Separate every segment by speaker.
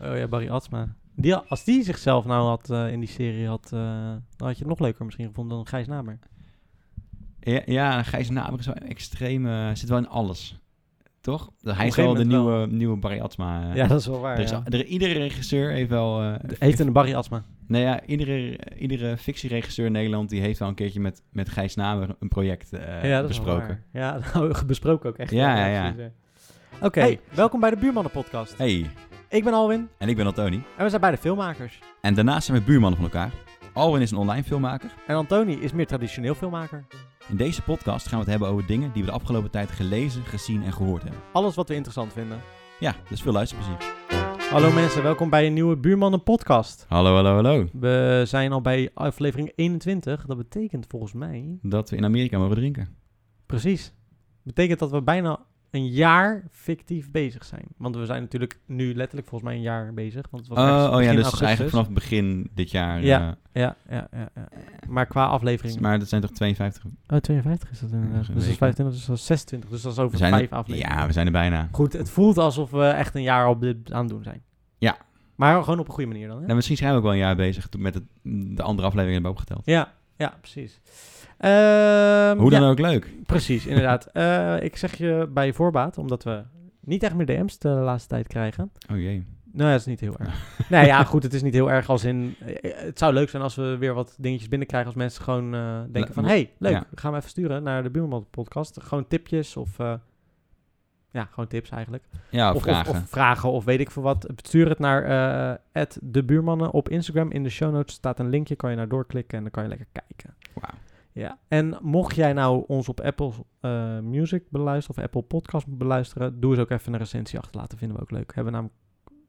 Speaker 1: Oh ja, Barry Atsma. Die, als die zichzelf nou had eh, in die serie had, eh, dan had je het nog leuker misschien gevonden dan Gijs Namer.
Speaker 2: Ja, ja Gijs Naber is wel een extreme... Zit wel in alles. Toch? Hij is
Speaker 1: gegeven
Speaker 2: wel de
Speaker 1: moment
Speaker 2: nieuwe,
Speaker 1: wel.
Speaker 2: nieuwe Barry Atsma. eh.
Speaker 1: Ja, dat is wel waar.
Speaker 2: Er is al- er- iedere regisseur heeft wel... eh,
Speaker 1: Heet een Barry Atsma.
Speaker 2: Nou ja, iedere, iedere fictieregisseur in Nederland... die heeft wel een keertje met, met Gijs Naber een project eh,
Speaker 1: ja, dat
Speaker 2: besproken.
Speaker 1: Is wel waar. Ja, nou, besproken ook echt.
Speaker 2: Ja, ja, ja.
Speaker 1: precies, ja. Oké, welkom bij de Buurmannen Podcast.
Speaker 2: Hey,
Speaker 1: Ik ben Alwin
Speaker 2: en ik ben Antoni.
Speaker 1: en we zijn beide filmmakers.
Speaker 2: En daarnaast zijn we buurmannen van elkaar. Alwin is een online filmmaker.
Speaker 1: En Antoni is meer traditioneel filmmaker.
Speaker 2: In deze podcast gaan we het hebben over dingen die we de afgelopen tijd gelezen, gezien en gehoord hebben.
Speaker 1: Alles wat we interessant vinden.
Speaker 2: Ja, dus veel luisterplezier.
Speaker 1: Hallo mensen, welkom bij een nieuwe Buurmannen Podcast.
Speaker 2: Hallo, hallo, hallo.
Speaker 1: We zijn al bij aflevering 21. Dat betekent volgens mij.
Speaker 2: Dat we in Amerika mogen drinken.
Speaker 1: Precies. Betekent dat we bijna een jaar fictief bezig zijn. Want we zijn natuurlijk nu letterlijk volgens mij een jaar bezig. Want het was ergens
Speaker 2: oh, oh ja,
Speaker 1: begin
Speaker 2: dus
Speaker 1: augustus.
Speaker 2: eigenlijk vanaf begin dit jaar.
Speaker 1: Ja.
Speaker 2: eh,
Speaker 1: Ja, ja, ja, ja. Maar qua aflevering.
Speaker 2: maar dat zijn toch 52?
Speaker 1: Oh, 52 is dat
Speaker 2: Ja, dat
Speaker 1: inderdaad.
Speaker 2: is
Speaker 1: Dus
Speaker 2: een
Speaker 1: dat is
Speaker 2: week.
Speaker 1: 25, dus dat is 26. Dus dat is over
Speaker 2: zijn
Speaker 1: vijf
Speaker 2: er-
Speaker 1: afleveringen.
Speaker 2: Ja, we zijn er bijna.
Speaker 1: Goed, het voelt alsof we echt een jaar op dit aan het doen zijn.
Speaker 2: Ja.
Speaker 1: Maar gewoon op een goede manier dan, hè?
Speaker 2: Nou, misschien zijn we ook wel een jaar bezig toen met het, de andere afleveringen hebben we opgeteld.
Speaker 1: Ja, ja, precies. Ehm,
Speaker 2: Hoe
Speaker 1: ja.
Speaker 2: dan ook leuk.
Speaker 1: Precies, inderdaad. Eh, ik zeg je bij voorbaat, omdat we niet echt meer DM's de laatste tijd krijgen.
Speaker 2: Oh jee.
Speaker 1: Nou, dat is niet heel erg. nee, ja, goed, het is niet heel erg als in... eh, Het zou leuk zijn als we weer wat dingetjes binnenkrijgen... als mensen gewoon eh, denken
Speaker 2: Le-
Speaker 1: van... hey, leuk,
Speaker 2: Ja.
Speaker 1: gaan we even sturen naar de Buurman podcast. Gewoon tipjes of... eh, ja, gewoon tips eigenlijk.
Speaker 2: Ja,
Speaker 1: of,
Speaker 2: vragen.
Speaker 1: Of, vragen of weet ik veel wat. Stuur het naar eh de buurmannen op Instagram. In de show notes staat een linkje, kan je naar doorklikken... en dan kan je lekker kijken.
Speaker 2: Wauw.
Speaker 1: Ja, en mocht jij nou ons op Apple eh, Music beluisteren of Apple Podcast beluisteren, doe eens ook even een recensie achterlaten. Vinden we ook leuk. Hebben we namelijk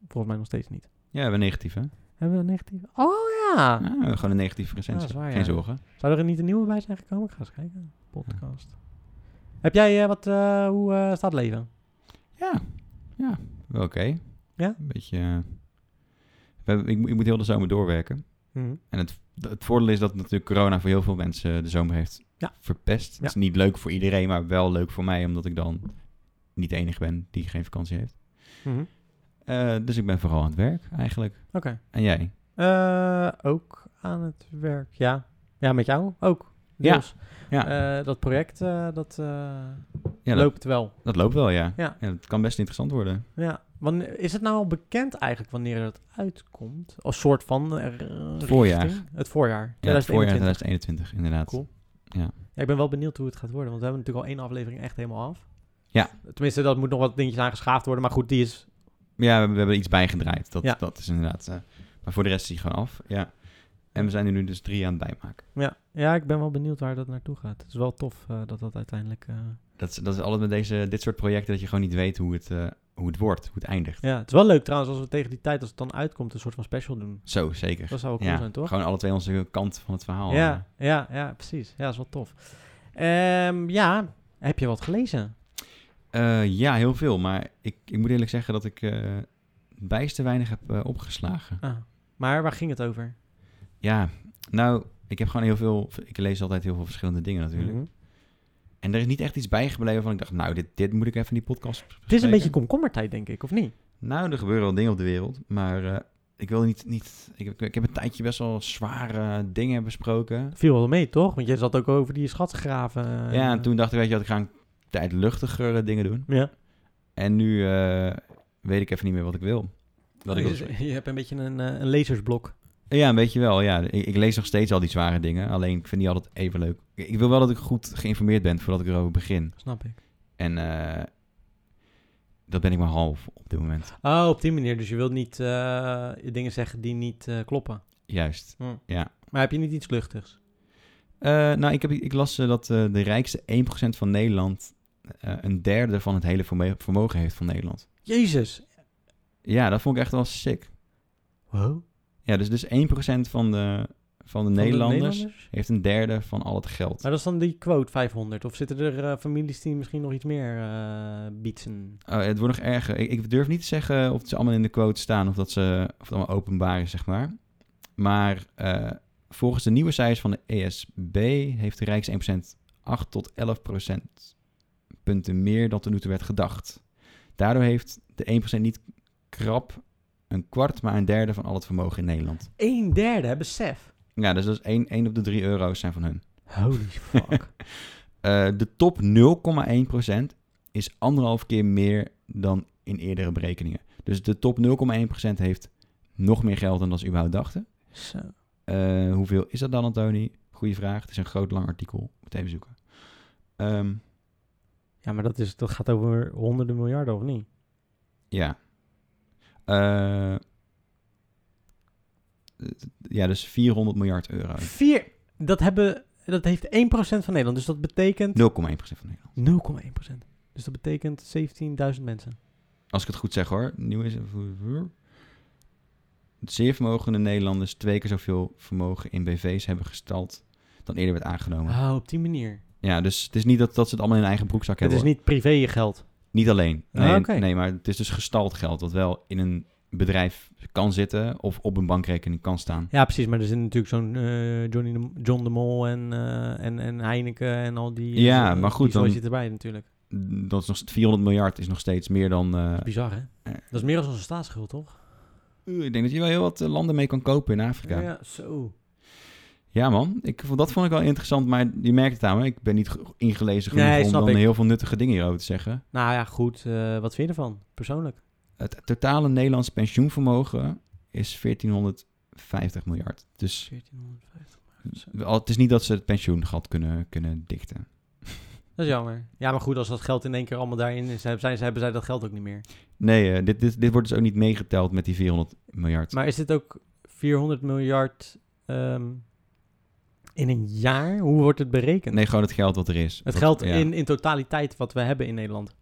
Speaker 1: volgens mij nog steeds niet.
Speaker 2: Ja, we hebben negatief, hè?
Speaker 1: Hebben we een negatieve? Oh ja!
Speaker 2: Ah, gewoon een negatieve recensie.
Speaker 1: dat is waar,
Speaker 2: Geen
Speaker 1: Ah. ja.
Speaker 2: zorgen.
Speaker 1: Zou er niet een nieuwe bij zijn gekomen? Ik ga eens kijken. Podcast. Heb jij eh, wat, eh, hoe eh, staat het leven?
Speaker 2: Ja, ja. Wel oké.
Speaker 1: Ja?
Speaker 2: Een beetje... eh, we hebben- ik, moet- ik moet heel de zomer doorwerken.
Speaker 1: Mhm.
Speaker 2: En het, het voordeel is dat natuurlijk corona voor heel veel mensen de zomer heeft
Speaker 1: Ja.
Speaker 2: verpest. Het is niet leuk voor iedereen, maar wel leuk voor mij, omdat ik dan niet de enige ben die geen vakantie heeft.
Speaker 1: Mhm.
Speaker 2: Eh, dus ik ben vooral aan het werk, eigenlijk.
Speaker 1: Oké.
Speaker 2: En jij?
Speaker 1: Eh, ook aan het werk, ja. Ja, met jou ook.
Speaker 2: Ja,
Speaker 1: Deels.
Speaker 2: Ja,
Speaker 1: Eh, dat project, eh, dat, eh,
Speaker 2: ja dat,
Speaker 1: loopt wel.
Speaker 2: dat loopt wel, ja.
Speaker 1: Ja.
Speaker 2: Het kan best interessant worden.
Speaker 1: Ja, wanneer, is het nou al bekend eigenlijk wanneer het uitkomt? Als soort van... eh,
Speaker 2: voorjaar.
Speaker 1: richting? Het voorjaar.
Speaker 2: Ja, het
Speaker 1: 2021.
Speaker 2: voorjaar 2021, inderdaad.
Speaker 1: Cool.
Speaker 2: Ja.
Speaker 1: Ja, ik ben wel benieuwd hoe het gaat worden, want we hebben natuurlijk al één aflevering echt helemaal af.
Speaker 2: Ja.
Speaker 1: Tenminste, dat moet nog wat dingetjes aangeschaafd worden, maar goed, die is...
Speaker 2: Ja, we, hebben- we hebben iets bijgedraaid. Dat,
Speaker 1: Ja.
Speaker 2: dat is inderdaad... eh, maar voor de rest is die gewoon af, ja. En we zijn er nu dus drie aan het bijmaken.
Speaker 1: Ja, ja ik ben wel benieuwd waar dat naartoe gaat. Het is wel tof eh, dat dat uiteindelijk... eh,
Speaker 2: Dat is, dat is altijd met deze, dit soort projecten dat je gewoon niet weet hoe het, eh, hoe het wordt, hoe het eindigt.
Speaker 1: Ja, het is wel leuk trouwens als we tegen die tijd, als het dan uitkomt, een soort van special doen.
Speaker 2: Zo, zeker.
Speaker 1: Dat zou wel cool
Speaker 2: ja,
Speaker 1: zijn, toch?
Speaker 2: gewoon alle twee onze kant van het verhaal. eh.
Speaker 1: Ja, ja, ja, precies. Ja, dat is wel tof. Ehm, ja, heb je wat gelezen?
Speaker 2: Eh, ja, heel veel. Maar ik, ik moet eerlijk zeggen dat ik eh bijster weinig heb eh, opgeslagen.
Speaker 1: Ah, maar waar ging het over?
Speaker 2: Ja, nou, ik heb gewoon heel veel... Ik lees altijd heel veel verschillende dingen natuurlijk.
Speaker 1: Mhm.
Speaker 2: En er is niet echt iets bijgebleven van ik dacht, nou, dit, dit moet ik even in die podcast
Speaker 1: Het is een beetje
Speaker 2: bespreken.
Speaker 1: komkommertijd, denk ik, of niet?
Speaker 2: Nou, er gebeuren wel dingen op de wereld, maar eh, ik wil niet... niet ik, heb- ik heb een tijdje best wel zware dingen besproken.
Speaker 1: Viel wel mee, toch? Want jij zat ook over die schatgraven. eh,
Speaker 2: ja, en toen dacht ik, weet je wat, ik ga een tijd luchtigere dingen doen.
Speaker 1: Ja.
Speaker 2: En nu eh, weet ik even niet meer wat ik wil. Wat ik wil
Speaker 1: Dus
Speaker 2: bespreken.
Speaker 1: je hebt een beetje een, eh, een lezersblok.
Speaker 2: ja, een beetje wel, ja. Ik, ik lees nog steeds al die zware dingen, alleen ik vind die altijd even leuk. Ik, ik wil wel dat ik goed geïnformeerd ben voordat ik erover begin.
Speaker 1: Snap ik.
Speaker 2: En eh, dat ben ik maar half op dit moment.
Speaker 1: Oh, op die manier. Dus je wilt niet eh, dingen zeggen die niet eh, kloppen.
Speaker 2: Juist.
Speaker 1: Hm. Maar heb je niet iets luchtigs?
Speaker 2: Eh, nou, ik, heb, ik las eh, dat eh, de rijkste 1% van Nederland eh, een derde van het hele verme- vermogen heeft van Nederland.
Speaker 1: Jezus.
Speaker 2: Ja, dat vond ik echt wel sick.
Speaker 1: Wow.
Speaker 2: Ja, dus, dus 1% van de, van de Nederlanders
Speaker 1: Nederlanders?
Speaker 2: heeft een derde van al het geld.
Speaker 1: Maar dat is dan die quote 500. Of zitten er eh, families die misschien nog iets meer eh bietsen?
Speaker 2: Oh, het wordt nog erger. Ik, ik durf niet te zeggen of ze allemaal in de quote staan of dat ze of het allemaal openbaar is, zeg maar. Maar eh, volgens de nieuwe cijfers van de ESB heeft de rijks 1% 8 tot 11 punten meer dan tot nu toe werd gedacht. Daardoor heeft de 1% niet krap een kwart, maar een derde van al het vermogen in Nederland.
Speaker 1: Een derde, hè, besef.
Speaker 2: Ja, dus dat is 1, 1 op de 3 euro's zijn van hun.
Speaker 1: Holy fuck.
Speaker 2: Eh, de top 0,1% is anderhalf keer meer dan in eerdere berekeningen. Dus de top 0,1% heeft nog meer geld dan dat ze überhaupt dachten.
Speaker 1: Zo.
Speaker 2: Eh, hoeveel is dat dan, Antoni? Goeie vraag. Het is een groot lang artikel. Moet even zoeken. Ehm,
Speaker 1: Ja, maar dat, is, dat gaat over honderden miljarden, of niet?
Speaker 2: ja. Eh, het- ja, dus 400 miljard euro.
Speaker 1: Vier, dat, hebben, dat heeft 1% van Nederland. Dus dat betekent
Speaker 2: 0,1% van Nederland.
Speaker 1: 0,1%. Dus dat betekent 17.000 mensen.
Speaker 2: Als ik het goed zeg hoor. Nieuw is Zeer vermogende Nederlanders twee keer zoveel vermogen in BV's hebben gestald dan eerder werd aangenomen.
Speaker 1: Ah, op die manier.
Speaker 2: Ja, dus het is niet dat, dat ze het allemaal in hun eigen broekzak
Speaker 1: Het
Speaker 2: hebben.
Speaker 1: is
Speaker 2: hoor.
Speaker 1: niet privé je geld.
Speaker 2: Niet alleen.
Speaker 1: Ah,
Speaker 2: Nee,
Speaker 1: oké.
Speaker 2: nee, maar het is dus gestald geld dat wel in een bedrijf kan zitten of op een bankrekening kan staan.
Speaker 1: Ja, precies. Maar er zit natuurlijk zo'n eh, Johnny de, John de Mol en, eh, en, en Heineken en al die...
Speaker 2: Ja,
Speaker 1: eh,
Speaker 2: maar goed,
Speaker 1: die zooi
Speaker 2: dan-
Speaker 1: zit erbij natuurlijk.
Speaker 2: Dat is nog 400 miljard is nog steeds meer dan. eh,
Speaker 1: Bizar, hè? Dat is meer dan onze staatsschuld, toch?
Speaker 2: uh, ik denk dat je wel heel wat eh, landen mee kan kopen in Afrika. Ja,
Speaker 1: ja zo.
Speaker 2: man, ik, vond- dat vond ik wel interessant, maar je merkt het aan me. Ik ben niet ge- ingelezen genoeg
Speaker 1: Nee,
Speaker 2: om
Speaker 1: snap
Speaker 2: dan
Speaker 1: ik.
Speaker 2: heel veel nuttige dingen hierover te zeggen.
Speaker 1: Nou ja, goed. eh, wat vind je ervan, persoonlijk?
Speaker 2: Het totale Nederlands pensioenvermogen is 1450 miljard. Dus
Speaker 1: 1450.
Speaker 2: wel, het is niet dat ze het pensioengat kunnen, kunnen dichten.
Speaker 1: Dat is jammer. Ja, maar goed, als dat geld in één keer allemaal daarin is, hebben zij, hebben zij dat geld ook niet meer.
Speaker 2: Nee, eh, dit, dit, dit wordt dus ook niet meegeteld met die 400 miljard.
Speaker 1: Maar is dit ook 400 miljard ehm, in een jaar? Hoe wordt het berekend?
Speaker 2: nee, gewoon het geld wat er is.
Speaker 1: het
Speaker 2: Wat-
Speaker 1: geld
Speaker 2: ja,
Speaker 1: in, in totaliteit wat we hebben in Nederland.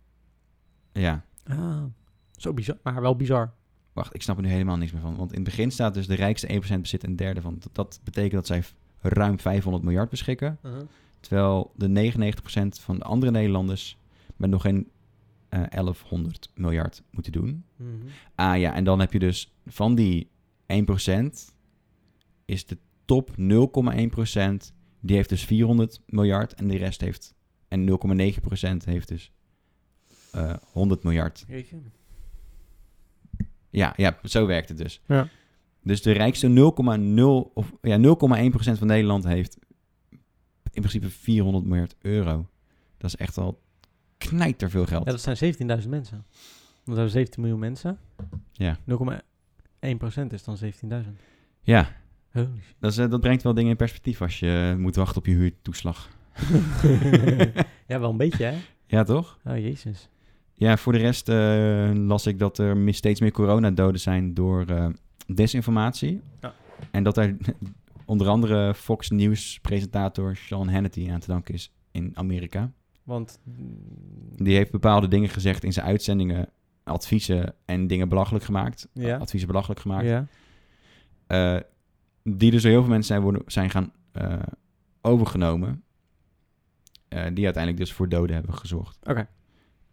Speaker 2: Ja,
Speaker 1: Ah, zo bizar, maar wel bizar.
Speaker 2: wacht, ik snap er nu helemaal niks meer van. Want in het begin staat dus de rijkste 1% bezit een derde van. Dat, dat betekent dat zij f- ruim 500 miljard beschikken. Terwijl de 99% van de andere Nederlanders met nog geen eh 1100 miljard moeten doen.
Speaker 1: Mhm.
Speaker 2: Ah ja, en dan heb je dus van die 1% is de top 0,1%, die heeft dus 400 miljard en de rest heeft, en 0,9% heeft dus eh 100 miljard. Ja, ja, zo werkt het dus.
Speaker 1: Ja.
Speaker 2: Dus de rijkste 0,0 of ja, 0,1% van Nederland heeft in principe 400 miljard euro. Dat is echt al knijter veel
Speaker 1: Ja,
Speaker 2: geld.
Speaker 1: dat zijn 17.000 mensen. Want er zijn 17 miljoen mensen.
Speaker 2: Ja.
Speaker 1: 0,1% is dan 17.000.
Speaker 2: Ja,
Speaker 1: Holy shit.
Speaker 2: dat, is, eh, dat brengt wel dingen in perspectief als je moet wachten op je huurtoeslag.
Speaker 1: ja, wel een beetje, hè?
Speaker 2: Ja, toch?
Speaker 1: Oh, jezus.
Speaker 2: Ja, voor de rest eh, las ik dat er mi- steeds meer coronadoden zijn door eh, desinformatie.
Speaker 1: Ja.
Speaker 2: En dat daar onder andere Fox News-presentator Sean Hannity aan te danken is in Amerika.
Speaker 1: Want... mm,
Speaker 2: Die heeft bepaalde dingen gezegd in zijn uitzendingen, adviezen en dingen belachelijk gemaakt. Eh,
Speaker 1: Ja.
Speaker 2: Adviezen belachelijk gemaakt.
Speaker 1: Ja.
Speaker 2: Eh, die dus door heel veel mensen zijn, worden, zijn gaan eh, overgenomen. Eh, die uiteindelijk dus voor doden hebben gezorgd.
Speaker 1: Oké.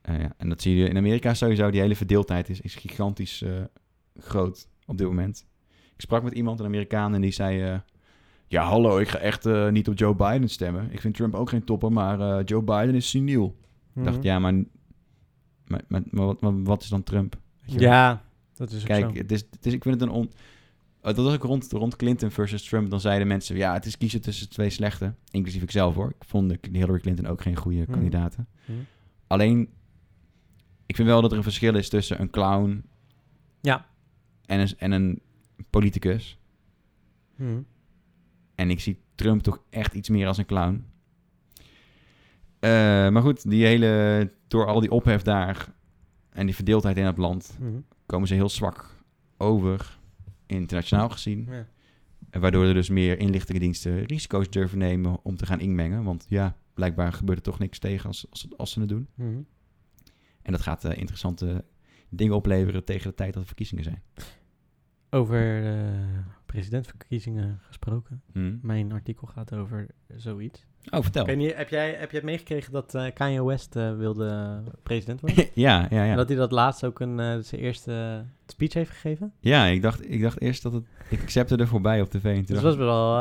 Speaker 2: Eh, ja. En dat zie je in Amerika sowieso. Die hele verdeeldheid is, is gigantisch eh, groot op dit moment. Ik sprak met iemand, een Amerikaan, en die zei... eh, ja, hallo, ik ga echt eh, niet op Joe Biden stemmen. Ik vind Trump ook geen topper, maar eh, Joe Biden is seniel. Ik dacht,
Speaker 1: Mhm.
Speaker 2: ja, maar, maar, maar, maar wat, maar wat is dan Trump? Weet je wel?
Speaker 1: Ja, dat is ook
Speaker 2: Kijk,
Speaker 1: zo.
Speaker 2: het is, het is, ik vind het een on... eh, dat was ook rond, rond Clinton versus Trump. Dan zeiden mensen, ja, het is kiezen tussen twee slechte. Inclusief ikzelf hoor. Ik vond de- Hillary Clinton ook geen goede
Speaker 1: Mhm.
Speaker 2: kandidaten.
Speaker 1: Mhm.
Speaker 2: Alleen, ik vind wel dat er een verschil is tussen een clown
Speaker 1: Ja.
Speaker 2: en een, en een politicus. eh,
Speaker 1: Mhm.
Speaker 2: En ik zie Trump toch echt iets meer als een clown. Eh, maar goed, die hele, door al die ophef daar en die verdeeldheid in het land,
Speaker 1: Mhm.
Speaker 2: komen ze heel zwak over, internationaal gezien.
Speaker 1: Ja.
Speaker 2: En waardoor er dus meer inlichtingendiensten risico's durven nemen om te gaan inmengen. Want ja, blijkbaar gebeurt er toch niks tegen als, als, als ze het doen.
Speaker 1: Mhm.
Speaker 2: En dat gaat eh, interessante dingen opleveren tegen de tijd dat er verkiezingen zijn.
Speaker 1: Over eh, presidentverkiezingen gesproken. Mijn artikel gaat over zoiets.
Speaker 2: Oh, vertel.
Speaker 1: Hmm. Ik weet niet, heb jij, heb jij meegekregen dat eh, Kanye West eh, wilde president worden?
Speaker 2: ja, ja,
Speaker 1: En
Speaker 2: ja.
Speaker 1: dat hij dat laatst ook een, eh, zijn eerste speech heeft gegeven?
Speaker 2: Ja, ik dacht, ik dacht eerst dat het... Ik accepte er voorbij op tv. En toen
Speaker 1: Dus dat
Speaker 2: dacht
Speaker 1: was
Speaker 2: ik-
Speaker 1: wel,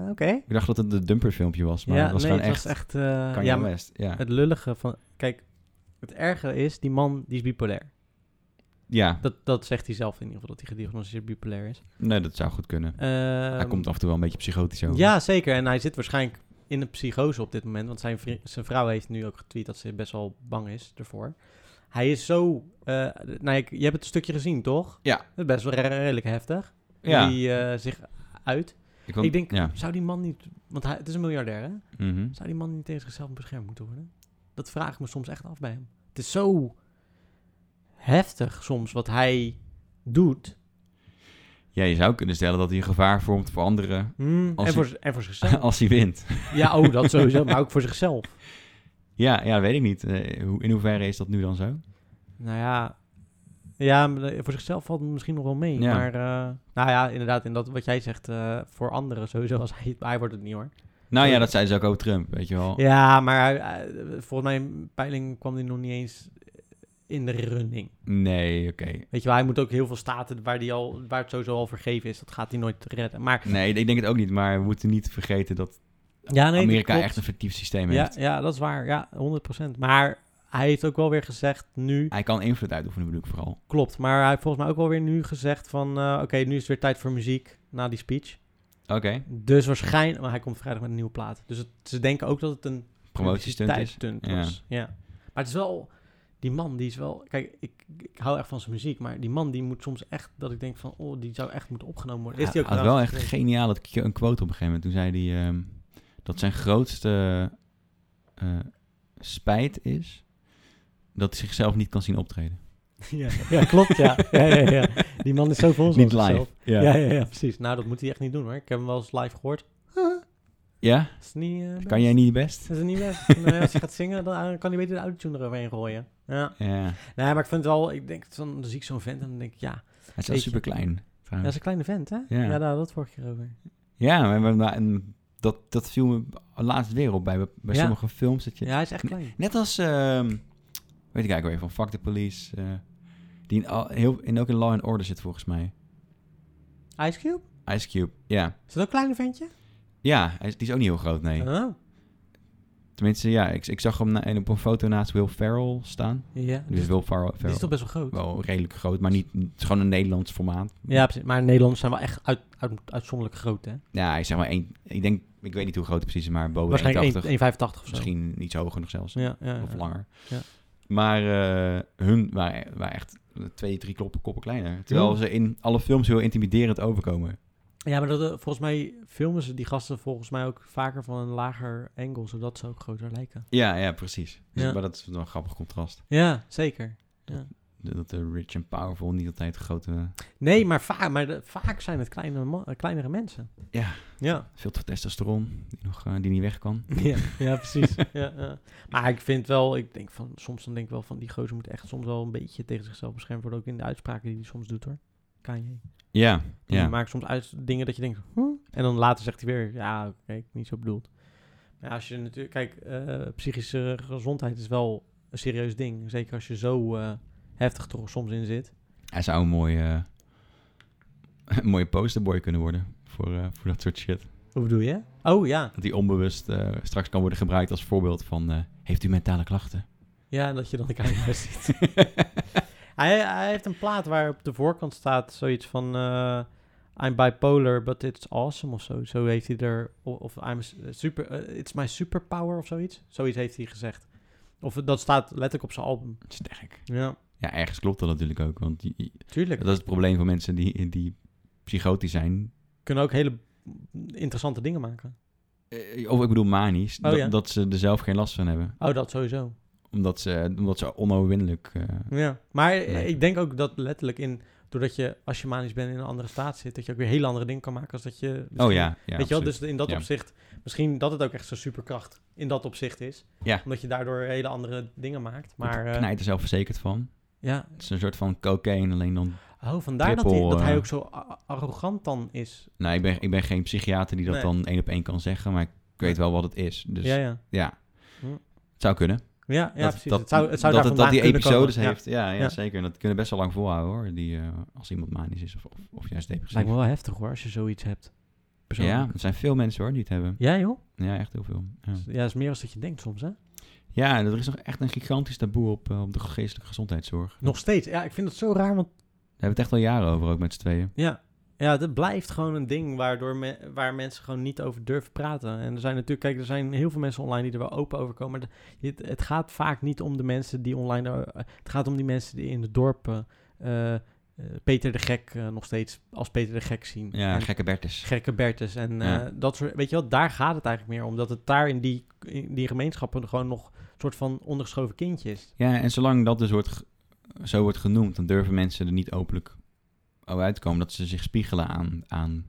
Speaker 1: eh, oké.
Speaker 2: ik dacht dat het een dumperfilmpje was, maar
Speaker 1: Ja,
Speaker 2: het was
Speaker 1: nee,
Speaker 2: gewoon
Speaker 1: het
Speaker 2: echt...
Speaker 1: was echt... eh,
Speaker 2: Kanye
Speaker 1: ja, maar
Speaker 2: West, ja.
Speaker 1: het lullige van... Kijk, het erge is, die man die is bipolair.
Speaker 2: Ja,
Speaker 1: Dat, dat zegt hij zelf in ieder geval, dat hij gediagnosticeerd bipolair is.
Speaker 2: nee, dat zou goed kunnen. hij
Speaker 1: Ehm,
Speaker 2: komt af en toe wel een beetje psychotisch over.
Speaker 1: Ja, zeker. En hij zit waarschijnlijk in een psychose op dit moment. Want zijn, vri- zijn vrouw heeft nu ook getweet dat ze best wel bang is ervoor. Hij is zo... eh, nou, ik- je hebt het stukje gezien, toch?
Speaker 2: Ja.
Speaker 1: Dat is Best wel re- redelijk heftig.
Speaker 2: Ja,
Speaker 1: Die eh, zich uit.
Speaker 2: wou-
Speaker 1: ik denk-
Speaker 2: Ja.
Speaker 1: Zou die man niet... Want hij, het is een miljardair, hè?
Speaker 2: mhm.
Speaker 1: Zou die man niet tegen zichzelf beschermd moeten worden? Dat vraag ik me soms echt af bij hem. Het is zo heftig soms wat hij doet.
Speaker 2: ja, je zou kunnen stellen dat hij een gevaar vormt voor anderen Als
Speaker 1: Hmm, en,
Speaker 2: hij- Oh.
Speaker 1: voor, z- en voor zichzelf.
Speaker 2: als hij wint.
Speaker 1: ja, oh, dat sowieso. Maar ook voor zichzelf.
Speaker 2: Ja, ja weet ik niet. Eh, hoe, in hoeverre is dat nu dan zo?
Speaker 1: Nou ja, ja, maar de- voor zichzelf valt het misschien nog wel mee.
Speaker 2: Ja.
Speaker 1: Maar eh, nou ja, inderdaad, in dat wat jij zegt, eh, voor anderen sowieso, als hij, hij wordt het niet hoor.
Speaker 2: Nou ja, dat zei ze ook over Trump, weet je wel.
Speaker 1: Ja, maar hij- hij- eh, volgens mij in peiling kwam hij nog niet eens in de running.
Speaker 2: Nee, oké.
Speaker 1: Weet je wel, hij moet ook heel veel staten waar, die al, waar het sowieso al vergeven is, dat gaat hij nooit redden. Maar
Speaker 2: Nee, ik denk het ook niet, maar we moeten niet vergeten dat
Speaker 1: ja, nee, dat
Speaker 2: Amerika
Speaker 1: klopt.
Speaker 2: echt een fictief systeem
Speaker 1: ja,
Speaker 2: heeft.
Speaker 1: ja, dat is waar, ja, 100%. Maar hij heeft ook wel weer gezegd nu,
Speaker 2: Hij kan invloed uitoefenen, bedoel ik vooral.
Speaker 1: klopt, maar hij heeft volgens mij ook wel weer nu gezegd van, eh, oké, nu is het weer tijd voor muziek, na die speech.
Speaker 2: Oké,
Speaker 1: Dus waarschijnlijk, maar hij komt vrijdag met een nieuwe plaat. Dus het, ze denken ook dat het een
Speaker 2: promotiestunt is.
Speaker 1: publiciteitsstunt
Speaker 2: Ja.
Speaker 1: was. Ja. Maar het is wel, die man die is wel, kijk, ik, ik hou echt van zijn muziek, maar die man die moet soms echt, dat ik denk van, oh, die zou echt moeten opgenomen worden. Is die ook
Speaker 2: Hij had wel
Speaker 1: trouwens
Speaker 2: echt
Speaker 1: gekregen?
Speaker 2: geniaal dat ik een quote op een gegeven moment. Toen zei hij ehm, dat zijn grootste eh, spijt is dat hij zichzelf niet kan zien optreden.
Speaker 1: ja, ja, klopt, ja. Ja, ja, ja. Die man is zo vol
Speaker 2: niet
Speaker 1: zichzelf.
Speaker 2: live. Ja.
Speaker 1: Ja, ja, ja, precies. Nou, dat moet hij echt niet doen hoor. Ik heb hem wel eens live gehoord.
Speaker 2: Ja?
Speaker 1: Dat is niet, eh, best.
Speaker 2: Kan jij niet best?
Speaker 1: Dat is niet best. Nee, als je gaat zingen, dan eh, kan hij beter de autotune eroverheen gooien. Ja.
Speaker 2: Ja.
Speaker 1: Nee, maar ik vind het wel, ik denk, dan dan zie ik zo'n vent en dan denk ik, ja,
Speaker 2: Hij is wel
Speaker 1: Beetje.
Speaker 2: super klein.
Speaker 1: Ja, dat is een kleine vent, hè?
Speaker 2: Ja.
Speaker 1: Ja, daar hadden we het vorige keer over.
Speaker 2: Ja, maar, maar- maar- en dat, dat viel me laatst weer op bij, bij
Speaker 1: Ja.
Speaker 2: sommige films. Dat je,
Speaker 1: Ja, hij is echt klein.
Speaker 2: Net als, ehm, weet ik eigenlijk weer van Fuck the Police. eh, die in, al- heel, in, ook in Law and Order zit volgens mij.
Speaker 1: Ice Cube?
Speaker 2: Ice Cube, ja.
Speaker 1: Is dat ook een kleine ventje?
Speaker 2: Ja, hij is, die is ook niet heel groot, nee.
Speaker 1: Oh.
Speaker 2: Tenminste, ja, ik, ik zag hem na, en op een foto naast Will Ferrell staan.
Speaker 1: Ja,
Speaker 2: Dus
Speaker 1: dus
Speaker 2: Will Ferrell,
Speaker 1: die is toch
Speaker 2: Ferrell
Speaker 1: best wel groot?
Speaker 2: wel redelijk groot, maar niet, het is gewoon een Nederlands formaat.
Speaker 1: Ja, precies. Maar Nederlanders zijn wel echt uit, uit- uitzonderlijk groot, hè?
Speaker 2: Ja, hij is zeg maar één, ik denk, ik weet niet hoe groot het precies is, maar boven de 1,80.
Speaker 1: Waarschijnlijk 1- 1,85 of zo.
Speaker 2: Misschien iets hoger nog zelfs.
Speaker 1: Ja, ja, ja.
Speaker 2: Of langer.
Speaker 1: Ja.
Speaker 2: Maar eh, hun waren, waren echt twee, drie kloppen, koppen kleiner. Terwijl ze in alle films heel intimiderend overkomen.
Speaker 1: Ja, maar dat, eh, volgens mij filmen ze die gasten volgens mij ook vaker van een lager angle, zodat ze ook groter lijken.
Speaker 2: Ja, ja, precies. Dus-
Speaker 1: Ja.
Speaker 2: Maar dat is wel een grappig contrast.
Speaker 1: Ja, zeker.
Speaker 2: Dat de rich en powerful niet altijd grote, eh,
Speaker 1: Nee, maar, vaak maar de- vaak zijn het kleine ma- eh, kleinere mensen.
Speaker 2: Ja.
Speaker 1: Ja.
Speaker 2: veel te veel testosteron die, nog, eh, die niet weg kan.
Speaker 1: Ja, ja precies. ja, ja. Maar ik vind wel, ik denk van, soms dan denk ik wel van, die gozer moet echt soms wel een beetje tegen zichzelf beschermd worden, ook in de uitspraken die hij soms doet hoor. Kanye.
Speaker 2: Ja,
Speaker 1: Die
Speaker 2: ja.
Speaker 1: maakt soms uit dingen dat je denkt, huh? en dan later zegt hij weer, ja, oké, ik heb niet zo bedoeld. Maar ja, als je natuurlijk, kijk, eh, psychische gezondheid is wel een serieus ding, zeker als je zo eh, heftig toch soms in zit.
Speaker 2: Hij zou een mooie, een mooie posterboy kunnen worden voor, eh, voor dat soort shit.
Speaker 1: Hoe bedoel je? Oh ja,
Speaker 2: Dat die onbewust eh, straks kan worden gebruikt als voorbeeld van... eh, heeft u mentale klachten?
Speaker 1: ja, en dat je dan de Kanye ziet. Hij, hij heeft een plaat waar op de voorkant staat zoiets van... eh, I'm bipolar, but it's awesome of zo. Zo heeft hij er... o- Of I'm s- super... eh, it's my superpower of zoiets. Zoiets heeft hij gezegd. Of dat staat letterlijk op zijn album.
Speaker 2: Sterk.
Speaker 1: Ja,
Speaker 2: Ja, ergens klopt dat natuurlijk ook. Want je- je-
Speaker 1: tuurlijk.
Speaker 2: dat is het probleem van mensen die, die psychotisch zijn.
Speaker 1: Kunnen ook hele interessante dingen maken.
Speaker 2: Eh, Of ik bedoel manisch.
Speaker 1: Oh,
Speaker 2: dat,
Speaker 1: ja.
Speaker 2: dat ze er zelf geen last van hebben.
Speaker 1: Oh, dat sowieso.
Speaker 2: Omdat ze, omdat ze onoverwinnelijk... eh,
Speaker 1: Ja. Maar eh,
Speaker 2: Nee.
Speaker 1: ik denk ook dat letterlijk in... Doordat je, als je manisch bent, in een andere staat zit... dat je ook weer hele andere dingen kan maken als dat je...
Speaker 2: oh
Speaker 1: misschien-
Speaker 2: ja, ja
Speaker 1: Weet je wel,
Speaker 2: absoluut.
Speaker 1: dus in dat
Speaker 2: Ja.
Speaker 1: opzicht, misschien dat het ook echt zo'n superkracht in dat opzicht is.
Speaker 2: Ja.
Speaker 1: Omdat je daardoor hele andere dingen maakt.
Speaker 2: Want
Speaker 1: Maar
Speaker 2: hij
Speaker 1: eh,
Speaker 2: knijt er zelfverzekerd van.
Speaker 1: ja,
Speaker 2: Het is een soort van cocaïne, alleen dan...
Speaker 1: oh, vandaar dat, hij,
Speaker 2: Triple,
Speaker 1: dat hij
Speaker 2: eh,
Speaker 1: ook zo a- arrogant dan is.
Speaker 2: Nou, ik ben, ik ben geen psychiater die dat
Speaker 1: Nee.
Speaker 2: dan één op één kan zeggen. Maar ik weet wel wat het is. Dus
Speaker 1: ja,
Speaker 2: ja,
Speaker 1: ja.
Speaker 2: het zou kunnen.
Speaker 1: Ja, ja
Speaker 2: dat,
Speaker 1: precies.
Speaker 2: dat-
Speaker 1: het zou, het zou
Speaker 2: dat,
Speaker 1: daar
Speaker 2: het-
Speaker 1: vandaan
Speaker 2: dat die
Speaker 1: kunnen
Speaker 2: episodes
Speaker 1: komen. Ja.
Speaker 2: heeft. Ja, ja,
Speaker 1: Ja.
Speaker 2: zeker. En dat kunnen best wel lang volhouden hoor. Die, eh, als iemand manisch is of, of, of juist depressief.
Speaker 1: Lijkt me wel heftig hoor, als je zoiets hebt.
Speaker 2: Ja,
Speaker 1: Persoonlijk.
Speaker 2: er zijn veel mensen hoor die het hebben.
Speaker 1: Ja, joh.
Speaker 2: Ja, echt heel veel. Ja.
Speaker 1: Dus Ja, dat is meer als dat je denkt soms, hè?
Speaker 2: Ja, en er is nog echt een gigantisch taboe op, eh, op de geestelijke gezondheidszorg.
Speaker 1: Nog steeds. Ja, ik vind het zo raar, want
Speaker 2: Daar hebben we het echt al jaren over, ook met z'n tweeën.
Speaker 1: ja, ja, dat blijft gewoon een ding waardoor me- waar mensen gewoon niet over durven praten. En er zijn natuurlijk, kijk, er zijn heel veel mensen online die er wel open over komen. Maar de- het, het gaat vaak niet om de mensen die online, eh, het gaat om die mensen die in de dorpen eh, eh, Peter de Gek eh, nog steeds als Peter de Gek zien.
Speaker 2: Ja,
Speaker 1: En-
Speaker 2: gekke Bertus.
Speaker 1: gekke Bertus. En eh,
Speaker 2: Ja.
Speaker 1: dat soort, weet je wel, daar gaat het eigenlijk meer om. Dat het daar in die, in die gemeenschappen gewoon nog een soort van ondergeschoven kindje is.
Speaker 2: Ja, en zolang dat dus wordt, ge- zo wordt genoemd, dan durven mensen er niet openlijk over uit te komen. Dat ze zich spiegelen aan, aan,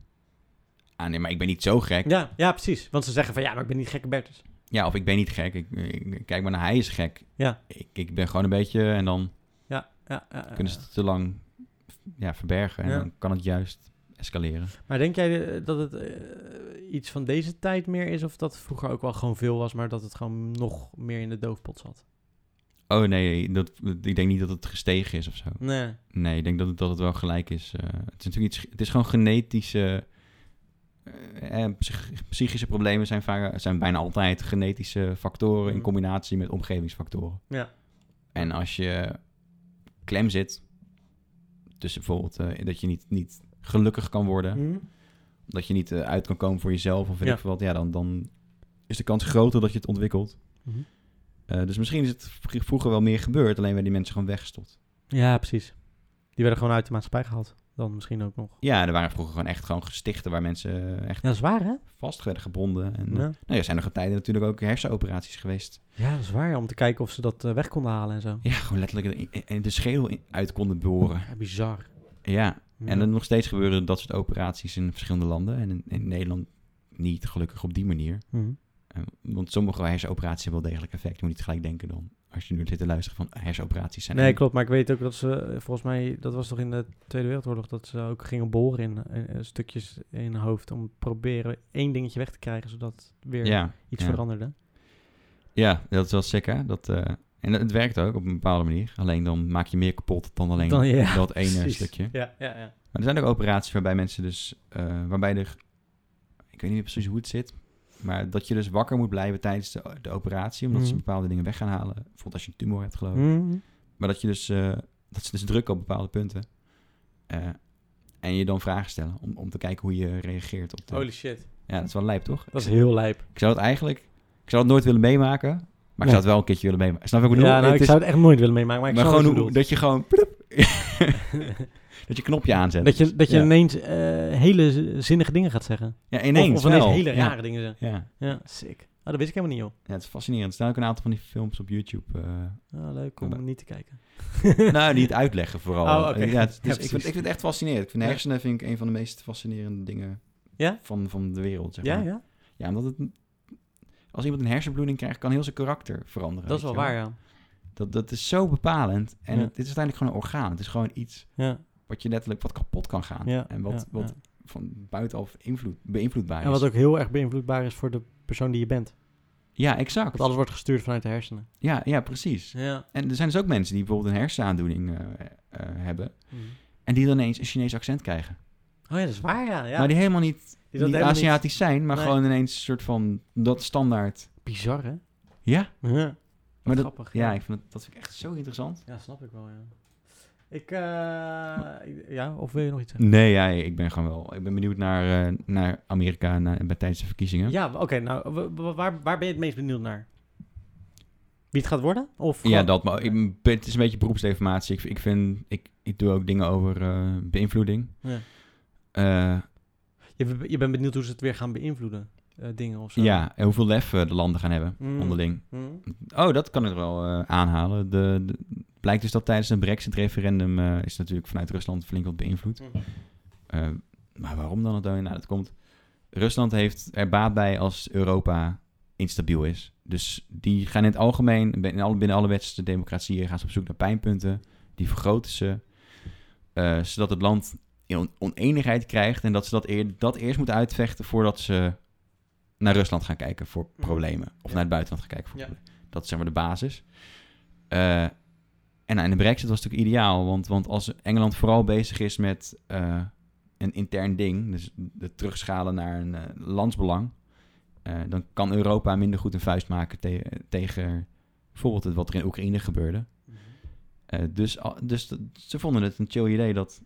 Speaker 2: aan nee, maar ik ben niet zo gek.
Speaker 1: Ja, ja, precies. Want ze zeggen van, ja, maar ik ben niet gekke Bertus.
Speaker 2: Ja, of ik ben niet gek. Ik, ik- kijk maar naar hij is gek.
Speaker 1: Ja.
Speaker 2: Ik, ik ben gewoon een beetje en dan
Speaker 1: Ja, ja, ja, ja,
Speaker 2: kunnen ze
Speaker 1: ja.
Speaker 2: het te lang ja, verbergen. En
Speaker 1: Ja.
Speaker 2: dan kan het juist escaleren.
Speaker 1: Maar denk jij eh, dat het eh, iets van deze tijd meer is? Of dat het vroeger ook wel gewoon veel was, maar dat het gewoon nog meer in de doofpot zat?
Speaker 2: Oh nee, dat, ik denk niet dat het gestegen is of zo.
Speaker 1: Nee.
Speaker 2: Nee, ik denk dat het, dat het wel gelijk is. Eh, het is natuurlijk iets, het is gewoon genetische. eh, eh, psych- psychische problemen zijn, vaak, zijn bijna altijd genetische factoren in
Speaker 1: Mhm.
Speaker 2: combinatie met omgevingsfactoren.
Speaker 1: Ja.
Speaker 2: En als je klem zit, dus bijvoorbeeld eh, dat je niet, niet gelukkig kan worden,
Speaker 1: Hm?
Speaker 2: dat je niet eh, uit kan komen voor jezelf of weet
Speaker 1: Ja.
Speaker 2: ik veel wat, ja, dan, dan is de kans groter dat je het ontwikkelt.
Speaker 1: Mhm.
Speaker 2: Eh, dus misschien is het vr- vroeger wel meer gebeurd, alleen werden die mensen gewoon weggestopt.
Speaker 1: Ja, precies. Die werden gewoon uit de maatschappij gehaald. Dan misschien ook nog.
Speaker 2: Ja, er waren vroeger gewoon echt gewoon gestichten waar mensen eh, echt
Speaker 1: Ja, dat is waar, hè?
Speaker 2: vast werden gebonden. En, eh,
Speaker 1: Ja,
Speaker 2: Nou, er zijn nog tijden natuurlijk ook hersenoperaties geweest.
Speaker 1: ja dat is waar. ja, Om te kijken of ze dat eh, weg konden halen en zo.
Speaker 2: Ja, gewoon letterlijk in- in- in de schedel in- uit konden boren.
Speaker 1: Ja, bizar.
Speaker 2: Ja,
Speaker 1: Ja.
Speaker 2: en dan nog steeds gebeuren dat soort operaties in verschillende landen. En in, in Nederland niet, gelukkig op die manier.
Speaker 1: Mhm.
Speaker 2: Eh, want sommige hersenoperaties hebben wel degelijk effect. Je moet niet gelijk denken dan, als je nu zit te luisteren van hersenoperaties zijn.
Speaker 1: Nee,
Speaker 2: eng.
Speaker 1: klopt. Maar ik weet ook dat ze, eh, volgens mij, dat was toch in de Tweede Wereldoorlog, dat ze ook gingen boren in eh, eh, stukjes in hun hoofd om te proberen één dingetje weg te krijgen, zodat weer
Speaker 2: Ja,
Speaker 1: iets
Speaker 2: ja.
Speaker 1: veranderde.
Speaker 2: ja, dat is wel sick hè. Dat, eh, en het werkt ook op een bepaalde manier. Alleen dan maak je meer kapot dan alleen
Speaker 1: Dan- ja,
Speaker 2: dat ene
Speaker 1: precies.
Speaker 2: eh, stukje.
Speaker 1: Ja, ja, ja.
Speaker 2: Maar er zijn ook operaties waarbij mensen dus, eh, waarbij er, ik weet niet precies hoe het zit, maar dat je dus wakker moet blijven tijdens de, de operatie, omdat ze
Speaker 1: Mhm.
Speaker 2: bepaalde dingen weg gaan halen. Bijvoorbeeld als je een tumor hebt geloof ik.
Speaker 1: Mhm.
Speaker 2: Maar dat je dus, eh, dat ze dus drukken op bepaalde punten. Eh, en je dan vragen stellen om, om te kijken hoe je reageert op de...
Speaker 1: Holy shit.
Speaker 2: Ja, dat is wel lijp toch?
Speaker 1: Dat is heel lijp.
Speaker 2: Ik zou het eigenlijk, ik zou het nooit willen meemaken, maar ik
Speaker 1: Nee.
Speaker 2: zou het wel een keertje willen meemaken. Snap je wat ik bedoel?
Speaker 1: Ja, nou,
Speaker 2: Het
Speaker 1: ik
Speaker 2: is-
Speaker 1: zou het echt nooit willen meemaken, maar ik
Speaker 2: maar
Speaker 1: snap
Speaker 2: gewoon
Speaker 1: wat
Speaker 2: hoe,
Speaker 1: je
Speaker 2: dat je gewoon, ploep, dat je knopje aanzet.
Speaker 1: bedoelt. dat je, dat je
Speaker 2: Ja.
Speaker 1: ineens eh, hele z- zinnige dingen gaat zeggen.
Speaker 2: ja, ineens
Speaker 1: of, of ineens
Speaker 2: wel.
Speaker 1: hele
Speaker 2: Ja.
Speaker 1: rare dingen zeggen.
Speaker 2: Ja,
Speaker 1: Ja, sick. Oh, dat wist ik helemaal niet, joh.
Speaker 2: ja, het is fascinerend. Er staan ook een aantal van die films op YouTube. eh.
Speaker 1: Ah, leuk om
Speaker 2: Ja.
Speaker 1: niet te kijken.
Speaker 2: nou, die het uitleggen vooral.
Speaker 1: Oh, oké.
Speaker 2: ja, het is- dus
Speaker 1: Ja,
Speaker 2: ik, vind,
Speaker 1: precies.
Speaker 2: ik vind het echt fascinerend. Ik vind
Speaker 1: Ja.
Speaker 2: hersenen vind ik een van de meest fascinerende dingen
Speaker 1: Ja?
Speaker 2: van, van de wereld. Zeg
Speaker 1: Ja,
Speaker 2: maar.
Speaker 1: ja.
Speaker 2: Ja, omdat het... Als iemand een hersenbloeding krijgt, kan heel zijn karakter veranderen.
Speaker 1: Dat is wel
Speaker 2: weet
Speaker 1: waar,
Speaker 2: je
Speaker 1: ja.
Speaker 2: Dat, dat is zo bepalend. En
Speaker 1: Ja.
Speaker 2: het, dit is uiteindelijk gewoon een orgaan. Het is gewoon iets
Speaker 1: Ja,
Speaker 2: wat je letterlijk wat kapot kan gaan.
Speaker 1: ja.
Speaker 2: en wat,
Speaker 1: ja,
Speaker 2: wat
Speaker 1: ja.
Speaker 2: van buitenaf invloed, beïnvloedbaar is.
Speaker 1: En wat ook heel erg beïnvloedbaar is voor de persoon die je bent.
Speaker 2: Ja, exact.
Speaker 1: Want alles wordt gestuurd vanuit de hersenen.
Speaker 2: Ja, ja, precies.
Speaker 1: Ja.
Speaker 2: En er zijn dus ook mensen die bijvoorbeeld een hersenaandoening eh, eh, hebben. En die dan ineens een Chinees accent krijgen.
Speaker 1: Oh ja, dat is waar, ja. ja.
Speaker 2: Maar die helemaal niet,
Speaker 1: Die dat
Speaker 2: niet
Speaker 1: helemaal niet-
Speaker 2: Aziatisch zijn, maar
Speaker 1: Nee.
Speaker 2: gewoon ineens een soort van dat standaard.
Speaker 1: Bizar, hè?
Speaker 2: Ja,
Speaker 1: Ja.
Speaker 2: maar dat,
Speaker 1: grappig.
Speaker 2: ja ik vind dat, dat vind ik echt zo interessant.
Speaker 1: Ja, snap ik wel, ja. Ik, eh, ik- ja, of wil je nog iets zeggen?
Speaker 2: Nee, ja, ik ben gewoon wel. Ik ben benieuwd naar, eh, naar Amerika naar, bij tijdens de verkiezingen.
Speaker 1: Ja, oké, nou, w- w- waar, waar ben je het meest benieuwd naar? Wie het gaat worden? Of
Speaker 2: Ja,
Speaker 1: gewoon-
Speaker 2: dat, maar ik, ben- het is een beetje beroepsdeformatie. Ik, ik, vind, ik, ik doe ook dingen over eh, beïnvloeding.
Speaker 1: Ja.
Speaker 2: Eh,
Speaker 1: Je, je bent benieuwd hoe ze het weer gaan beïnvloeden, eh, dingen of zo.
Speaker 2: ja, en hoeveel lef eh, de landen gaan hebben
Speaker 1: Mm.
Speaker 2: onderling.
Speaker 1: Hm?
Speaker 2: Oh, dat kan ik wel eh, aanhalen. De, de- blijkt dus dat tijdens een brexit-referendum eh, is natuurlijk vanuit Rusland flink wat beïnvloed.
Speaker 1: Mhm.
Speaker 2: Eh, maar waarom dan het dan? Nou, dat komt... Rusland heeft er baat bij als Europa instabiel is. Dus die gaan in het algemeen, binnen alle, binnen alle westerse democratieën, gaan ze op zoek naar pijnpunten. Die vergroten ze, eh, zodat het land in on- oneenigheid krijgt. En dat ze dat, eer, dat eerst moeten uitvechten voordat ze naar Rusland gaan kijken voor
Speaker 1: Mhm.
Speaker 2: problemen. Of
Speaker 1: Ja.
Speaker 2: naar het buitenland gaan kijken voor
Speaker 1: Ja.
Speaker 2: problemen. Dat is zeg maar de basis. Eh, en nou, in de brexit was het natuurlijk ideaal, want, want als Engeland vooral bezig is met eh, een intern ding, dus het terugschalen naar een eh, landsbelang, eh, dan kan Europa minder goed een vuist maken te- tegen bijvoorbeeld het wat er in Oekraïne gebeurde.
Speaker 1: Mhm.
Speaker 2: Eh, dus al- dus dat- ze vonden het een chill idee dat,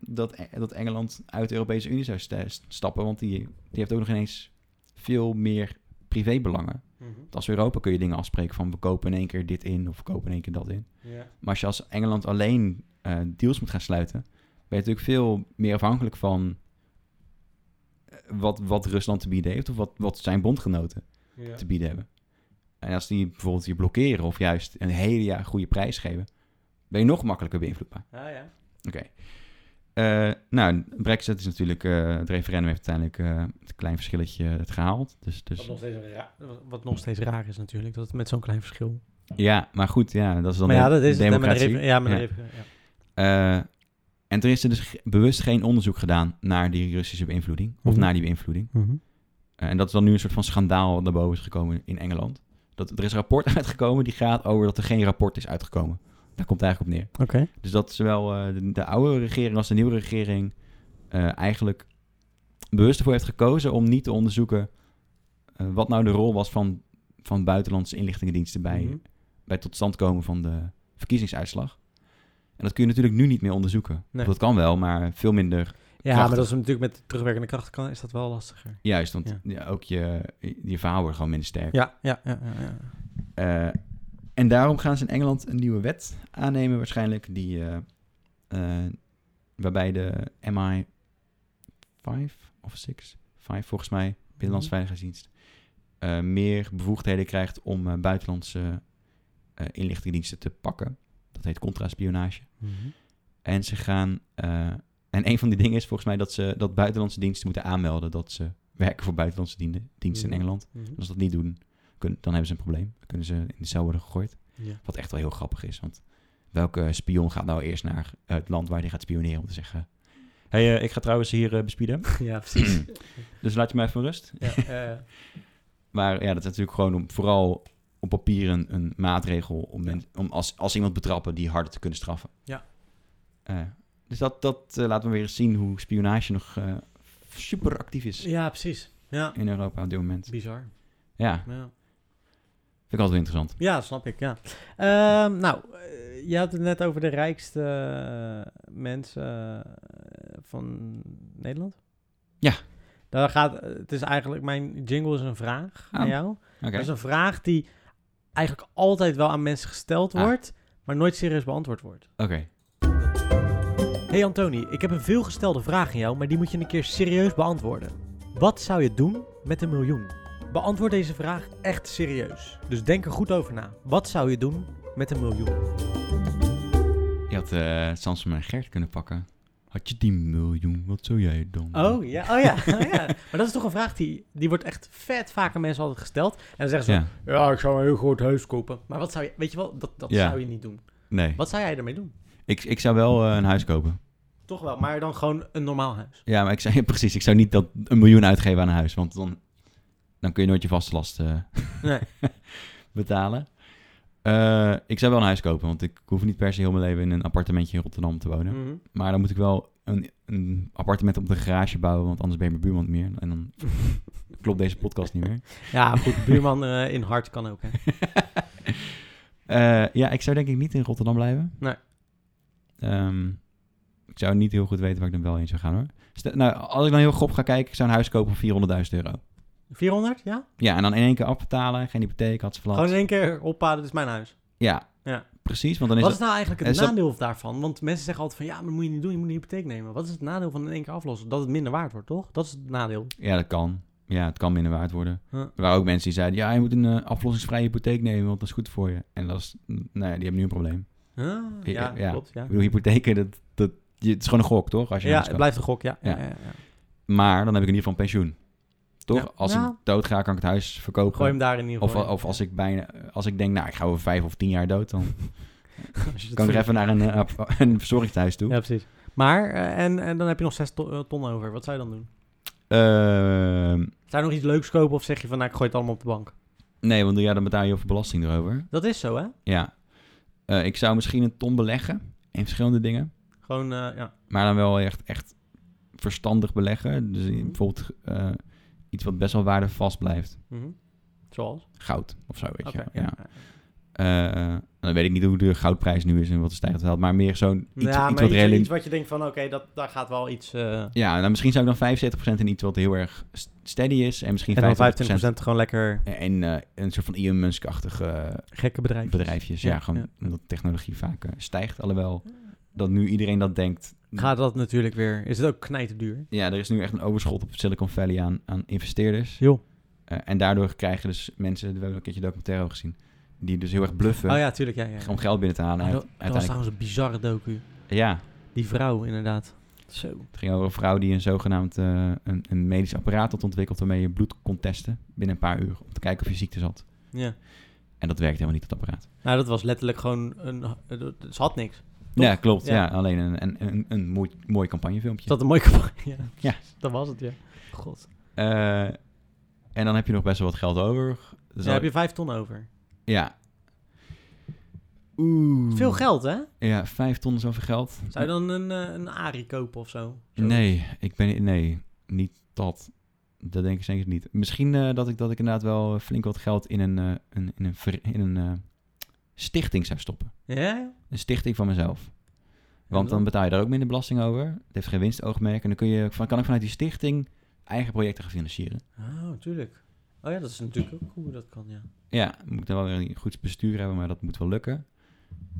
Speaker 2: dat, E- dat Engeland uit de Europese Unie zou sta- stappen. Want die, die heeft ook nog ineens veel meer privébelangen. Want als Europa kun je dingen afspreken van we kopen in één keer dit in of we kopen in één keer dat in.
Speaker 1: Ja.
Speaker 2: Maar als je als Engeland alleen eh, deals moet gaan sluiten, ben je natuurlijk veel meer afhankelijk van eh, wat, wat Rusland te bieden heeft of wat, wat zijn bondgenoten
Speaker 1: Ja.
Speaker 2: te bieden hebben. En als die bijvoorbeeld je blokkeren of juist een hele jaar goede prijs geven, ben je nog makkelijker beïnvloedbaar.
Speaker 1: Ah, ja.
Speaker 2: Oké. Eh, nou, Brexit is natuurlijk, eh, het referendum heeft uiteindelijk eh, het klein verschilletje het gehaald. Dus,
Speaker 1: Wat,
Speaker 2: dus,
Speaker 1: nog steeds raar, wat nog steeds raar is natuurlijk, dat het met zo'n klein verschil.
Speaker 2: ja, maar goed, ja, dat is dan
Speaker 1: maar ja,
Speaker 2: de
Speaker 1: dat is het, hè, met een
Speaker 2: democratie.
Speaker 1: refer- Ja, met een
Speaker 2: Ja.
Speaker 1: refer- ja.
Speaker 2: Eh, en er is er dus ge- bewust geen onderzoek gedaan naar die Russische beïnvloeding. Of
Speaker 1: Mhm.
Speaker 2: naar die beïnvloeding. Eh, en dat is dan nu een soort van schandaal naar boven is gekomen in Engeland. Dat, er is een rapport uitgekomen die gaat over dat er geen rapport is uitgekomen. Daar komt het eigenlijk op neer.
Speaker 1: Oké.
Speaker 2: Dus dat zowel eh, de, de oude regering als de nieuwe regering eh, eigenlijk bewust ervoor heeft gekozen om niet te onderzoeken eh, wat nou de rol was van, van buitenlandse inlichtingendiensten bij,
Speaker 1: Mhm.
Speaker 2: bij het tot stand komen van de verkiezingsuitslag. En dat kun je natuurlijk nu niet meer onderzoeken.
Speaker 1: Nee.
Speaker 2: Dat kan wel, maar veel minder.
Speaker 1: Ja,
Speaker 2: Krachtig.
Speaker 1: maar dat is natuurlijk met terugwerkende kracht kan, is dat wel lastiger.
Speaker 2: Juist, want
Speaker 1: Ja.
Speaker 2: ja, ook je, je verhaal wordt gewoon minder sterk.
Speaker 1: Ja, ja, ja. ja, ja.
Speaker 2: Eh, en daarom gaan ze in Engeland een nieuwe wet aannemen waarschijnlijk, die, eh, eh, waarbij de MI5 of 6, 5 volgens mij, Binnenlandse Veiligheidsdienst, eh, meer bevoegdheden krijgt om eh, buitenlandse eh inlichtingendiensten te pakken. Dat heet contraspionage.
Speaker 1: Mhm.
Speaker 2: En ze gaan, eh, en een van die dingen is volgens mij dat ze dat buitenlandse diensten moeten aanmelden dat ze werken voor buitenlandse diende- diensten
Speaker 1: Ja.
Speaker 2: in Engeland.
Speaker 1: Mhm.
Speaker 2: En als ze dat niet doen, kun- dan hebben ze een probleem. Dan kunnen ze in de cel worden gegooid.
Speaker 1: Ja.
Speaker 2: Wat echt wel heel grappig is. Want welke spion gaat nou eerst naar het land waar hij gaat spioneren om te zeggen... Hé, hey, eh, ik ga trouwens hier eh, bespieden.
Speaker 1: ja, precies.
Speaker 2: Dus laat je mij even met rust.
Speaker 1: ja, eh,
Speaker 2: Maar ja, dat is natuurlijk gewoon om, vooral op papier een, een maatregel... om,
Speaker 1: Ja.
Speaker 2: men- om als, als iemand betrappen die harder te kunnen straffen.
Speaker 1: Ja.
Speaker 2: Eh, dus dat, dat eh, laten we weer eens zien hoe spionage nog eh super actief is
Speaker 1: ja, precies. Ja,
Speaker 2: in Europa op dit moment.
Speaker 1: bizar.
Speaker 2: Ja,
Speaker 1: Ja.
Speaker 2: vind ik altijd wel interessant.
Speaker 1: Ja, snap ik, ja. Ehm, nou, eh, je had het net over de rijkste eh, mensen eh, van Nederland.
Speaker 2: Ja.
Speaker 1: Daar gaat, eh, het is eigenlijk, mijn jingle is een vraag aan
Speaker 2: Oh,
Speaker 1: jou.
Speaker 2: Oké.
Speaker 1: Dat is een vraag die eigenlijk altijd wel aan mensen gesteld
Speaker 2: Ah.
Speaker 1: wordt, maar nooit serieus beantwoord wordt.
Speaker 2: Oké.
Speaker 1: Hey Antoni, ik heb een veelgestelde vraag aan jou, maar die moet je een keer serieus beantwoorden. Wat zou je doen met een miljoen? Beantwoord deze vraag echt serieus. Dus denk er goed over na. Wat zou je doen met een miljoen?
Speaker 2: Je had eh Samson en Gert kunnen pakken. Had je die miljoen, wat zou jij dan? doen?
Speaker 1: Oh ja, oh ja, oh ja. Maar dat is toch een vraag die, die wordt echt vet vaak aan mensen altijd gesteld. En dan zeggen ze,
Speaker 2: Ja,
Speaker 1: ja, ik zou een heel groot huis kopen. Maar wat zou je, weet je wel, dat, dat
Speaker 2: Ja.
Speaker 1: zou je niet doen.
Speaker 2: nee.
Speaker 1: Wat zou jij ermee doen?
Speaker 2: Ik, ik zou wel eh, een huis kopen.
Speaker 1: Toch wel, maar dan gewoon een normaal huis.
Speaker 2: Ja, maar ik zei precies, ik zou niet dat een miljoen uitgeven aan een huis. Want dan, dan kun je nooit je vaste last eh,
Speaker 1: Nee.
Speaker 2: betalen. Eh, ik zou wel een huis kopen, want ik hoef niet per se heel mijn leven in een appartementje in Rotterdam te wonen.
Speaker 1: Mhm.
Speaker 2: Maar dan moet ik wel een, een appartement op de garage bouwen, want anders ben je mijn buurman niet meer. En dan klopt deze podcast niet meer.
Speaker 1: Ja, goed, buurman eh, in hart kan ook, hè.
Speaker 2: Eh, ja, ik zou denk ik niet in Rotterdam blijven.
Speaker 1: Nee.
Speaker 2: Ehm, ik zou niet heel goed weten waar ik dan wel in zou gaan hoor. Stel- nou, als ik dan heel grof ga kijken, ik zou een huis kopen voor 400.000 euro.
Speaker 1: 400, ja?
Speaker 2: Ja, en dan in één keer afbetalen, geen hypotheek, had ze
Speaker 1: Gewoon in één keer ophalen, dit is mijn huis.
Speaker 2: Ja,
Speaker 1: Ja.
Speaker 2: precies, want dan is
Speaker 1: Wat
Speaker 2: het...
Speaker 1: is nou eigenlijk het
Speaker 2: is dat-
Speaker 1: nadeel daarvan? Want mensen zeggen altijd van, ja, maar moet je niet doen, je moet een hypotheek nemen. Wat is het nadeel van in één keer aflossen? Dat het minder waard wordt, toch? Dat is het nadeel.
Speaker 2: Ja, dat kan. Ja, het kan minder waard worden.
Speaker 1: Ja.
Speaker 2: Er waren ook mensen die zeiden, ja, je moet een eh, aflossingsvrije hypotheek nemen, want dat is goed voor je. En dat is, nou ja, die hebben nu een probleem.
Speaker 1: Ah, ja,
Speaker 2: ja.
Speaker 1: klopt, ja.
Speaker 2: Ik bedoel, hypotheken, dat, dat, je, het is gewoon een gok, toch? Als je
Speaker 1: Ja,
Speaker 2: een huis
Speaker 1: het
Speaker 2: koopt.
Speaker 1: blijft een gok, ja.
Speaker 2: Ja.
Speaker 1: ja, ja, ja.
Speaker 2: Maar dan heb ik in ieder geval een pensioen. Toch?
Speaker 1: Ja.
Speaker 2: Als
Speaker 1: Ja.
Speaker 2: ik dood ga, kan ik het huis verkopen.
Speaker 1: Gooi hem daar in ieder
Speaker 2: eh, Of,
Speaker 1: geval in.
Speaker 2: of als ik bijna, als ik denk, nou, ik ga over vijf of tien jaar dood, dan
Speaker 1: Als je dat
Speaker 2: kan ik
Speaker 1: vindt.
Speaker 2: er even naar een, eh, ap- een verzorgingshuis toe.
Speaker 1: Ja, precies. Maar, eh, en, en dan heb je nog zes to- eh, ton over. Wat zou je dan doen?
Speaker 2: Ehm,
Speaker 1: Zou je nog iets leuks kopen of zeg je van, nou, ik gooi het allemaal op de bank?
Speaker 2: nee, want ja, dan betaal je over belasting erover.
Speaker 1: Dat is zo, hè?
Speaker 2: Ja. Eh, ik zou misschien een ton beleggen in verschillende dingen,
Speaker 1: Gewoon, eh, ja.
Speaker 2: maar dan wel echt, echt verstandig beleggen. Dus in-
Speaker 1: Mhm.
Speaker 2: bijvoorbeeld eh, iets wat best wel waardevast blijft.
Speaker 1: Mhm. Zoals?
Speaker 2: Goud of zo, weet
Speaker 1: Oké.
Speaker 2: je wel. Ja. Eh, dan weet ik niet hoe de goudprijs nu is en wat de stijgt wel, maar meer zo'n iets,
Speaker 1: ja,
Speaker 2: iets
Speaker 1: maar
Speaker 2: wat
Speaker 1: iets,
Speaker 2: redelijk...
Speaker 1: iets wat je denkt van, oké, dat, daar gaat wel iets... eh,
Speaker 2: Ja, nou, misschien zou ik dan 75% in iets wat heel erg st- steady is en misschien
Speaker 1: en dan
Speaker 2: 25%.
Speaker 1: 25% gewoon lekker
Speaker 2: En eh, een soort van Elon Musk-achtige eh,
Speaker 1: gekke bedrijf.
Speaker 2: bedrijfjes. Ja,
Speaker 1: Ja,
Speaker 2: gewoon
Speaker 1: ja.
Speaker 2: omdat technologie vaak eh, stijgt. Alhoewel dat nu iedereen dat denkt.
Speaker 1: Gaat dat natuurlijk weer... Is het ook knijterduur?
Speaker 2: Ja, er is nu echt een overschot op Silicon Valley aan, aan investeerders.
Speaker 1: Joh.
Speaker 2: Eh, en daardoor krijgen dus mensen, we hebben ook een keertje documentaire over gezien, die dus heel erg bluffen
Speaker 1: Oh ja, tuurlijk, ja. ja.
Speaker 2: om geld binnen te halen.
Speaker 1: Ah, dat,
Speaker 2: Uit-
Speaker 1: dat was
Speaker 2: uiteindelijk,
Speaker 1: trouwens een bizarre docu.
Speaker 2: ja,
Speaker 1: Die vrouw, inderdaad. Zo.
Speaker 2: het ging over een vrouw die een zogenaamd eh, een, een medisch apparaat had ontwikkeld waarmee je bloed kon testen binnen een paar uur om te kijken of je ziekte zat.
Speaker 1: Ja.
Speaker 2: En dat werkte helemaal niet, dat apparaat.
Speaker 1: Nou, dat was letterlijk gewoon een... Ze had niks. Toch?
Speaker 2: Ja, klopt. Ja.
Speaker 1: Ja.
Speaker 2: alleen een, een, een, een mooi, mooi campagnefilmpje.
Speaker 1: Is dat een mooie campagne?
Speaker 2: Ja.
Speaker 1: Dat was het, ja. God.
Speaker 2: Eh, en dan heb je nog best wel wat geld over. Dus
Speaker 1: Dan
Speaker 2: al-
Speaker 1: heb je vijf ton over.
Speaker 2: Ja. Oeh.
Speaker 1: Veel geld, hè?
Speaker 2: Ja, vijf ton zoveel geld.
Speaker 1: Zou je dan een, eh, een Ari kopen of zo? Zo.
Speaker 2: Nee, ik ben... Nee, niet dat. Dat denk ik zeker niet. Misschien eh, dat, ik, dat ik inderdaad wel flink wat geld in een, eh, een, in een, ver- in een eh, stichting zou stoppen.
Speaker 1: Ja?
Speaker 2: Een stichting van mezelf. Want
Speaker 1: dan?
Speaker 2: dan betaal je daar ook minder belasting over. Het heeft geen winstoogmerk. En dan kun je, van, kan ik vanuit die stichting eigen projecten gaan financieren.
Speaker 1: Oh, tuurlijk. Oh ja, dat is natuurlijk ook hoe dat kan, ja.
Speaker 2: Ja, moet dan wel weer een goed bestuur hebben, maar dat moet wel lukken.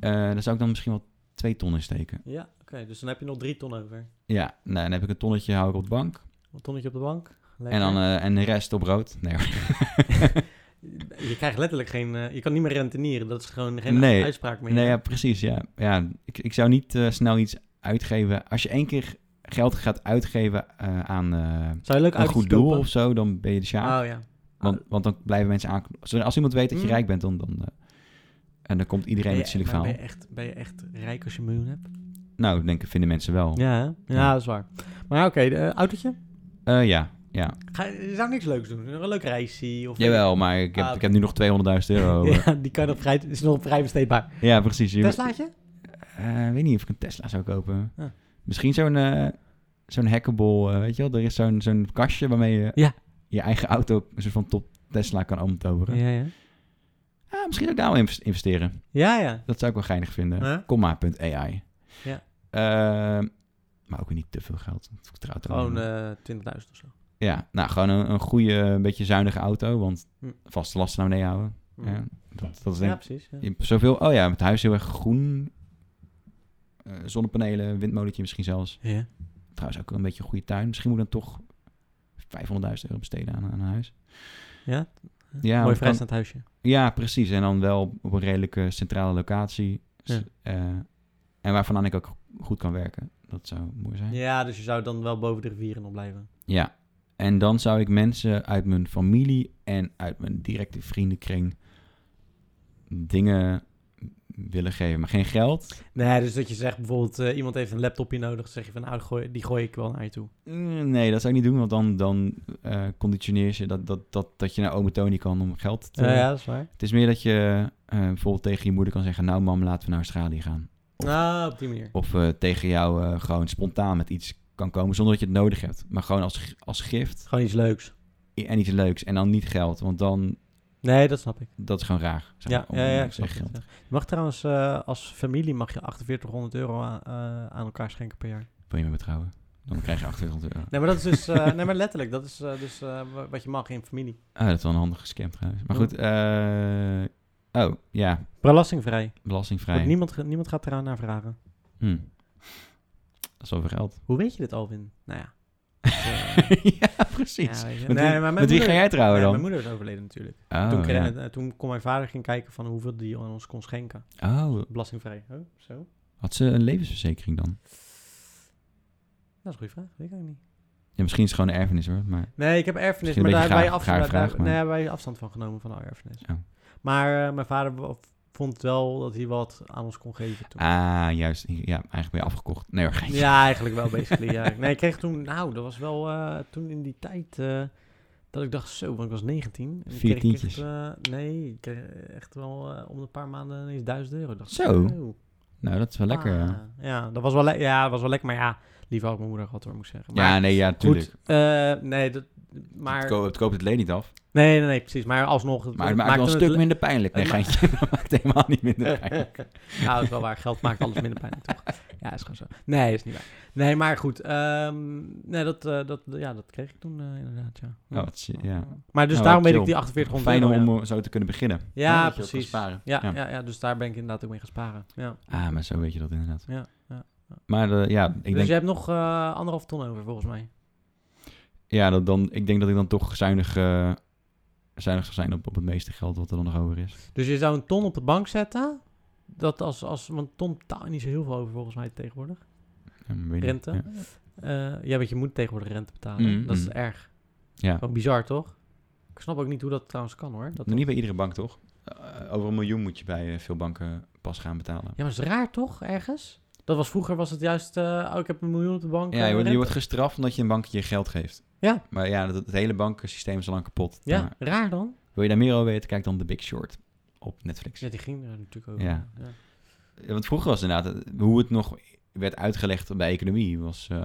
Speaker 2: Eh daar zou ik dan misschien wel twee ton in steken.
Speaker 1: Ja, oké. dus dan heb je nog drie ton over.
Speaker 2: Ja, nou, dan heb ik een tonnetje hou ik op de bank.
Speaker 1: Een tonnetje op de bank.
Speaker 2: En,
Speaker 1: Lekker.
Speaker 2: dan, eh, en de rest op rood. Nee, hoor.
Speaker 1: Je krijgt letterlijk geen... eh, je kan niet meer rentenieren. Dat is gewoon geen
Speaker 2: Nee.
Speaker 1: uitspraak meer.
Speaker 2: nee ja, precies. Ja. Ja, ik, ik zou niet eh, snel iets uitgeven. Als je één keer geld gaat uitgeven eh, aan eh,
Speaker 1: Zou je leuk
Speaker 2: een
Speaker 1: uit
Speaker 2: goed doel of zo, dan ben je de sjaar.
Speaker 1: Oh ja.
Speaker 2: want, want dan blijven mensen aan. Als iemand weet dat je
Speaker 1: Mm.
Speaker 2: rijk bent, dan, dan, eh, en dan komt iedereen
Speaker 1: Ben
Speaker 2: met
Speaker 1: je,
Speaker 2: zielig
Speaker 1: maar
Speaker 2: verhaal.
Speaker 1: ben, je echt, ben je echt rijk als je een miljoen hebt?
Speaker 2: Nou, ik denk ik, vinden mensen wel. Ja,
Speaker 1: Ja, hè? ja,
Speaker 2: Ja.
Speaker 1: dat is waar. Maar oké, de eh, autootje?
Speaker 2: Eh, ja, ja.
Speaker 1: Ga, je zou niks leuks doen. Een leuk reisje of...
Speaker 2: Jawel, maar ik heb,
Speaker 1: Ah,
Speaker 2: ik heb nu nog 200.000 euro. ja.
Speaker 1: Ja, die kan nog vrij, is nog vrij besteedbaar.
Speaker 2: precies. Je-
Speaker 1: Teslaatje?
Speaker 2: Eh, weet niet of ik een Tesla zou kopen.
Speaker 1: Ja.
Speaker 2: Misschien zo'n eh zo'n hackable, eh, weet je wel? Er is zo'n zo'n kastje waarmee je
Speaker 1: Ja.
Speaker 2: je eigen auto een soort van top Tesla kan omtoveren.
Speaker 1: Ja, ja.
Speaker 2: Ah, misschien ook daar wel inves- investeren.
Speaker 1: Ja, ja.
Speaker 2: Dat zou ik wel geinig vinden.
Speaker 1: Ja.
Speaker 2: Comma.ai.
Speaker 1: Ja.
Speaker 2: Eh, maar ook weer niet te veel geld. want ik vertrouw het
Speaker 1: Gewoon
Speaker 2: allemaal.
Speaker 1: eh 20.000 of zo.
Speaker 2: Ja, nou gewoon een, een goede, een beetje zuinige auto, want
Speaker 1: Hm.
Speaker 2: vaste lasten naar beneden houden.
Speaker 1: Ja,
Speaker 2: Ja, dat, dat is denk ik
Speaker 1: precies. Ja.
Speaker 2: Je hebt zoveel... Oh ja, het huis heel erg groen. Eh, zonnepanelen, windmolentje misschien zelfs.
Speaker 1: Ja.
Speaker 2: Trouwens ook een beetje een goede tuin. Misschien moet ik dan toch 500.000 euro besteden aan, aan een huis.
Speaker 1: Ja?
Speaker 2: Ja,
Speaker 1: Mooi
Speaker 2: want dan-
Speaker 1: vrijstaand huisje.
Speaker 2: Ja, precies. En dan wel op een redelijke centrale locatie. S-
Speaker 1: Ja.
Speaker 2: eh, en waarvan ik ook goed kan werken. Dat zou mooi zijn. Ja.
Speaker 1: Ja, dus je zou dan wel boven de rivieren nog blijven.
Speaker 2: En dan zou ik mensen uit mijn familie en uit mijn directe vriendenkring dingen willen geven. Maar geen geld.
Speaker 1: Nee, dus dat je zegt bijvoorbeeld, eh, iemand heeft een laptopje nodig, dan zeg je van, nou, gooi, die gooi ik wel naar je toe.
Speaker 2: Mm, Nee, dat zou ik niet doen, want dan, dan eh, conditioneer je dat, dat, dat, dat je naar ome Tony kan om geld te...
Speaker 1: ja, dat is waar.
Speaker 2: Het is meer dat je eh, bijvoorbeeld tegen je moeder kan zeggen... nou mam, laten we naar Australië gaan. Of-
Speaker 1: Ah, op die manier.
Speaker 2: Of eh, tegen jou eh, gewoon spontaan met iets kan komen zonder dat je het nodig hebt. Maar gewoon als, g- als gift
Speaker 1: Gewoon iets leuks.
Speaker 2: i- en iets leuks en dan niet geld. Want dan,
Speaker 1: Nee, dat snap ik.
Speaker 2: dat is gewoon raar. zeg
Speaker 1: Ja,
Speaker 2: maar, om-
Speaker 1: ja, ja,
Speaker 2: om-
Speaker 1: ik snap
Speaker 2: zeg
Speaker 1: het,
Speaker 2: geld.
Speaker 1: ja. Je mag trouwens eh, als familie mag je 4800 euro aan, eh, aan elkaar schenken per jaar.
Speaker 2: Wil je me betrouwen? Dan krijg je 800 euro.
Speaker 1: Nee, maar dat is dus, eh, nee, maar letterlijk, dat is eh, dus eh, wa- wat je mag in familie.
Speaker 2: Ah, dat is wel een handige scam trouwens. Maar
Speaker 1: Ja.
Speaker 2: goed, eh, oh ja,
Speaker 1: Belastingvrij. Want
Speaker 2: belastingvrij.
Speaker 1: niemand, ge- niemand gaat eraan naar vragen.
Speaker 2: Hm. Dat is wel veel geld.
Speaker 1: Hoe weet je dit, Alvin? Nou ja.
Speaker 2: ja, precies.
Speaker 1: Ja, weet je.
Speaker 2: Met,
Speaker 1: Nee, maar
Speaker 2: wie,
Speaker 1: mijn
Speaker 2: met wie
Speaker 1: moeder-
Speaker 2: ga jij
Speaker 1: Ja,
Speaker 2: trouwen dan?
Speaker 1: mijn moeder is overleden natuurlijk.
Speaker 2: Oh,
Speaker 1: toen, kreeg-
Speaker 2: ja.
Speaker 1: eh, toen kon mijn vader gaan kijken van hoeveel die aan ons kon schenken.
Speaker 2: oh,
Speaker 1: Belastingvrij. Oh, zo. Dat
Speaker 2: had ze een levensverzekering dan?
Speaker 1: is een goede vraag. Weet ik eigenlijk niet.
Speaker 2: Ja, misschien is het gewoon een erfenis hoor, maar...
Speaker 1: Nee, ik heb erfenis,
Speaker 2: Misschien
Speaker 1: maar daar
Speaker 2: een
Speaker 1: hebben
Speaker 2: beetje
Speaker 1: wij
Speaker 2: gaar-
Speaker 1: afstand,
Speaker 2: gaar
Speaker 1: daar-
Speaker 2: vraag, maar-
Speaker 1: nee, hebben wij afstand van genomen van al erfenis.
Speaker 2: Oh.
Speaker 1: Maar eh, mijn vader wa- vond wel dat hij wat aan ons kon geven toen.
Speaker 2: Ah, juist. Ja, eigenlijk ben je afgekocht. Nee hoor, geintje.
Speaker 1: Ja, eigenlijk wel, basically. ja. Nee, ik kreeg toen, nou, dat was wel eh, toen in die tijd eh, dat ik dacht, zo, want ik was 19. En
Speaker 2: Vier
Speaker 1: kreeg ik echt,
Speaker 2: tientjes.
Speaker 1: eh, nee, ik kreeg echt wel eh, om de paar maanden ineens 1000 euro. Ik Dacht,
Speaker 2: Zo.
Speaker 1: oh,
Speaker 2: Nou, dat is wel lekker, ja.
Speaker 1: ah. Ja, dat was wel, le- ja, dat was wel lekker, maar ja, Die had ik mijn moeder gehad hoor, moet ik zeggen. Maar
Speaker 2: Ja, nee, ja, tuurlijk.
Speaker 1: goed, eh, nee, dat,
Speaker 2: het,
Speaker 1: maar...
Speaker 2: ko- het koopt het leed niet af.
Speaker 1: Nee, nee, nee, precies. Maar alsnog...
Speaker 2: Maar het maakt wel een
Speaker 1: het
Speaker 2: stuk
Speaker 1: le-
Speaker 2: minder pijnlijk. Nee,
Speaker 1: het ma-
Speaker 2: geintje. Dat maakt helemaal niet minder pijnlijk.
Speaker 1: Nou, dat is wel waar. Geld maakt alles minder pijnlijk, toch? Ja, is gewoon zo. Nee, is niet waar. Nee, maar goed. ehm, nee, dat, eh, dat, ja, dat kreeg ik toen eh, inderdaad, ja. Ja.
Speaker 2: Oh, wat shit, ja.
Speaker 1: Maar dus
Speaker 2: Nou,
Speaker 1: daarom weet
Speaker 2: chill.
Speaker 1: ik die 4800
Speaker 2: Fijn om
Speaker 1: euro, ja.
Speaker 2: eh, zo te kunnen beginnen.
Speaker 1: Ja,
Speaker 2: dat je dat kan
Speaker 1: precies.
Speaker 2: sparen.
Speaker 1: Ja,
Speaker 2: Ja.
Speaker 1: ja. Ja, dus daar ben ik inderdaad ook mee gaan sparen. Ja,
Speaker 2: Ah, maar zo weet je dat inderdaad.
Speaker 1: ja, ja.
Speaker 2: Maar eh, ja, ik
Speaker 1: dus
Speaker 2: denk,
Speaker 1: je hebt nog eh, anderhalf ton over, volgens mij.
Speaker 2: ja dat dan, ik denk dat ik dan toch zuinig, eh, zuinig zou zijn op, op het meeste geld wat er dan nog over is.
Speaker 1: Dus je zou een ton op de bank zetten. Dat als, als, want ton betaalt niet zo heel veel over, volgens mij, tegenwoordig.
Speaker 2: Ja, maar weet je-
Speaker 1: Rente?
Speaker 2: Ja.
Speaker 1: Eh, ja, want je moet tegenwoordig rente betalen.
Speaker 2: Mm,
Speaker 1: dat is
Speaker 2: mm.
Speaker 1: erg.
Speaker 2: Ja.
Speaker 1: Gewoon bizar, toch? Ik snap ook niet hoe dat trouwens kan, hoor. Dat
Speaker 2: Maar Niet bij iedere bank, toch? Eh, over een miljoen moet je bij eh, veel banken pas gaan betalen.
Speaker 1: Ja, maar is raar, toch, ergens? Dat was vroeger, was het juist... eh, oh, ik heb een miljoen op de bank. eh,
Speaker 2: Ja, je, wordt, je
Speaker 1: rente.
Speaker 2: wordt gestraft omdat je een bankje je geld geeft.
Speaker 1: Ja.
Speaker 2: Maar ja, dat, het hele bankensysteem is al lang kapot.
Speaker 1: Ja,
Speaker 2: Maar
Speaker 1: raar dan.
Speaker 2: wil je daar meer over weten, kijk dan The Big Short op Netflix.
Speaker 1: Ja, die ging er natuurlijk over.
Speaker 2: Ja.
Speaker 1: ja.
Speaker 2: Ja, Want vroeger was inderdaad, eh, hoe het nog werd uitgelegd bij economie, was eh,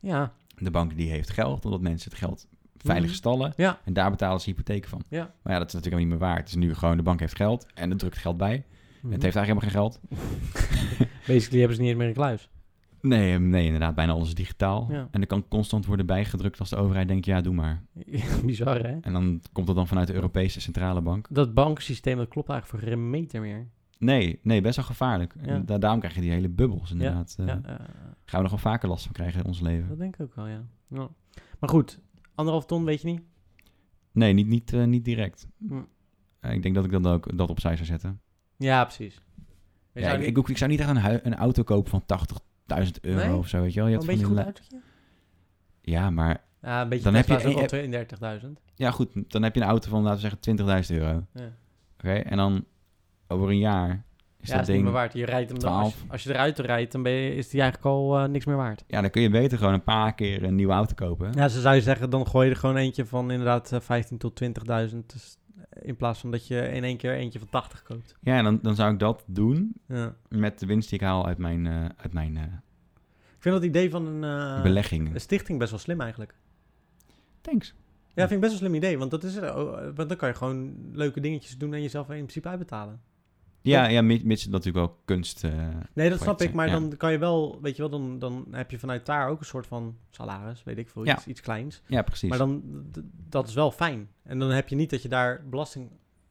Speaker 1: ja.
Speaker 2: de bank die heeft geld, omdat mensen het geld veilig
Speaker 1: Mhm.
Speaker 2: stallen.
Speaker 1: Ja.
Speaker 2: En daar betalen ze hypotheken van.
Speaker 1: Ja.
Speaker 2: Maar ja, dat is natuurlijk helemaal niet meer waar. Het is nu gewoon, de bank heeft geld en het drukt geld bij.
Speaker 1: Mhm.
Speaker 2: Het heeft eigenlijk helemaal geen geld.
Speaker 1: Basically hebben ze niet eens meer een kluis.
Speaker 2: Nee, eh, nee, inderdaad, bijna alles is digitaal.
Speaker 1: Ja.
Speaker 2: En er kan constant worden bijgedrukt als de overheid denkt, ja, doe maar.
Speaker 1: Bizar, hè?
Speaker 2: En dan komt dat dan vanuit de Europese Centrale Bank.
Speaker 1: Dat bankensysteem, dat klopt eigenlijk voor geen meter meer.
Speaker 2: Nee, nee, best wel gevaarlijk. En
Speaker 1: Ja.
Speaker 2: da- daarom krijg je die hele bubbels, inderdaad. Eh,
Speaker 1: Ja, eh,
Speaker 2: Gaan we nog wel vaker last van krijgen in ons leven.
Speaker 1: dat denk ik ook wel, ja. Ja. Maar goed, anderhalf ton weet je niet.
Speaker 2: Nee, niet, niet, eh, niet direct.
Speaker 1: Hm.
Speaker 2: Eh, ik denk dat ik dan ook dat opzij zou zetten.
Speaker 1: Ja, precies. Je
Speaker 2: Ja,
Speaker 1: zou
Speaker 2: ik,
Speaker 1: niet-
Speaker 2: ik, ook- ik zou niet echt een, hui- een auto kopen van 80.000 euro
Speaker 1: Nee?
Speaker 2: of zo, weet je wel. Je
Speaker 1: Wel een
Speaker 2: hebt
Speaker 1: beetje
Speaker 2: van
Speaker 1: goed
Speaker 2: die
Speaker 1: autootje?
Speaker 2: la- Ja, maar...
Speaker 1: Ja, een beetje
Speaker 2: Dan
Speaker 1: dan
Speaker 2: heb
Speaker 1: heb
Speaker 2: je-
Speaker 1: is ook
Speaker 2: je
Speaker 1: al
Speaker 2: hebt-
Speaker 1: 32.000.
Speaker 2: Ja, goed, dan heb je een auto van, laten we zeggen, 20.000 euro. Oké,
Speaker 1: Ja,
Speaker 2: en dan over een jaar is
Speaker 1: ja
Speaker 2: dat
Speaker 1: is niet
Speaker 2: ding...
Speaker 1: meer waard. Je rijdt hem dan, als, je-
Speaker 2: 12.
Speaker 1: als je eruit rijdt, dan ben je, is die eigenlijk al eh, niks meer waard.
Speaker 2: Ja, dan kun je beter gewoon een paar keer een nieuwe auto kopen.
Speaker 1: Ja, ze zou je zeggen, dan gooi je er gewoon eentje van inderdaad 15 tot 20.000. in plaats van dat je in één keer eentje van 80 koopt.
Speaker 2: Ja, en dan, dan zou ik dat doen
Speaker 1: Ja.
Speaker 2: met de winst die ik haal uit mijn, eh, uit mijn eh,
Speaker 1: Ik vind dat idee van een, eh,
Speaker 2: belegging.
Speaker 1: een stichting best wel slim eigenlijk.
Speaker 2: Thanks.
Speaker 1: Ja, vind ik best wel een slim idee. Want, dat is, het, oh, eh, want dan kan je gewoon leuke dingetjes doen en jezelf in principe uitbetalen.
Speaker 2: Ja, ja mi- mits het natuurlijk wel kunst... eh,
Speaker 1: Nee, dat snap
Speaker 2: Project,
Speaker 1: ik. Maar
Speaker 2: ja.
Speaker 1: dan kan je wel, weet je wel, dan, dan heb je vanuit daar ook een soort van salaris, weet ik veel,
Speaker 2: Ja.
Speaker 1: iets, iets kleins.
Speaker 2: ja, precies.
Speaker 1: Maar dan, d- dat is wel fijn. En dan heb je niet dat je daar belasting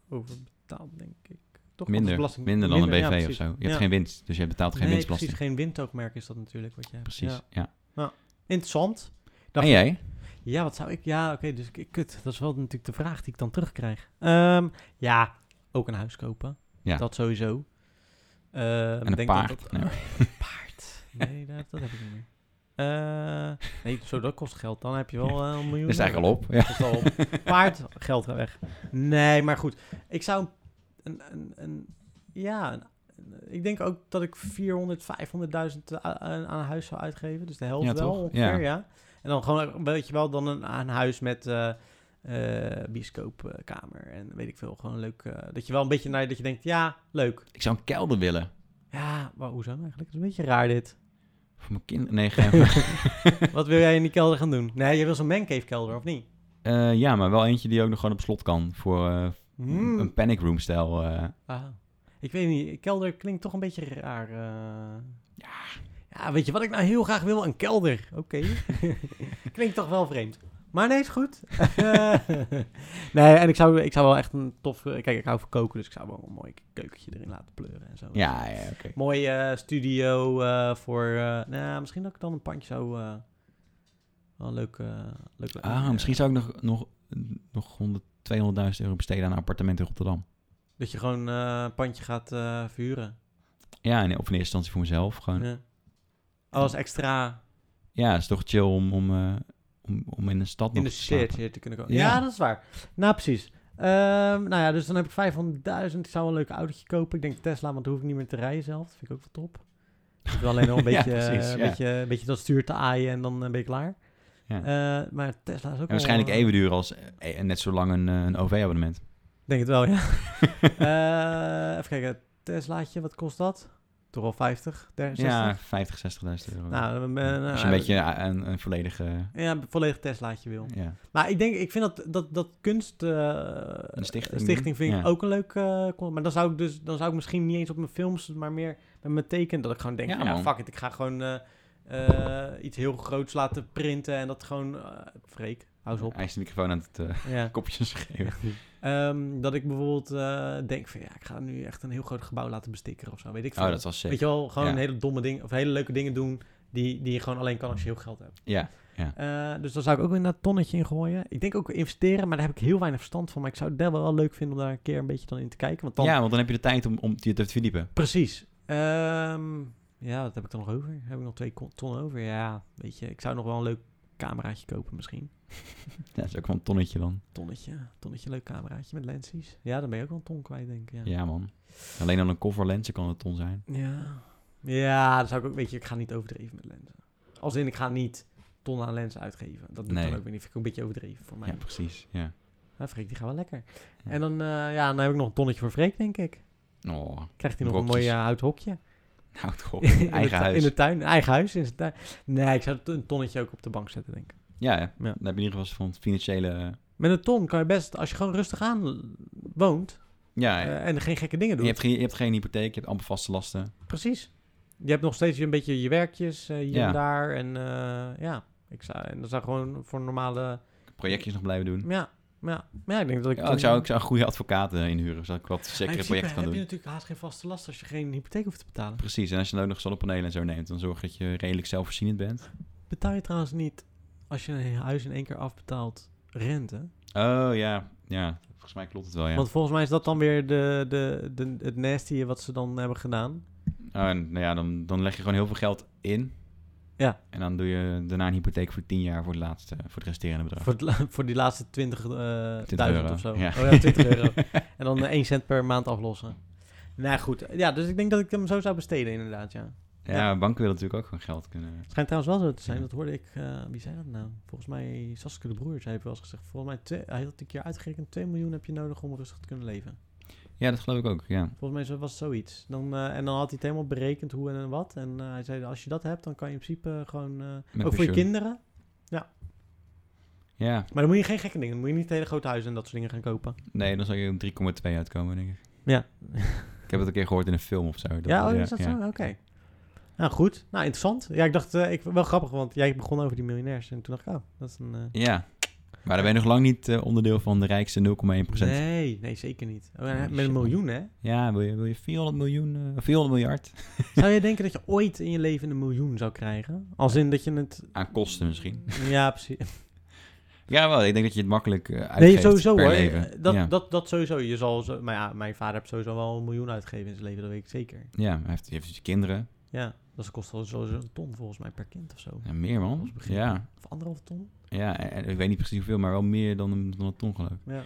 Speaker 1: over betaalt, denk ik. Toch? Want dat is
Speaker 2: minder,
Speaker 1: belasting,
Speaker 2: minder dan een BV
Speaker 1: ja,
Speaker 2: of
Speaker 1: precies.
Speaker 2: zo. Je hebt
Speaker 1: Ja.
Speaker 2: geen winst, dus je betaalt geen
Speaker 1: nee,
Speaker 2: winstbelasting.
Speaker 1: precies. Geen windoogmerk is dat natuurlijk wat je hebt.
Speaker 2: Precies,
Speaker 1: Ja.
Speaker 2: ja.
Speaker 1: Interessant. Dacht
Speaker 2: En jij?
Speaker 1: Ja, wat zou ik... Ja, oké, dus ik- kut. Dat is wel natuurlijk de vraag die ik dan terugkrijg. Ehm, ja, ook een huis kopen.
Speaker 2: Ja.
Speaker 1: Dat sowieso. Ehm,
Speaker 2: En een
Speaker 1: denk
Speaker 2: paard.
Speaker 1: Dat dat-
Speaker 2: Nee.
Speaker 1: Een paard. Nee, dat, dat heb ik niet meer. Eh, nee, zo dat kost geld. Dan heb je wel eh, een miljoen.
Speaker 2: Dat is eigenlijk al op. Ja.
Speaker 1: Dat is al op. Paard, geld gaat weg. Nee, maar goed. Ik zou een... een, een ja, een- ik denk ook dat ik 400, 500.000 a- eh, aan aan een huis zou uitgeven. Dus de helft
Speaker 2: Ja,
Speaker 1: wel
Speaker 2: toch?
Speaker 1: ongeveer,
Speaker 2: Ja.
Speaker 1: ja. En dan gewoon, weet je wel, dan een, een huis met eh eh, bioscoopkamer en weet ik veel. Gewoon leuk, eh, dat je wel een beetje naar, dat je denkt, ja, leuk.
Speaker 2: Ik zou een kelder willen.
Speaker 1: Ja, maar hoezo eigenlijk? Dat is een beetje raar dit.
Speaker 2: Voor mijn kinderen. Nee, geen...
Speaker 1: Wat wil jij in die kelder gaan doen? Nee, je wil zo'n mancave kelder, of niet?
Speaker 2: Eh, ja, maar wel eentje die ook nog gewoon op slot kan. Voor eh,
Speaker 1: Hmm.
Speaker 2: een panic room stijl. eh.
Speaker 1: Ah, ik weet niet. Kelder klinkt toch een beetje raar. eh. Ja, weet je wat ik nou heel graag wil? Een kelder. Oké. klinkt toch wel vreemd. Maar nee, is goed. Eh, nee, en ik zou, ik zou wel echt een tof... Kijk, ik hou van koken, dus ik zou wel een mooi keukentje erin laten pleuren en zo.
Speaker 2: Ja, ja oké.
Speaker 1: Mooi eh, studio eh, voor... eh, nou, misschien dat ik dan een pandje zou... eh, wel een leuk... eh, leuk eh,
Speaker 2: Ah, misschien zou ik nog, nog, nog 100, 200.000 euro besteden aan een appartement in Rotterdam.
Speaker 1: Dat je gewoon eh, een pandje gaat eh, verhuren.
Speaker 2: Ja, en, of in eerste instantie voor mezelf. Gewoon.
Speaker 1: Ja. Als extra...
Speaker 2: Ja, het is toch chill om, om, eh, om, om in een stad nog
Speaker 1: in de
Speaker 2: te slapen.
Speaker 1: shit hier te kunnen komen.
Speaker 2: Ja.
Speaker 1: Ja, dat is waar. Nou, precies. Ehm, nou ja, dus dan heb ik 500.000. Ik zou wel een leuk autootje kopen. Ik denk Tesla, want dan hoef ik niet meer te rijden zelf. Dat vind ik ook wel top. Ik wil alleen nog een
Speaker 2: Ja,
Speaker 1: beetje,
Speaker 2: precies,
Speaker 1: een
Speaker 2: ja.
Speaker 1: beetje, een beetje dat stuur te aaien en dan eh, ben je klaar.
Speaker 2: Ja.
Speaker 1: Eh, maar Tesla is ook wel,
Speaker 2: En waarschijnlijk
Speaker 1: eh,
Speaker 2: even duur als eh, eh, net zo lang een, eh, een OV-abonnement.
Speaker 1: Denk het wel, ja. Eh, even kijken. Teslaatje, wat kost dat? toch al 50, 60?
Speaker 2: Ja, 50, 60.000 euro.
Speaker 1: Nou, dan ben- nou,
Speaker 2: Als je een beetje een, een, een volledige...
Speaker 1: Ja, een volledig Teslaatje wil.
Speaker 2: Ja.
Speaker 1: Maar ik denk, ik vind dat, dat, dat kunst... eh,
Speaker 2: Een stichting.
Speaker 1: vind ik
Speaker 2: Ja.
Speaker 1: ook een leuk... eh, con- maar dan zou ik dus dan zou ik misschien niet eens op mijn films, maar meer met mijn teken. Dat ik gewoon denk,
Speaker 2: Ja,
Speaker 1: ja, nou,
Speaker 2: man.
Speaker 1: fuck it, ik ga gewoon eh, eh, iets heel groots laten printen en dat gewoon... eh, freak, hou eens op.
Speaker 2: Hij is de microfoon aan het eh,
Speaker 1: Ja.
Speaker 2: kopje schreeuwen.
Speaker 1: Ehm, dat ik bijvoorbeeld eh, denk van, ja, ik ga nu echt een heel groot gebouw laten bestikken of zo, weet ik veel.
Speaker 2: Oh, dat was
Speaker 1: Weet
Speaker 2: sick.
Speaker 1: je wel, gewoon
Speaker 2: Ja.
Speaker 1: hele domme dingen, of hele leuke dingen doen die, die je gewoon alleen kan als je heel veel geld hebt.
Speaker 2: Ja.
Speaker 1: Eh, dus daar zou ik ook inderdaad een tonnetje in gooien. Ik denk ook investeren, maar daar heb ik heel weinig verstand van. Maar ik zou het wel wel leuk vinden om daar een keer een beetje dan in te kijken. Want dan,
Speaker 2: ja, want dan heb je de tijd om, om je te verdiepen.
Speaker 1: precies. Ehm, ja, wat heb ik dan nog over? Heb ik nog twee kon- ton over? Ja, weet je, ik zou nog wel een leuk cameraatje kopen misschien.
Speaker 2: Ja, dat is ook wel een tonnetje dan.
Speaker 1: Tonnetje, tonnetje leuk cameraatje met lensies. Ja, dan ben je ook wel een ton kwijt, denk ik.
Speaker 2: Ja, man. Alleen dan een cover lenzen kan een ton zijn.
Speaker 1: Ja. Ja, dat zou ik ook, weet je, ik ga niet overdreven met lenzen. Als in, ik ga niet tonnen aan lenzen uitgeven. Dat doe ik
Speaker 2: Nee.
Speaker 1: dan ook weer niet. Vind ik ook een beetje overdreven voor mij.
Speaker 2: Ja, precies. Ja.
Speaker 1: Nou, Freek, die gaan wel lekker.
Speaker 2: Ja.
Speaker 1: En dan, eh, ja, dan heb ik nog een tonnetje voor Freek, denk ik.
Speaker 2: Oh,
Speaker 1: Krijgt hij nog een
Speaker 2: Brokjes.
Speaker 1: mooi eh, houten hokje.
Speaker 2: nou toch.
Speaker 1: In de
Speaker 2: Eigen
Speaker 1: tu-
Speaker 2: huis.
Speaker 1: In de tuin, eigen huis. In zijn tuin. Nee, ik zou t- een tonnetje ook op de bank zetten, denk ik.
Speaker 2: Ja, ja.
Speaker 1: Ja.
Speaker 2: Dan heb je in ieder geval van het financiële... eh,
Speaker 1: Met een ton kan je best, als je gewoon rustig aan woont
Speaker 2: Ah, Ja,
Speaker 1: eh, en geen gekke dingen
Speaker 2: je,
Speaker 1: doet.
Speaker 2: hebt geen, je hebt geen hypotheek, je hebt amper vaste lasten.
Speaker 1: Precies. Je hebt nog steeds een beetje je werkjes eh, hier
Speaker 2: Ja.
Speaker 1: en daar. En eh, ja, ik zou, en dat zou gewoon voor normale
Speaker 2: Projectjes nog blijven doen.
Speaker 1: Ja, ja, ja ik denk dat ik...
Speaker 2: Ja, ik, zou, ik zou goede advocaten inhuren, zodat ik wat zekere projecten kan
Speaker 1: heb
Speaker 2: doen.
Speaker 1: je natuurlijk haast geen vaste last als je geen hypotheek hoeft te betalen.
Speaker 2: Precies, en als je dan ook nog zonnepanelen en zo neemt, dan zorg dat je redelijk zelfvoorzienend bent.
Speaker 1: Betaal je trouwens niet, als je een huis in één keer afbetaalt, rente?
Speaker 2: Oh ja, ja. Volgens mij klopt het wel, ja.
Speaker 1: Want volgens mij is dat dan weer de, de, de, het nasty wat ze dan hebben gedaan.
Speaker 2: Oh, en, nou ja, dan, dan leg je gewoon heel veel geld in.
Speaker 1: Ja.
Speaker 2: En dan doe je daarna een hypotheek voor 10 jaar voor, het laatste, voor het resterende bedrag.
Speaker 1: Voor, het la- voor die laatste 20, eh, 1000
Speaker 2: euro,
Speaker 1: of zo.
Speaker 2: ja.
Speaker 1: Oh ja, 20 euro. En dan 1 cent per maand aflossen. Nou goed, ja, dus ik denk dat ik hem zo zou besteden inderdaad, ja.
Speaker 2: Ja, banken willen natuurlijk ook gewoon geld kunnen.
Speaker 1: Het schijnt trouwens wel zo te zijn.
Speaker 2: Ja.
Speaker 1: Dat hoorde ik. eh, wie zei dat nou? Volgens mij Saskia de Broer. Zij heeft wel eens gezegd. Volgens mij twee, hij had een keer uitgerekend. 2 miljoen heb je nodig om rustig te kunnen leven.
Speaker 2: Ja, dat geloof ik ook, ja.
Speaker 1: Volgens mij zo- was het zoiets. Dan, eh, en dan had hij het helemaal berekend hoe en, en wat. En eh, hij zei als je dat hebt dan kan je in principe gewoon... eh, ook voor je
Speaker 2: pensioen.
Speaker 1: kinderen.
Speaker 2: Ja,
Speaker 1: Maar dan moet je geen gekke dingen. Dan moet je niet het hele grote huis en dat soort dingen gaan kopen.
Speaker 2: nee, dan zal je om 3,2 uitkomen, denk ik.
Speaker 1: Ja.
Speaker 2: Ik heb het een keer gehoord in een film of zo. dat-
Speaker 1: ja, oh, is dat
Speaker 2: ja.
Speaker 1: zo? Oké. Nou goed. Nou interessant. Ja ik dacht eh, ik, wel grappig want jij begon over die miljonairs. En toen dacht ik oh dat is een... eh,
Speaker 2: Ja. Maar dan ben je nog lang niet eh, onderdeel van de rijkste 0,1%.
Speaker 1: Nee, nee, zeker niet. Oh,
Speaker 2: Holy
Speaker 1: en met
Speaker 2: shit,
Speaker 1: een
Speaker 2: man.
Speaker 1: miljoen, hè?
Speaker 2: Ja, wil je, wil je 400 miljoen, eh, 400 miljard?
Speaker 1: Zou je denken dat je ooit in je leven een miljoen zou krijgen? Als in dat je het...
Speaker 2: Aan kosten misschien.
Speaker 1: Ja, precies.
Speaker 2: Ja, wel. Ik denk dat je het makkelijk eh, uitgeeft
Speaker 1: Nee, sowieso
Speaker 2: per
Speaker 1: hoor. Eh,
Speaker 2: leven.
Speaker 1: Dat,
Speaker 2: ja.
Speaker 1: dat, dat sowieso. Je zal zo, maar ja, mijn vader heeft sowieso wel een miljoen uitgegeven in zijn leven, dat weet ik zeker.
Speaker 2: ja, hij heeft, hij heeft dus kinderen.
Speaker 1: Ja, dat kost al sowieso een ton volgens mij per kind of zo.
Speaker 2: Ja, meer
Speaker 1: Dat
Speaker 2: man.
Speaker 1: is begin.
Speaker 2: Ja,
Speaker 1: Of anderhalf ton.
Speaker 2: ja en- en ik weet niet precies hoeveel, maar wel meer dan een, dan een ton geloof ik.
Speaker 1: Ja,
Speaker 2: En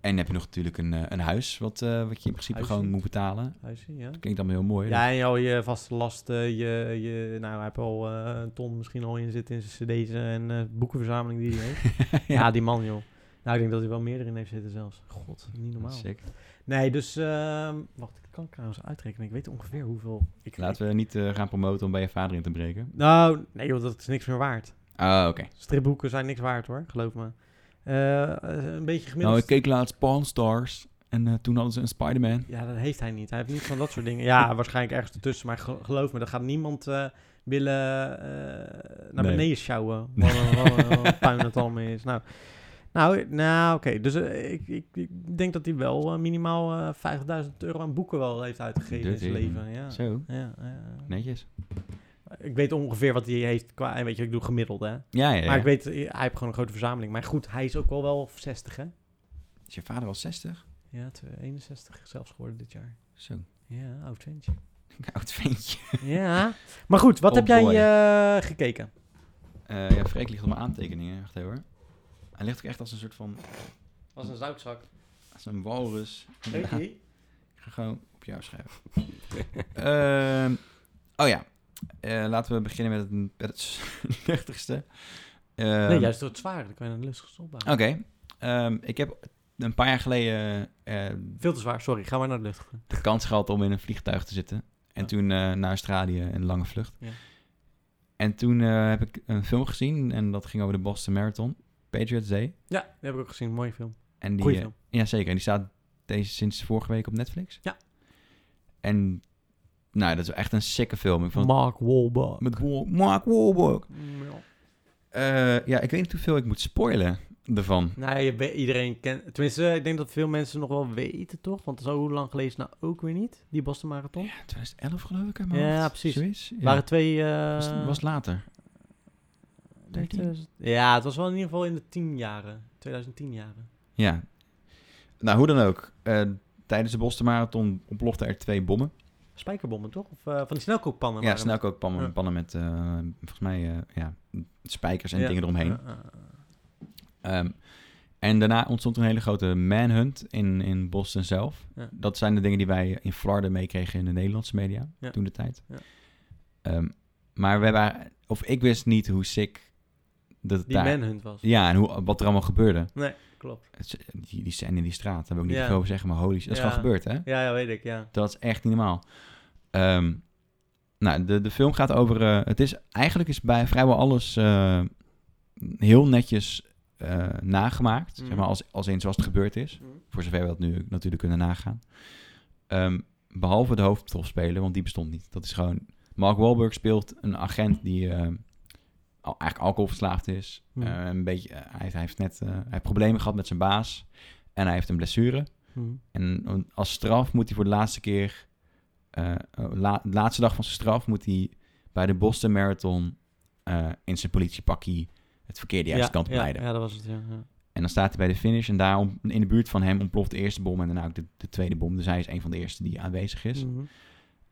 Speaker 2: dan heb je nog natuurlijk een, eh, een huis, wat, eh, wat je in principe
Speaker 1: Huisje.
Speaker 2: gewoon moet betalen.
Speaker 1: huisje, ja.
Speaker 2: Dat klinkt allemaal heel mooi.
Speaker 1: Ja, en al je vaste lasten, je, je, nou, hij heeft al eh, een ton misschien al in zitten in zijn cd's en eh, boekenverzameling die hij heeft.
Speaker 2: ja,
Speaker 1: ja. die man joh. Nou, ik denk dat hij wel meer erin heeft zitten zelfs. God, niet
Speaker 2: Dat is
Speaker 1: normaal.
Speaker 2: sick.
Speaker 1: Nee, dus... ehm, wacht, ik kan trouwens uitrekenen. Ik weet ongeveer hoeveel... Ik,
Speaker 2: Laten we niet eh, gaan promoten om bij je vader in te breken.
Speaker 1: Nou, nee joh, dat is niks meer waard.
Speaker 2: Ah, oké.
Speaker 1: Stripboeken zijn niks waard hoor, geloof me. Eh, een beetje gemiddeld...
Speaker 2: Nou, ik keek laatst Pawn Stars en eh, toen hadden ze een Spider-Man.
Speaker 1: Ja, dat heeft hij niet. Hij heeft niet van dat soort dingen. Ja, waarschijnlijk ergens ertussen. Maar ge- geloof me, dat gaat niemand eh, willen eh, naar
Speaker 2: Nee.
Speaker 1: beneden sjouwen. Wat een- wat een- wat een puin het allemaal is. Nou, nou, nou oké. Dus eh, ik, ik, ik denk dat hij wel eh, minimaal eh, 50.000 euro aan boeken wel heeft uitgegeven in zijn
Speaker 2: Dirty.
Speaker 1: leven. Ja.
Speaker 2: Zo,
Speaker 1: Ja, ja, ja.
Speaker 2: netjes. Ik
Speaker 1: Ik weet ongeveer wat hij heeft qua... en Weet je, ik doe gemiddeld, hè.
Speaker 2: Ja, ja, ja.
Speaker 1: Maar ik weet, hij heeft gewoon een grote verzameling. Maar goed, hij is ook wel wel 60, hè?
Speaker 2: Is je vader al 60?
Speaker 1: Ja, twee- 61 zelfs geworden dit jaar.
Speaker 2: Zo,
Speaker 1: Ja, oud ventje.
Speaker 2: een oud ventje.
Speaker 1: Ja. Maar goed, wat
Speaker 2: Oh
Speaker 1: heb jij
Speaker 2: boy.
Speaker 1: eh, gekeken?
Speaker 2: Eh, ja, Freek ligt op mijn aantekeningen. Wacht even hoor. Hij ligt ook echt als een soort van...
Speaker 1: Was een zoutzak.
Speaker 2: Als een walrus.
Speaker 1: Weet
Speaker 2: Ja,
Speaker 1: je?
Speaker 2: ik ga gewoon op jou schrijven. Ehm, oh ja. Eh, laten we beginnen met het, met het luchtigste. Ehm,
Speaker 1: nee, juist door het zware. Dan kan je een lustig opbouwen.
Speaker 2: Oké. Ehm, ik heb een paar jaar geleden eh,
Speaker 1: Veel te zwaar, sorry. Ga maar naar de lucht.
Speaker 2: de kans gehad om in een vliegtuig te zitten. En toen eh, naar Australië in lange vlucht.
Speaker 1: Ja.
Speaker 2: En toen eh, heb ik een film gezien en dat ging over de Boston Marathon. Patriots Day.
Speaker 1: Ja, die heb ik ook gezien. Mooie film.
Speaker 2: En die,
Speaker 1: Goeie
Speaker 2: eh,
Speaker 1: film.
Speaker 2: Ja, zeker. En die staat deze sinds vorige week op Netflix.
Speaker 1: Ja.
Speaker 2: En nou, dat is echt een sikke film. Ik vond het-
Speaker 1: Mark Wahlberg.
Speaker 2: met Wa- Mark Wahlberg.
Speaker 1: Ja.
Speaker 2: Eh, ja, ik weet niet hoeveel ik moet spoilen ervan.
Speaker 1: Nou, je weet- iedereen kent... Tenminste, eh, ik denk dat veel mensen nog wel weten, toch? Want zo hoe lang geleden is het nou ook weer niet, die Boston Marathon.
Speaker 2: Ja, 2011 geloof ik. uit mijn
Speaker 1: Ja,
Speaker 2: hoofd.
Speaker 1: precies.
Speaker 2: Zoiets. Ja.
Speaker 1: Waren twee... eh
Speaker 2: was, het- was het later. 13?
Speaker 1: 2000 Ja, het was wel in ieder geval in de 10 jaren. 2010 jaren.
Speaker 2: Ja. Nou, hoe dan ook. eh, tijdens de Boston Marathon ontploften er twee bommen.
Speaker 1: Spijkerbommen, toch? Of eh, van die snelkookpannen.
Speaker 2: ja,
Speaker 1: waren het.
Speaker 2: snelkookpannen
Speaker 1: Ja.
Speaker 2: pannen met, eh, volgens mij, eh, ja, spijkers en
Speaker 1: Ja.
Speaker 2: dingen eromheen.
Speaker 1: Ja, ja, ja.
Speaker 2: Ehm, en daarna ontstond een hele grote manhunt in, in Boston zelf.
Speaker 1: Ja.
Speaker 2: Dat zijn de dingen die wij in Florida meekregen in de Nederlandse media
Speaker 1: Ja.
Speaker 2: toen de tijd.
Speaker 1: Ja.
Speaker 2: Ehm, maar we hebben, of ik wist niet hoe sick dat het
Speaker 1: Die
Speaker 2: daar...
Speaker 1: manhunt was.
Speaker 2: Ja, en hoe, wat er allemaal gebeurde.
Speaker 1: Nee, klopt.
Speaker 2: Het is- Die, die scène in die straat, daar hebben we ook niet
Speaker 1: Ja.
Speaker 2: veel over zeggen, maar holy shit, dat is
Speaker 1: Ja.
Speaker 2: gewoon gebeurd, hè?
Speaker 1: Ja, ja, weet ik, ja.
Speaker 2: Dat is echt niet normaal. Ehm, nou, de, de film gaat over. eh, het is eigenlijk is bij vrijwel alles eh, heel netjes eh, nagemaakt.
Speaker 1: Mhm.
Speaker 2: Zeg maar als, als in zoals het gebeurd is. Voor zover we dat nu natuurlijk kunnen nagaan. Ehm, behalve de hoofdrolspeler, want die bestond niet. Dat is gewoon. Mark Wahlberg speelt een agent die eh, al, eigenlijk alcoholverslaafd is.
Speaker 1: Mhm.
Speaker 2: Eh, een beetje, eh, hij, hij heeft net eh, hij heeft problemen gehad met zijn baas. En hij heeft een blessure.
Speaker 1: Hm.
Speaker 2: En als straf moet hij voor de laatste keer, eh, la- de laatste dag van zijn straf, moet hij bij de Boston Marathon eh, in zijn politiepakkie het verkeer de juiste
Speaker 1: ja,
Speaker 2: kant op
Speaker 1: ja,
Speaker 2: leiden.
Speaker 1: Ja, dat was het, ja. ja.
Speaker 2: En dan staat hij bij de finish en daar om- in de buurt van hem ontploft de eerste bom en daarna ook de, de tweede bom. Dus hij is een van de eerste die aanwezig is.
Speaker 1: Mhm.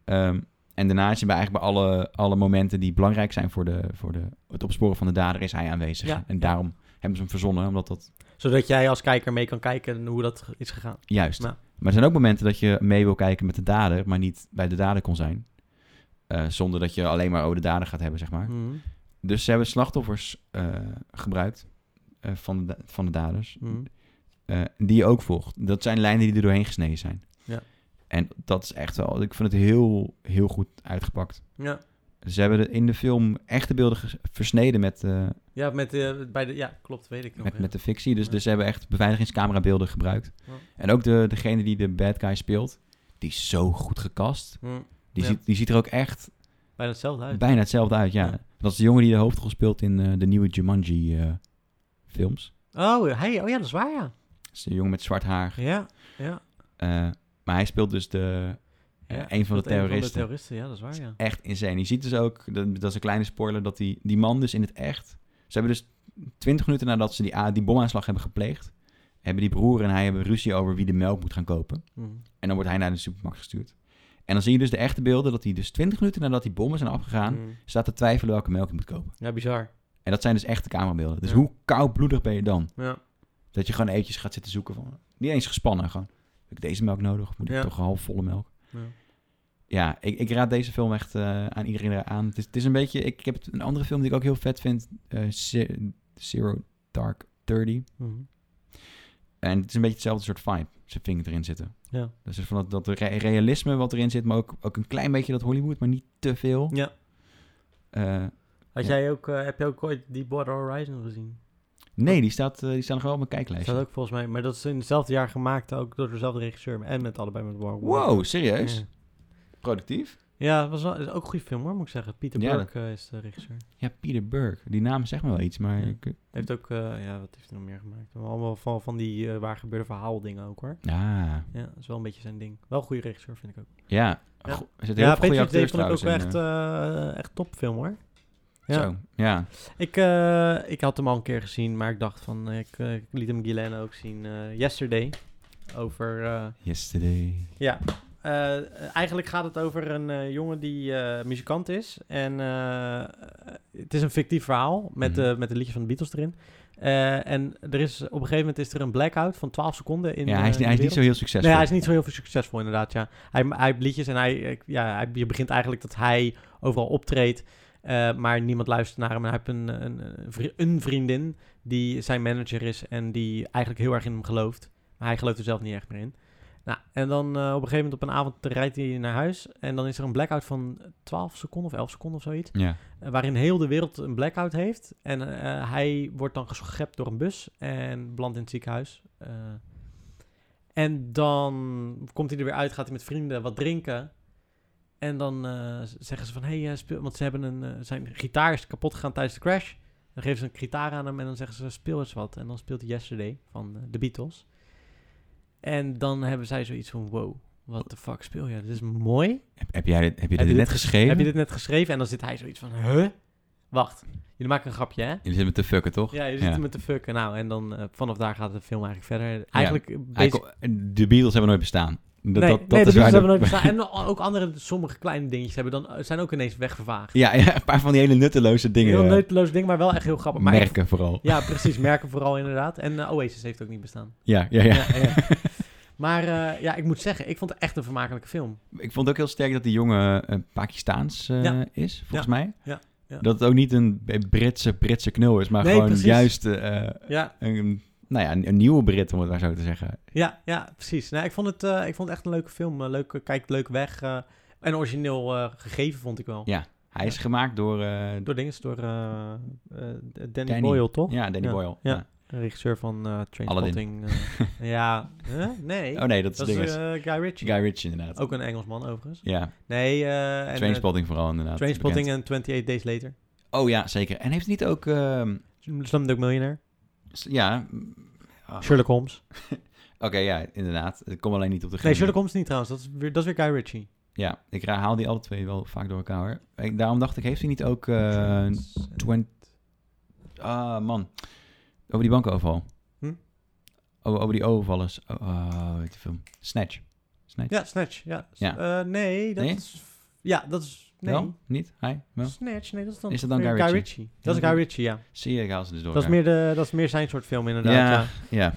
Speaker 2: Ehm, en daarna is hij bij eigenlijk bij alle, alle momenten die belangrijk zijn voor, de, voor de, het opsporen van de dader, is hij aanwezig.
Speaker 1: Ja,
Speaker 2: En
Speaker 1: ja.
Speaker 2: daarom hebben ze hem verzonnen, omdat dat
Speaker 1: Zodat jij als kijker mee kan kijken hoe dat is gegaan.
Speaker 2: Juist.
Speaker 1: Nou.
Speaker 2: Maar er zijn ook momenten dat je mee wil kijken met de dader, maar niet bij de dader kon zijn. Eh, zonder dat je alleen maar over de dader gaat hebben, zeg maar.
Speaker 1: Mhm.
Speaker 2: Dus ze hebben slachtoffers eh, gebruikt eh, van, de, da- van de daders,
Speaker 1: Mhm.
Speaker 2: eh, die je ook volgt. Dat zijn lijnen die er doorheen gesneden zijn.
Speaker 1: Ja.
Speaker 2: En dat is echt wel, ik vind het heel, heel goed uitgepakt.
Speaker 1: Ja.
Speaker 2: Ze hebben de- in de film echte beelden ges- versneden met, eh,
Speaker 1: Ja, met, eh, bij de, ja, klopt, weet ik nog.
Speaker 2: met,
Speaker 1: ja.
Speaker 2: met de fictie. Dus,
Speaker 1: Ja.
Speaker 2: dus ze hebben echt beveiligingscamerabeelden gebruikt.
Speaker 1: Ja.
Speaker 2: En ook de, degene die de bad guy speelt, die is zo goed gecast.
Speaker 1: Hm.
Speaker 2: Die,
Speaker 1: Ja.
Speaker 2: ziet, die ziet er ook echt
Speaker 1: Bijna hetzelfde uit.
Speaker 2: bijna hetzelfde uit, ja.
Speaker 1: Ja.
Speaker 2: Dat is de jongen die de hoofdrol speelt in eh, de nieuwe eh, Jumanji-films.
Speaker 1: Oh, hij, oh ja, dat is waar, ja.
Speaker 2: dat is de jongen met zwart haar.
Speaker 1: Ja, ja.
Speaker 2: Eh, maar hij speelt dus de, eh,
Speaker 1: ja.
Speaker 2: een van
Speaker 1: Dat Een van de
Speaker 2: de terroristen.
Speaker 1: terroristen, ja, dat is waar, ja.
Speaker 2: Echt insane. Je ziet dus ook, dat, dat is een kleine spoiler, dat die, die man dus in het echt... Ze hebben dus 20 minuten nadat ze die, a- die bomaanslag hebben gepleegd... hebben die broer en hij hebben ruzie over wie de melk moet gaan kopen.
Speaker 1: Mhm.
Speaker 2: En dan wordt hij naar de supermarkt gestuurd. En dan zie je dus de echte beelden dat hij dus 20 minuten nadat die bommen zijn afgegaan...
Speaker 1: Mhm.
Speaker 2: staat te twijfelen welke melk hij moet kopen.
Speaker 1: Ja, bizar.
Speaker 2: En dat zijn dus echte camerabeelden. Dus
Speaker 1: Ja.
Speaker 2: hoe koudbloedig ben je dan?
Speaker 1: Ja.
Speaker 2: Dat je gewoon eventjes gaat zitten zoeken van... Niet eens gespannen, gewoon... Heb ik deze melk nodig? Of moet ik
Speaker 1: Ja.
Speaker 2: toch halfvolle melk?
Speaker 1: ja.
Speaker 2: Ja, ik, ik raad deze film echt eh, aan iedereen aan. Het is, het is een beetje... Ik, ik heb het- een andere film die ik ook heel vet vind. eh, Ze- Zero Dark Thirty.
Speaker 1: Mhm.
Speaker 2: En het is een beetje hetzelfde soort vibe. Ze vinger erin zitten.
Speaker 1: Ja.
Speaker 2: Dus van dat, dat re- realisme wat erin zit. Maar ook, ook een klein beetje dat Hollywood. Maar niet te veel.
Speaker 1: Ja.
Speaker 2: Eh,
Speaker 1: Had
Speaker 2: Ja.
Speaker 1: jij ook, eh, heb je ook ooit die Border Horizon gezien?
Speaker 2: nee, die staat, eh, die staat nog wel op mijn
Speaker 1: Dat
Speaker 2: kijklijstje.
Speaker 1: staat ook volgens mij, maar dat is in hetzelfde jaar gemaakt, ook door dezelfde regisseur en met allebei met Warren.
Speaker 2: Wow, serieus?
Speaker 1: Ja.
Speaker 2: Productief?
Speaker 1: Ja, het was wel, is ook een goede film hoor, moet ik zeggen. Peter
Speaker 2: Ja,
Speaker 1: Burke eh, is de regisseur.
Speaker 2: Ja, Peter Burke. Die naam zegt me wel iets, maar...
Speaker 1: Ja.
Speaker 2: Ik,
Speaker 1: Heeft ook, eh, ja, wat heeft hij nog meer gemaakt? Allemaal van, van die eh, waar gebeurde verhaaldingen ook hoor.
Speaker 2: ah,
Speaker 1: Ja, dat is wel een beetje zijn ding. Wel een goede regisseur vind ik ook.
Speaker 2: ja.
Speaker 1: Ja.
Speaker 2: Go- Er zitten heel
Speaker 1: Ja,
Speaker 2: veel goede
Speaker 1: Patriot Day
Speaker 2: acteurs
Speaker 1: vond ik ook
Speaker 2: trouwens
Speaker 1: wel
Speaker 2: in,
Speaker 1: echt, eh, echt topfilm hoor.
Speaker 2: eh,
Speaker 1: Ja.
Speaker 2: Zo, ja.
Speaker 1: Ik, eh, ik had hem al een keer gezien, maar ik dacht van, eh, ik, eh, ik liet hem Guylaine ook zien. eh, yesterday. Over, eh,
Speaker 2: Yesterday.
Speaker 1: ja. Eh, eigenlijk gaat het over een eh, jongen die eh, muzikant is. En eh, het is een fictief verhaal met,
Speaker 2: Mhm.
Speaker 1: de met de liedjes van de Beatles erin. Eh, en er is, op een gegeven moment is er een blackout van 12 seconden. In,
Speaker 2: ja, hij is,
Speaker 1: eh,
Speaker 2: niet-
Speaker 1: de
Speaker 2: hij is niet
Speaker 1: wereld.
Speaker 2: zo heel succesvol.
Speaker 1: Nee, hij is niet zo heel veel succesvol inderdaad, ja. Hij, hij heeft liedjes en hij, eh, ja, hij, je begint eigenlijk dat hij overal optreedt, eh, maar niemand luistert naar hem. En hij heeft een, een, een vri- een vriendin die zijn manager is en die eigenlijk heel erg in hem gelooft. Maar hij gelooft er zelf niet echt meer in. Nou, en dan eh, op een gegeven moment op een avond rijdt hij naar huis. En dan is er een blackout van 12 seconden of 11 seconden of zoiets.
Speaker 2: Ja.
Speaker 1: eh, Waarin heel de wereld een blackout heeft. En eh, hij wordt dan geschept door een bus en belandt in het ziekenhuis. Eh, en dan komt hij er weer uit, gaat hij met vrienden wat drinken. En dan eh, z- zeggen ze van, hé, hey, eh, speel... Want ze hebben een, eh, zijn gitaar is kapot gegaan tijdens de crash. Dan geven ze een gitaar aan hem en dan zeggen ze, speel eens wat. En dan speelt hij Yesterday van eh, de Beatles. En dan hebben zij zoiets van, wow, what the fuck speel je? Dit is mooi.
Speaker 2: Heb, heb jij dit, heb je dit,
Speaker 1: Heb je
Speaker 2: net
Speaker 1: dit-
Speaker 2: geschreven?
Speaker 1: Heb je dit net geschreven? En dan zit hij zoiets van, huh? Wacht, jullie maken een grapje, hè?
Speaker 2: Jullie zitten met te fucken, toch?
Speaker 1: Ja, je zit met de fuck. Nou, en dan eh, vanaf daar gaat de film eigenlijk verder. Eigenlijk, eh, basic-
Speaker 2: Hij kon- De Beatles hebben nooit bestaan. Dat,
Speaker 1: nee,
Speaker 2: dat, dat
Speaker 1: nee,
Speaker 2: is
Speaker 1: de Beatles
Speaker 2: waar de-
Speaker 1: hebben nooit bestaan. En al- ook andere, sommige kleine dingetjes hebben dan, eh, zijn ook ineens weggevaagd.
Speaker 2: Ja, ja, een paar van die hele nutteloze dingen.
Speaker 1: Heel
Speaker 2: eh,
Speaker 1: neuteloos ding, maar wel echt heel grappig. Maar echt-
Speaker 2: merken vooral.
Speaker 1: ja, precies. Merken vooral inderdaad. En eh, Oasis heeft ook niet bestaan.
Speaker 2: Ja, ja, ja.
Speaker 1: Ja, ja. Maar eh, ja, ik moet zeggen, ik vond het echt een vermakelijke film.
Speaker 2: Ik vond ook heel sterk dat die jongen eh, Pakistaans eh,
Speaker 1: Ja.
Speaker 2: is, volgens
Speaker 1: Ja.
Speaker 2: mij.
Speaker 1: Ja. Ja.
Speaker 2: Dat het ook niet een Britse, Britse knul is, maar
Speaker 1: Nee,
Speaker 2: gewoon
Speaker 1: precies.
Speaker 2: juist eh,
Speaker 1: Ja,
Speaker 2: een, nou ja, een, een nieuwe Brit, om het maar zo te zeggen.
Speaker 1: Ja, ja precies. Nou, ik, vond het, eh, ik vond het echt een leuke film. Eh, leuk, eh, kijkt leuk weg. eh, en origineel eh, gegeven vond ik wel.
Speaker 2: Ja. Hij is gemaakt door eh,
Speaker 1: Door dingen, door eh, eh, Danny,
Speaker 2: Danny.
Speaker 1: Boyle, toch?
Speaker 2: ja, Danny
Speaker 1: Ja.
Speaker 2: Boyle.
Speaker 1: Ja. Regisseur van eh Trainspotting. eh, ja, Huh? nee.
Speaker 2: Oh nee, dat is
Speaker 1: dat is
Speaker 2: dinges.
Speaker 1: eh, Guy Ritchie.
Speaker 2: Guy Ritchie inderdaad.
Speaker 1: Ook een Engelsman overigens.
Speaker 2: Ja,
Speaker 1: Nee, eh en, eh,
Speaker 2: Trainspotting vooral inderdaad.
Speaker 1: Trainspotting en 28 Days Later.
Speaker 2: bekend. Oh ja, zeker. En heeft hij niet ook... ehm,
Speaker 1: Slumdog Millionaire.
Speaker 2: s- ja... mm, ah,
Speaker 1: Sherlock Holmes.
Speaker 2: Oké, ja, inderdaad. Ik kom alleen niet op de
Speaker 1: Nee,
Speaker 2: gegeven
Speaker 1: Sherlock Holmes niet trouwens. Dat is weer, dat is weer Guy Ritchie.
Speaker 2: Ja, ik haal die alle twee wel vaak door elkaar. hoor. Ik, daarom dacht ik, heeft hij niet ook... eh Twent... Ah, man. Over die bankoverval.
Speaker 1: Hm?
Speaker 2: Over, over die overvallers. Oh, oh, weet je film. Snatch. Snatch.
Speaker 1: Ja, Snatch. Ja.
Speaker 2: Ja.
Speaker 1: Eh, nee, dat
Speaker 2: Nee?
Speaker 1: is... Ja, dat is... Nee.
Speaker 2: Wel? Niet? Hij? Wel?
Speaker 1: Snatch, nee, dat is dan,
Speaker 2: Is dat dan
Speaker 1: weer
Speaker 2: Guy Ritchie?
Speaker 1: Dat is
Speaker 2: Ja.
Speaker 1: Guy Ritchie, ja.
Speaker 2: Zie je, ik haal ze dus door
Speaker 1: Dat is,
Speaker 2: elkaar.
Speaker 1: meer de, dat is meer zijn soort film, inderdaad. Ja.
Speaker 2: Ja. Ja.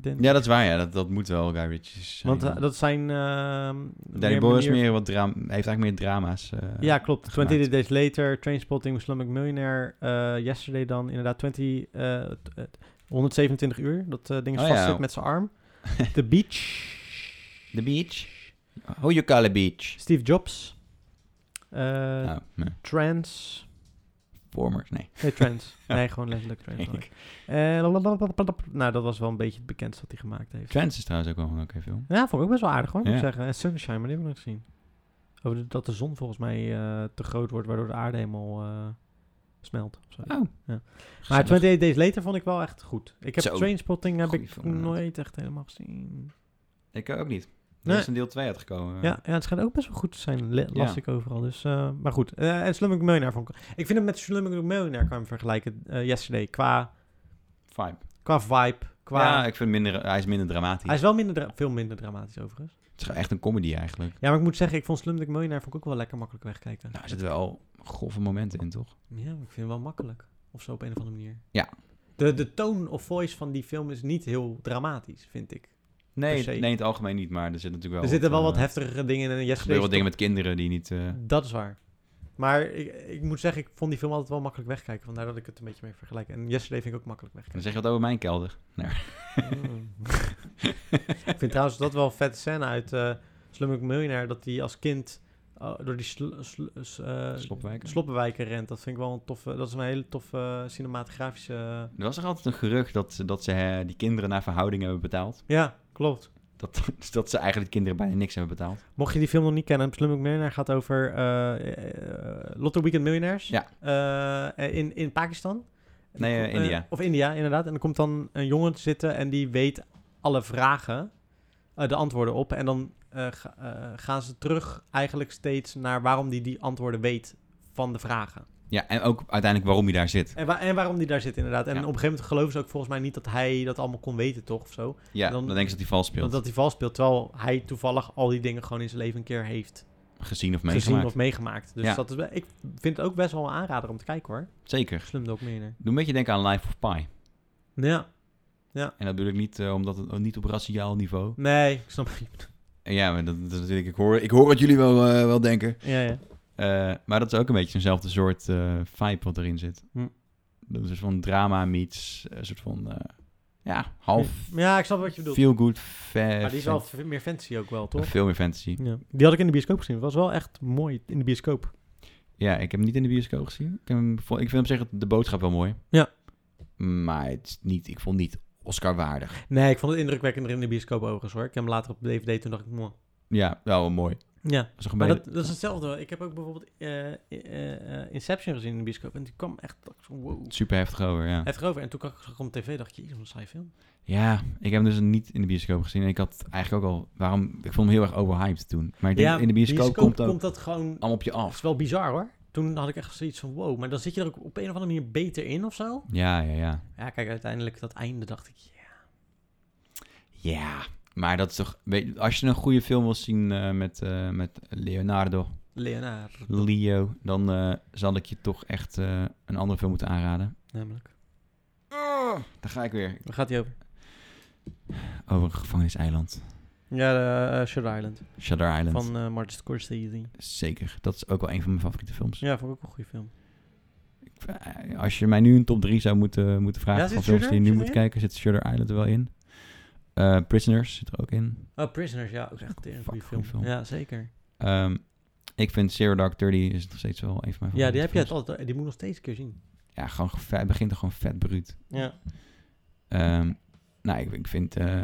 Speaker 1: Den-
Speaker 2: ja, dat is waar. Ja, dat, dat moet wel Guy Ritchie zijn.
Speaker 1: Want eh, dat zijn... ehm
Speaker 2: Danny Boyle is meer wat drama... Hij heeft eigenlijk meer drama's. eh,
Speaker 1: Ja, klopt.
Speaker 2: gemaakt.
Speaker 1: 20 Days Later, Trainspotting, Slumdog Millionaire, eh, Yesterday dan, inderdaad. 20, eh, t- eh, 127 uur, dat eh, ding is
Speaker 2: Oh, ja.
Speaker 1: vastzit met zijn arm. The Beach,
Speaker 2: The Beach. How you call a beach?
Speaker 1: Steve Jobs, eh
Speaker 2: Nou, nee.
Speaker 1: Trance.
Speaker 2: Formers, nee.
Speaker 1: Nee, Trance. nee, gewoon letterlijk Trance.
Speaker 2: Denk ik.
Speaker 1: Eh, lalalalalalala. nou, dat was wel een beetje het bekendste wat hij gemaakt heeft.
Speaker 2: Trends is trouwens ook wel een oké film.
Speaker 1: Ja, vond ik ook best wel aardig hoor, moet ik
Speaker 2: Ja.
Speaker 1: zeggen. En Sunshine, maar die heb ik nog gezien. Over de- dat de zon volgens mij eh, te groot wordt, waardoor de aarde helemaal eh, smelt. of zo.
Speaker 2: Oh.
Speaker 1: Ja. Maar 28 Days Later vond ik wel echt goed. Ik heb
Speaker 2: Zo.
Speaker 1: Trainspotting heb
Speaker 2: Goeie
Speaker 1: ik
Speaker 2: film, inderdaad.
Speaker 1: nooit echt helemaal gezien.
Speaker 2: Ik ook niet. Er
Speaker 1: Nee.
Speaker 2: is een deel 2 uitgekomen. eh,
Speaker 1: Ja, ja, het schijnt ook best wel goed te zijn, le- las
Speaker 2: Ja.
Speaker 1: ik overal. Dus, eh, maar goed, Eh, en Slumdog Millionaire vond ik... Ik vind hem met Slumdog Millionaire kan je hem vergelijken, eh, Yesterday, qua,
Speaker 2: Vibe.
Speaker 1: qua vibe, qua...
Speaker 2: Ja, ik vind minder, hij is minder dramatisch.
Speaker 1: Hij is wel minder dra- veel minder dramatisch overigens.
Speaker 2: Het is echt een comedy eigenlijk.
Speaker 1: Ja, maar ik moet zeggen, ik vond Slumdog Millionaire vond ik ook wel lekker makkelijk wegkijken.
Speaker 2: Nou, er zitten wel grove momenten in, toch?
Speaker 1: Ja, maar ik vind het wel makkelijk. Of zo op een of andere manier.
Speaker 2: Ja.
Speaker 1: De, de toon of voice van die film is niet heel dramatisch, vind ik.
Speaker 2: Nee,
Speaker 1: Per se.
Speaker 2: nee, in het algemeen niet, maar er zitten natuurlijk wel...
Speaker 1: er zitten wel
Speaker 2: eh,
Speaker 1: wat heftigere dingen in. En
Speaker 2: Er gebeuren
Speaker 1: Yesterday
Speaker 2: wat
Speaker 1: is
Speaker 2: dingen met kinderen die niet... eh,
Speaker 1: toch- Dat is waar. Maar ik, ik moet zeggen, ik vond die film altijd wel makkelijk wegkijken. Vandaar dat ik het een beetje mee vergelijk. En Yesterday vind ik ook makkelijk
Speaker 2: Dan
Speaker 1: wegkijken.
Speaker 2: zeg je wat over mijn kelder.
Speaker 1: Mm. ik vind trouwens dat wel een vette scène uit eh Slumdog Millionaire. Dat hij als kind eh, door die sl- sl- s- eh,
Speaker 2: Sloppenwijk.
Speaker 1: sloppenwijken rent. Dat vind ik wel een toffe... Dat is een hele toffe eh, cinematografische...
Speaker 2: Er was er altijd een gerucht dat, ze- dat ze eh, die kinderen naar verhouding hebben betaald.
Speaker 1: Ja, klopt.
Speaker 2: Dat, dat ze eigenlijk de kinderen bijna niks hebben betaald.
Speaker 1: Mocht je die film nog niet kennen, Slumdog Millionaire gaat over eh, eh, Lotto Weekend Millionaires.
Speaker 2: Ja.
Speaker 1: Eh, in, in Pakistan.
Speaker 2: Nee, eh,
Speaker 1: Eh,
Speaker 2: India.
Speaker 1: Of India, inderdaad. En er komt dan een jongen te zitten en die weet alle vragen, eh, de antwoorden op. En dan eh, ga- eh, gaan ze terug eigenlijk steeds naar waarom die die antwoorden weet van de vragen.
Speaker 2: Ja, en ook uiteindelijk waarom je daar zit.
Speaker 1: En, wa- en waarom die daar zit, inderdaad. En
Speaker 2: Ja.
Speaker 1: op een gegeven moment geloven ze ook volgens mij niet dat hij dat allemaal kon weten, toch? Of zo.
Speaker 2: Ja, dan,
Speaker 1: Dan-
Speaker 2: denken ze dat hij vals speelt.
Speaker 1: Dat hij vals speelt, terwijl hij toevallig al die dingen gewoon in zijn leven een keer heeft.
Speaker 2: Gezien of
Speaker 1: gezien
Speaker 2: meegemaakt.
Speaker 1: of meegemaakt. Dus
Speaker 2: Ja.
Speaker 1: dat is, wel- ik vind het ook best wel een aanrader om te kijken hoor.
Speaker 2: Zeker.
Speaker 1: Slumdog Millionaire.
Speaker 2: Doe een beetje denken aan Life of Pi.
Speaker 1: Ja.
Speaker 2: En dat bedoel ik niet, eh, omdat het, niet op raciaal niveau.
Speaker 1: Nee, ik snap het.
Speaker 2: En ja, maar dat, dat is natuurlijk... Ik hoor, ik hoor wat jullie wel, eh, wel denken.
Speaker 1: Ja, ja.
Speaker 2: Eh, maar dat is ook een beetje eenzelfde soort eh vibe wat erin zit.
Speaker 1: Hm.
Speaker 2: Dat is een soort van drama meets, eh, een soort van eh, Ja, half
Speaker 1: Ja, ik snap wat je bedoelt.
Speaker 2: feel good, fa-
Speaker 1: maar die is wel f- meer fancy ook wel, toch?
Speaker 2: veel meer fantasy.
Speaker 1: Ja. Die had ik in de bioscoop gezien. Het was wel echt mooi in de bioscoop.
Speaker 2: Ja, ik heb hem niet in de bioscoop gezien. Ik, heb hem, vo- ik vind hem zeggen de boodschap wel mooi.
Speaker 1: Ja.
Speaker 2: Maar het is niet, ik vond het niet Oscar waardig.
Speaker 1: Nee, ik vond het indrukwekkender in de bioscoop overigens hoor. Ik heb hem later op DVD, toen dacht ik, mooi.
Speaker 2: Ja, wel, wel mooi.
Speaker 1: Ja,
Speaker 2: Dat is een
Speaker 1: maar
Speaker 2: beetje-
Speaker 1: dat, dat is hetzelfde. Ik heb ook bijvoorbeeld eh, eh, eh, Inception gezien in de bioscoop. En die kwam echt, dacht ik van wow.
Speaker 2: super heftig over, ja.
Speaker 1: Heftig over. En toen zag ik hem op tv, dacht ik, jezus, wat een saai film.
Speaker 2: Ja, ik heb hem dus niet in de bioscoop gezien. En ik had eigenlijk ook al... Waarom, ik vond hem heel erg overhyped toen. Maar ik denk, in de bioscoop, komt ook
Speaker 1: dat gewoon...
Speaker 2: allemaal op je
Speaker 1: Het is
Speaker 2: af.
Speaker 1: wel bizar hoor. Toen had ik echt zoiets van wow. Maar dan zit je er ook op een of andere manier beter in of zo.
Speaker 2: Ja, ja, ja.
Speaker 1: Ja, kijk, uiteindelijk dat einde dacht ik, ja.
Speaker 2: Ja, maar dat is toch... Weet, je, als je een goede film wil zien eh, met, eh, met Leonardo,
Speaker 1: Leonard,
Speaker 2: Leo... dan eh, zal ik je toch echt eh, een andere film moeten aanraden.
Speaker 1: namelijk.
Speaker 2: daar ga ik weer.
Speaker 1: Waar gaat hij over?
Speaker 2: Over een gevangeniseiland.
Speaker 1: Ja, de, eh, Shutter Island.
Speaker 2: Shutter Island.
Speaker 1: Van eh Martin Scorsese.
Speaker 2: Zeker. Dat is ook wel een van mijn favoriete films.
Speaker 1: Ja, vond ik ook een goede film.
Speaker 2: Ik- eh, Als je mij nu een top 3 zou moeten, moeten vragen
Speaker 1: Ja, zit
Speaker 2: van films die je
Speaker 1: Shudder-
Speaker 2: nu
Speaker 1: zit
Speaker 2: moet
Speaker 1: erin?
Speaker 2: kijken, zit Shutter Island er wel in. Eh, Prisoners zit er ook in.
Speaker 1: Oh, Prisoners, ja, ook echt een goede
Speaker 2: Fuck,
Speaker 1: film.
Speaker 2: goede film.
Speaker 1: Ja, zeker.
Speaker 2: Ehm, ik vind Zero Dark Thirty is nog steeds wel een van mijn
Speaker 1: Ja, die
Speaker 2: favoriete
Speaker 1: heb je het
Speaker 2: films.
Speaker 1: altijd, die moet ik nog steeds een keer zien.
Speaker 2: Ja, gewoon vet, het begint er gewoon vet bruut.
Speaker 1: Ja.
Speaker 2: Ehm, nou, ik, ik vind eh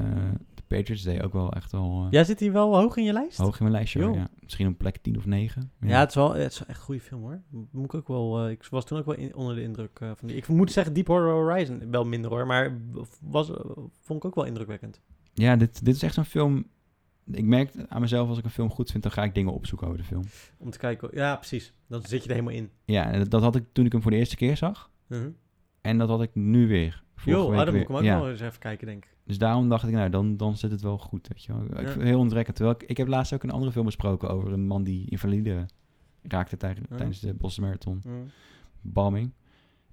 Speaker 2: The Patriots Day ook wel echt wel eh,
Speaker 1: Jij zit hier wel hoog in je lijst?
Speaker 2: hoog in mijn lijstje. hoor,
Speaker 1: Joh.
Speaker 2: Ja. Misschien op plek 10 of 9.
Speaker 1: Oh, Ja, het, is wel, het is wel echt een goede film hoor. Moet ik ook wel, eh, ik was toen ook wel in- onder de indruk eh, van die. Ik moet zeggen, Deep Horror Horizon wel minder hoor, maar was, eh, vond ik ook wel indrukwekkend.
Speaker 2: Ja, dit, dit is echt zo'n film... Ik merk aan mezelf, als ik een film goed vind, dan ga ik dingen opzoeken over de film.
Speaker 1: Om te kijken, ja precies, dan zit je er helemaal in.
Speaker 2: Ja, en dat, dat had ik toen ik hem voor de eerste keer zag.
Speaker 1: Mhm.
Speaker 2: En dat had ik nu weer. Vorige
Speaker 1: Joh, ah, dan
Speaker 2: week
Speaker 1: moet
Speaker 2: weer.
Speaker 1: ik hem ook
Speaker 2: ja.
Speaker 1: wel eens even kijken denk ik.
Speaker 2: Dus daarom dacht ik, nou, dan, dan zit het wel goed. Weet je wel. Ik
Speaker 1: Ja.
Speaker 2: vind het heel ontrekkend. Terwijl ik, ik heb laatst ook een andere film besproken over een man die invalide raakte tij- tijdens de Boston Marathon
Speaker 1: Mm.
Speaker 2: bombing.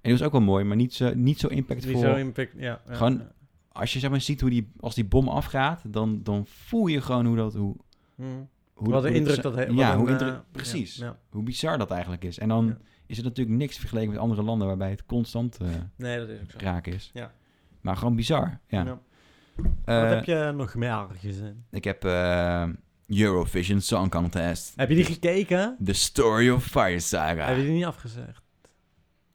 Speaker 2: En die was ook wel mooi, maar niet zo, niet zo
Speaker 1: Die
Speaker 2: impactvol.
Speaker 1: zo impact, ja. ja,
Speaker 2: Gewoon-
Speaker 1: ja.
Speaker 2: Als je zeg maar ziet hoe die, als die bom afgaat, dan, dan voel je gewoon hoe dat, hoe,
Speaker 1: Mm.
Speaker 2: hoe,
Speaker 1: wat
Speaker 2: hoe
Speaker 1: een
Speaker 2: dat-
Speaker 1: indruk dat heeft.
Speaker 2: ja, hoe indruk, precies.
Speaker 1: Ja, ja.
Speaker 2: Hoe bizar dat eigenlijk is. En dan
Speaker 1: Ja.
Speaker 2: is het natuurlijk niks vergeleken met andere landen waarbij het constant eh,
Speaker 1: Nee, dat is ook zo.
Speaker 2: raak is.
Speaker 1: Ja.
Speaker 2: Maar gewoon bizar. Ja.
Speaker 1: Ja.
Speaker 2: Eh,
Speaker 1: Wat heb je nog meer gezien?
Speaker 2: Ik heb eh, Eurovision Song Contest.
Speaker 1: Heb je die gekeken?
Speaker 2: The Story of Fire
Speaker 1: Heb je
Speaker 2: Saga.
Speaker 1: die niet afgezegd?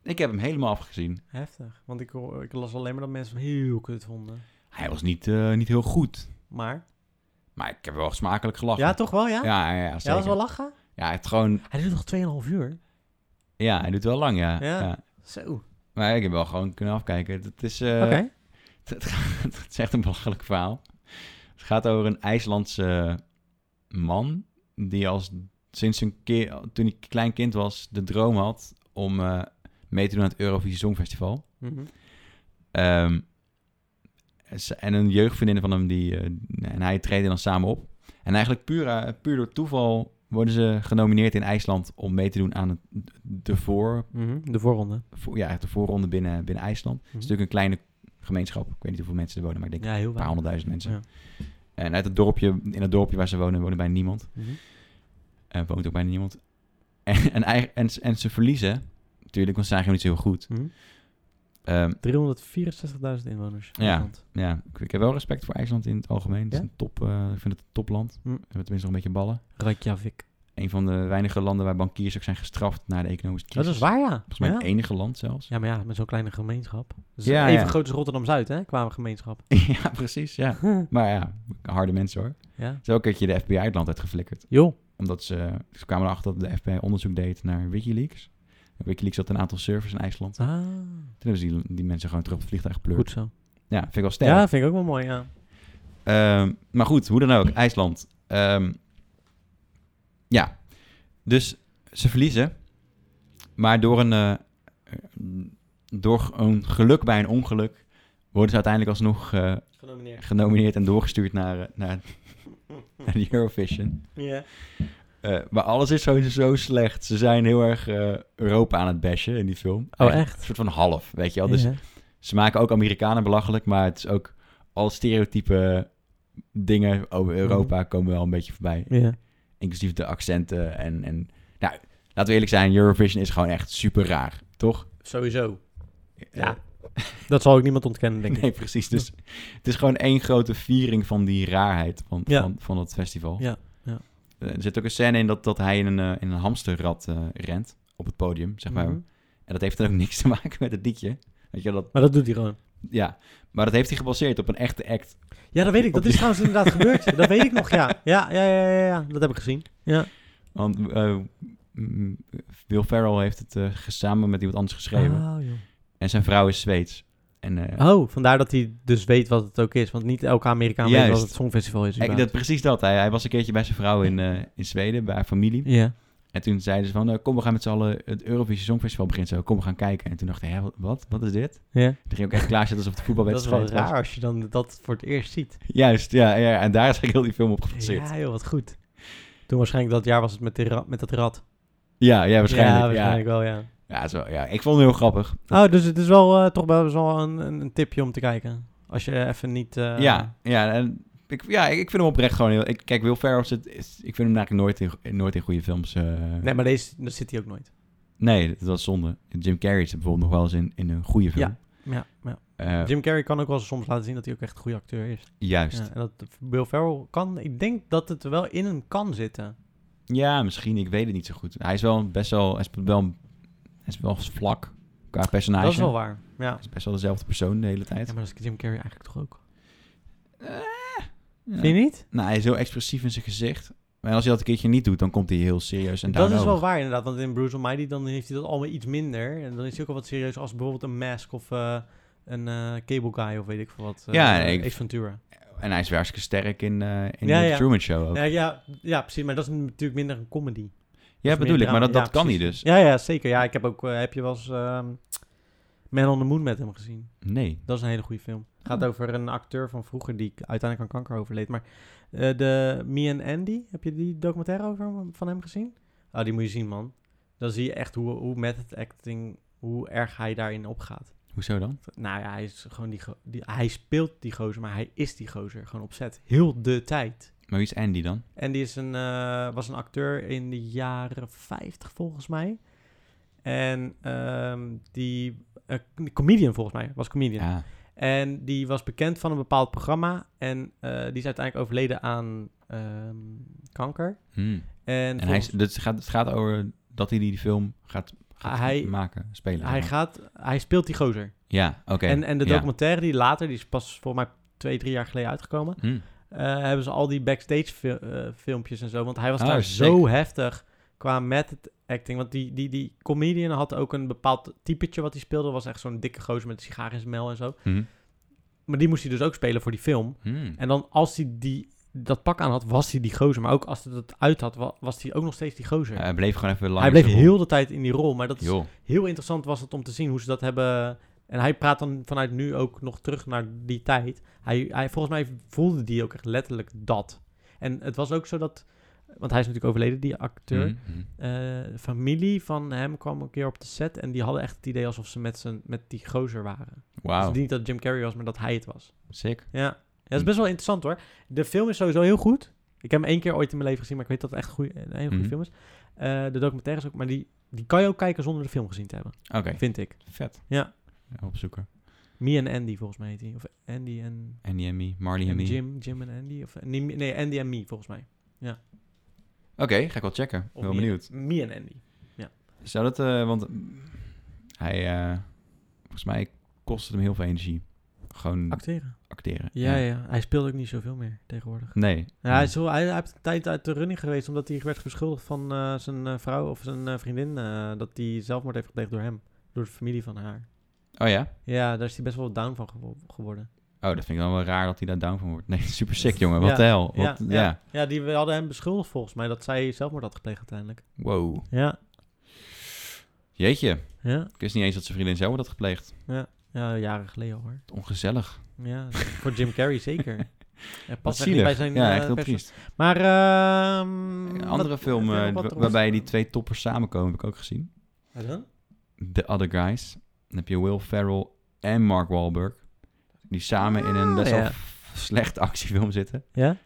Speaker 2: Ik heb hem helemaal afgezien.
Speaker 1: Heftig. Want ik, hoor- ik las alleen maar dat mensen hem heel kut vonden.
Speaker 2: Hij was niet, eh, niet heel goed.
Speaker 1: Maar.
Speaker 2: Maar ik heb wel smakelijk gelachen.
Speaker 1: Ja, toch wel, ja? Ja,
Speaker 2: ja, ja, ja,
Speaker 1: dat
Speaker 2: zeker.
Speaker 1: was wel lachen.
Speaker 2: ja, hij heeft gewoon...
Speaker 1: Hij duurt nog 2,5 uur.
Speaker 2: Ja, hij doet wel lang, ja.
Speaker 1: Ja.
Speaker 2: ja.
Speaker 1: Zo. Oké.
Speaker 2: Maar ik heb wel gewoon kunnen afkijken. Het is, eh, het is echt een belachelijk verhaal. Het gaat over een IJslandse man... die als sinds een keer, toen ik klein kind was, de droom had... om eh, mee te doen aan het Eurovisie Songfestival.
Speaker 1: Mhm.
Speaker 2: Ehm, ze- en een jeugdvriendin van hem, die, eh, en hij treden dan samen op. En eigenlijk puur, eh, puur door toeval worden ze genomineerd in IJsland om mee te doen aan het, de, voor,
Speaker 1: Mhm. De voorronde.
Speaker 2: voor- ja, de voorronde binnen, binnen IJsland. Het is
Speaker 1: Mhm.
Speaker 2: natuurlijk een kleine gemeenschap. Ik weet niet hoeveel mensen er wonen, maar ik denk
Speaker 1: Ja, heel
Speaker 2: een paar
Speaker 1: waar.
Speaker 2: honderdduizend mensen.
Speaker 1: Ja.
Speaker 2: En uit het dorpje, in het dorpje waar ze wonen, wonen bijna niemand.
Speaker 1: Mhm.
Speaker 2: Eh woont ook bijna niemand. En, en, eigen- en, en ze verliezen, natuurlijk, want ze zijn eigenlijk niet zo heel goed.
Speaker 1: Mhm.
Speaker 2: Ehm,
Speaker 1: 364.000 inwoners.
Speaker 2: Ja. Ja, ik, ik heb wel respect voor IJsland in het algemeen. Het is
Speaker 1: Ja?
Speaker 2: een top, eh, ik vind het een topland.
Speaker 1: Hm.
Speaker 2: We hebben tenminste nog een beetje ballen.
Speaker 1: Reykjavik.
Speaker 2: Een van de weinige landen waar bankiers ook zijn gestraft na de economische
Speaker 1: Dat
Speaker 2: crisis.
Speaker 1: is waar, ja.
Speaker 2: Volgens mij
Speaker 1: ja.
Speaker 2: het enige land zelfs.
Speaker 1: Ja, maar ja, met zo'n kleine gemeenschap. Dus
Speaker 2: Ja,
Speaker 1: even
Speaker 2: ja.
Speaker 1: groot als Rotterdam-Zuid, hè, qua gemeenschap.
Speaker 2: ja, precies, ja.
Speaker 1: Hm.
Speaker 2: Maar ja, harde mensen hoor.
Speaker 1: ja.
Speaker 2: Zo een keertje de FBI het land uitgeflikkerd.
Speaker 1: Joh.
Speaker 2: Omdat ze, ze kwamen erachter dat de FBI onderzoek deed naar Wikileaks. En Wikileaks had een aantal servers in IJsland.
Speaker 1: Ah,
Speaker 2: Toen hebben ze die, die mensen gewoon terug op het vliegtuig gepleurd.
Speaker 1: goed zo.
Speaker 2: Ja, vind ik wel sterk.
Speaker 1: Ja, vind ik ook wel mooi, ja.
Speaker 2: Ehm, maar goed, hoe dan ook, IJsland. Ehm, ja, dus ze verliezen. Maar door een, eh, door een geluk bij een ongeluk worden ze uiteindelijk alsnog eh,
Speaker 1: Genomineerd.
Speaker 2: genomineerd en doorgestuurd naar, eh, naar, naar de Eurovision.
Speaker 1: Ja.
Speaker 2: Eh, maar alles is zo, zo slecht. Ze zijn heel erg eh, Europa aan het bashen in die film.
Speaker 1: Oh,
Speaker 2: Echt
Speaker 1: echt?
Speaker 2: Een soort van half, weet je wel. Dus
Speaker 1: Ja.
Speaker 2: ze maken ook Amerikanen belachelijk, maar het is ook al stereotype dingen over
Speaker 1: Mhm.
Speaker 2: Europa komen wel een beetje voorbij.
Speaker 1: Ja.
Speaker 2: Inclusief de accenten en, en nou, laten we eerlijk zijn, Eurovision is gewoon echt super raar, toch?
Speaker 1: Sowieso. Ja.
Speaker 2: Eh,
Speaker 1: Dat zal ook niemand ontkennen, denk ik.
Speaker 2: Nee, precies. Dus het is gewoon één grote viering van die raarheid van,
Speaker 1: Ja.
Speaker 2: van, van het festival.
Speaker 1: Ja, ja.
Speaker 2: Eh, Er zit ook een scène in dat, dat hij in een, eh, in een hamsterrad eh, rent op het podium, zeg maar.
Speaker 1: Mhm.
Speaker 2: En dat heeft dan ook niks te maken met het liedje. Weet je, dat,
Speaker 1: Maar dat doet hij gewoon.
Speaker 2: ja. Maar dat heeft hij gebaseerd op een echte act.
Speaker 1: Ja, dat weet ik. Dat
Speaker 2: Op
Speaker 1: is trouwens inderdaad gebeurd. Dat weet ik nog, ja. Ja, ja, ja, ja, ja. Dat heb ik gezien. Ja.
Speaker 2: Want eh, mm, Will Ferrell heeft het eh, samen met iemand anders geschreven.
Speaker 1: Oh, joh.
Speaker 2: En zijn vrouw is Zweeds. En, eh,
Speaker 1: Oh, vandaar dat hij dus weet wat het ook is. Want niet elke Amerikaan weet
Speaker 2: Juist.
Speaker 1: wat het Songfestival is.
Speaker 2: dus ik, dat, precies dat. Hij, hij was een keertje bij zijn vrouw in, eh, in Zweden, bij haar familie.
Speaker 1: Ja.
Speaker 2: En toen zeiden ze van, eh, kom we gaan met z'n allen het Eurovisie Songfestival begint zo, kom we gaan kijken. En toen dacht hij, hè, wat, wat is dit?
Speaker 1: ja.
Speaker 2: Toen ging ook echt klaarzitten alsof het
Speaker 1: Dat is wel
Speaker 2: voetbalwedstrijd
Speaker 1: raar als je dan dat voor het eerst ziet.
Speaker 2: was. Juist, ja, ja. En daar is eigenlijk heel die film op gebaseerd. Ja,
Speaker 1: Ja, joh, wat goed. Toen waarschijnlijk dat jaar was het met, die ra- met dat rad.
Speaker 2: ja, waarschijnlijk.
Speaker 1: Ja,
Speaker 2: Ja,
Speaker 1: waarschijnlijk wel, ja.
Speaker 2: Ja, het is wel- ja, ik vond het heel grappig.
Speaker 1: Oh, dus het is wel eh, toch wel, is wel een, een, een tipje om te kijken. Als je even niet... eh,
Speaker 2: ja, ja, en ik, ja, ik vind hem oprecht gewoon heel... Ik, kijk, Will Ferrell, zit, is, ik vind hem eigenlijk nooit in, nooit in goede films... eh,
Speaker 1: Nee, maar deze dat zit hij ook nooit.
Speaker 2: nee, dat was zonde. Jim Carrey zit bijvoorbeeld nog wel eens in, in een goede film.
Speaker 1: Ja. Ja, ja.
Speaker 2: Eh,
Speaker 1: Jim Carrey kan ook wel soms laten zien dat hij ook echt een goede acteur is.
Speaker 2: juist.
Speaker 1: Ja, en dat Bill Ferrell kan... Ik denk dat het er wel in hem kan zitten.
Speaker 2: Ja, misschien. Ik weet het niet zo goed. Hij is wel best wel... Hij is wel, hij is wel vlak qua personage.
Speaker 1: Dat is wel waar. Ja.
Speaker 2: Hij is best wel dezelfde persoon de hele tijd. Eh,
Speaker 1: ja, maar dat is Jim Carrey eigenlijk toch ook.
Speaker 2: Ja.
Speaker 1: Vind je niet?
Speaker 2: Nou, hij is heel expressief in zijn gezicht. Maar als hij dat een keertje niet doet, dan komt hij heel serieus en
Speaker 1: Dat is wel
Speaker 2: down-over.
Speaker 1: waar inderdaad, want in Bruce Almighty dan heeft hij dat allemaal iets minder. En dan is hij ook al wat serieus als bijvoorbeeld een Mask of eh, een eh, Cable Guy of weet ik veel wat. eh,
Speaker 2: Ja, nee, ik-
Speaker 1: Ace Ventura.
Speaker 2: En hij is weer hartstikke sterk in, eh, in
Speaker 1: Ja,
Speaker 2: de
Speaker 1: ja.
Speaker 2: Truman Show ook.
Speaker 1: Ja, ja, ja, precies, maar dat is natuurlijk minder een comedy.
Speaker 2: ja,
Speaker 1: meer
Speaker 2: bedoel ik.
Speaker 1: drama.
Speaker 2: Maar dat, dat
Speaker 1: Ja,
Speaker 2: kan hij
Speaker 1: precies.
Speaker 2: dus.
Speaker 1: Ja, ja, zeker. Ja, ik heb ook, eh, heb je wel eens ehm, Man on the Moon met hem gezien.
Speaker 2: dus. Nee.
Speaker 1: Dat is een hele goede film. Het gaat
Speaker 2: Oh.
Speaker 1: over een acteur van vroeger die uiteindelijk aan kanker overleed. Maar eh, de Me and Andy, heb je die documentaire over hem- van hem gezien? Ah, die moet je zien, man. Dan zie je echt hoe, hoe met het acting, hoe erg hij daarin opgaat.
Speaker 2: Hoezo dan?
Speaker 1: Nou ja, hij is gewoon die, go- die hij speelt die gozer, maar hij is die gozer gewoon opzet. Heel de tijd.
Speaker 2: Maar wie is Andy dan?
Speaker 1: En die is een, eh, was een acteur in de jaren 50 volgens mij. En ehm, die, eh, comedian volgens mij, was comedian.
Speaker 2: Ja.
Speaker 1: En die was bekend van een bepaald programma. En eh, die is uiteindelijk overleden aan ehm, kanker.
Speaker 2: Hmm.
Speaker 1: En,
Speaker 2: En hij is,
Speaker 1: volgens-
Speaker 2: dit gaat, het gaat over dat hij die film gaat, gaat
Speaker 1: Ah, Hij-
Speaker 2: maken, spelen.
Speaker 1: hij, gaat, hij speelt die gozer.
Speaker 2: Ja, oké.
Speaker 1: En, en de
Speaker 2: ja.
Speaker 1: documentaire die later, die is pas voor mij twee, drie jaar geleden uitgekomen.
Speaker 2: Hmm.
Speaker 1: eh, hebben ze al die backstage fil- eh, filmpjes en zo. Want hij was
Speaker 2: Oh,
Speaker 1: daar
Speaker 2: sick.
Speaker 1: zo heftig qua met het acting. Want die, die, die comedian had ook een bepaald typetje wat hij speelde. Dat was echt zo'n dikke gozer met een sigaar in zijn mel en zo.
Speaker 2: Hmm.
Speaker 1: Maar die moest hij dus ook spelen voor die film.
Speaker 2: Hmm.
Speaker 1: En dan als hij die, dat pak aan had, was hij die gozer. Maar ook als hij dat uit had, wa- was hij ook nog steeds die gozer.
Speaker 2: Hij bleef gewoon even lang.
Speaker 1: hij bleef heel de tijd in die rol. Maar dat is,
Speaker 2: Joh. hmm,
Speaker 1: heel interessant was het om te zien hoe ze dat hebben... En hij praat dan vanuit nu ook nog terug naar die tijd. Hij, hij, volgens mij voelde die ook echt letterlijk dat. En het was ook zo dat... Want hij is natuurlijk overleden, die acteur.
Speaker 2: Hmm, hmm.
Speaker 1: Eh, familie van hem kwam een keer op de set... en die hadden echt het idee alsof ze met, z'n- met die gozer waren.
Speaker 2: Wauw.
Speaker 1: Dus niet dat Jim Carrey was, maar dat hij het was.
Speaker 2: Sick.
Speaker 1: Ja. ja, dat
Speaker 2: Hm.
Speaker 1: is best wel interessant hoor. De film is sowieso heel goed. Ik heb hem één keer ooit in mijn leven gezien, maar ik weet dat het echt goeie- een hele goede
Speaker 2: Mhm.
Speaker 1: film is. Eh, de documentaire is ook, maar die, die kan je ook kijken zonder de film gezien te hebben,
Speaker 2: Oké.
Speaker 1: vind ik.
Speaker 2: Vet.
Speaker 1: Ja.
Speaker 2: Ja, Opzoeken.
Speaker 1: Me en Andy volgens mij heet die. Of Andy en,
Speaker 2: Andy en me, Marley en
Speaker 1: en
Speaker 2: me.
Speaker 1: Jim, Jim en Andy. Of, nee, me- nee, Andy en Me volgens mij.
Speaker 2: Oké, ga ik wel checken.
Speaker 1: Of
Speaker 2: Wel
Speaker 1: me-
Speaker 2: benieuwd.
Speaker 1: Me en Andy.
Speaker 2: Zou dat, eh, want mm, hij, eh, volgens mij kost het hem heel veel energie. Gewoon
Speaker 1: Acteren.
Speaker 2: acteren.
Speaker 1: Ja, ja. hij speelt ook niet zoveel meer tegenwoordig.
Speaker 2: Nee.
Speaker 1: Ja, hij, is wel- hij, hij heeft een tijd uit de running geweest omdat hij werd beschuldigd van eh, zijn eh, vrouw of zijn eh, vriendin. eh, dat hij zelfmoord heeft gepleegd door hem. Door de familie van haar.
Speaker 2: Oh ja?
Speaker 1: Ja, daar is hij best wel down van gewo- geworden.
Speaker 2: Oh, dat vind ik dan wel raar dat hij daar down van wordt. Nee, super sick, jongen. Wat de hel. Wat, ja,
Speaker 1: ja. ja, die we hadden hem beschuldigd volgens mij dat zij zelfmoord had gepleegd uiteindelijk.
Speaker 2: Wow.
Speaker 1: Ja,
Speaker 2: Jeetje.
Speaker 1: ja,
Speaker 2: Ik wist niet eens dat zijn vriendin zelf had gepleegd.
Speaker 1: ja jaren geleden al, hoor.
Speaker 2: Ongezellig.
Speaker 1: Ja, voor Jim Carrey zeker. Ja,
Speaker 2: Wat
Speaker 1: past echt niet
Speaker 2: zielig.
Speaker 1: bij zijn
Speaker 2: ja,
Speaker 1: eh,
Speaker 2: echt heel
Speaker 1: perso-
Speaker 2: triest.
Speaker 1: Maar ehm,
Speaker 2: Een
Speaker 1: wat-
Speaker 2: andere film
Speaker 1: heb jij nog wat
Speaker 2: eh, wa-
Speaker 1: erop
Speaker 2: waarbij die
Speaker 1: staan?
Speaker 2: twee toppers samenkomen, heb ik ook gezien.
Speaker 1: Wat dan?
Speaker 2: The Other Guys. Dan heb je Will Ferrell en Mark Wahlberg. Die samen in een
Speaker 1: Ah,
Speaker 2: best wel
Speaker 1: ja.
Speaker 2: f- slechte actiefilm zitten.
Speaker 1: Ja?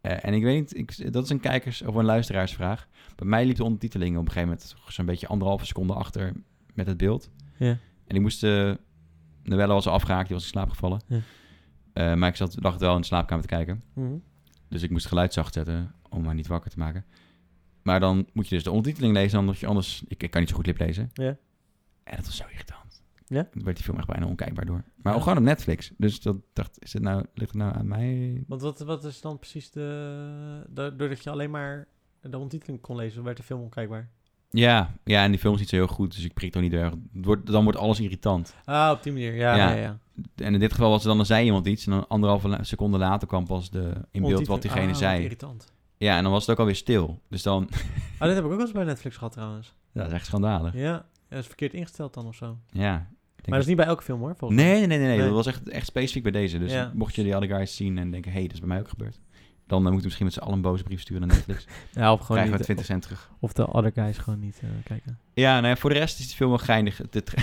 Speaker 2: Eh, en ik weet niet, ik, dat is een kijkers- of een luisteraarsvraag. Bij mij liep de ondertiteling op een gegeven moment zo'n beetje anderhalve seconde achter met het beeld.
Speaker 1: Ja.
Speaker 2: En ik moest eh, De bellen was al afgehaakt, die was in slaap gevallen.
Speaker 1: Ja.
Speaker 2: Eh, maar ik zat, lag wel in de slaapkamer te kijken.
Speaker 1: Mhm.
Speaker 2: Dus ik moest het geluid zacht zetten om haar niet wakker te maken. Maar dan moet je dus de ondertiteling lezen, omdat je anders... Ik, ik kan niet zo goed lip lezen.
Speaker 1: Ja.
Speaker 2: En dat was zo irritant.
Speaker 1: Ja?
Speaker 2: Dan werd die film echt bijna onkijkbaar door.
Speaker 1: Ja.
Speaker 2: Maar ook gewoon op Netflix. Dus dat dacht, is het nou, ligt het nou aan mij?
Speaker 1: Want wat, wat is dan precies de... da- Doordat je alleen maar de ondertiteling kon lezen, werd de film onkijkbaar.
Speaker 2: Ja, ja, en die film is niet zo heel goed, dus ik prik toch niet erg. Het wordt, dan wordt alles irritant.
Speaker 1: Ah, op die manier. Ja, ja,
Speaker 2: Ja.
Speaker 1: ja.
Speaker 2: En in dit geval was het dan, dan zei iemand iets en dan anderhalve la- seconde later kwam pas de, in beeld wat
Speaker 1: Ondertiteling-
Speaker 2: diegene
Speaker 1: Ah, wat
Speaker 2: zei.
Speaker 1: irritant.
Speaker 2: Ja, en dan was het ook alweer stil. Dus dan,
Speaker 1: Ah, dit heb ik ook wel eens bij Netflix gehad trouwens.
Speaker 2: dat is echt schandalig.
Speaker 1: Ja, dat is verkeerd ingesteld dan of zo.
Speaker 2: Ja. Ik denk
Speaker 1: Maar dat is niet bij elke film hoor, volgens
Speaker 2: Nee, nee, nee, nee,
Speaker 1: Nee.
Speaker 2: Dat was echt, echt specifiek bij deze. Dus
Speaker 1: Ja.
Speaker 2: mocht je die other guys zien en denken, hé, hey, dat is bij mij ook gebeurd. Dan eh, moet je misschien met z'n allen een boze brief sturen naar Netflix.
Speaker 1: mij. Ja, of gewoon
Speaker 2: Krijgen we
Speaker 1: niet. eh,
Speaker 2: 20 cent terug.
Speaker 1: Of, of de other guys gewoon niet eh, kijken.
Speaker 2: Ja, nou ja, voor de rest is die film wel geinig. Het, het,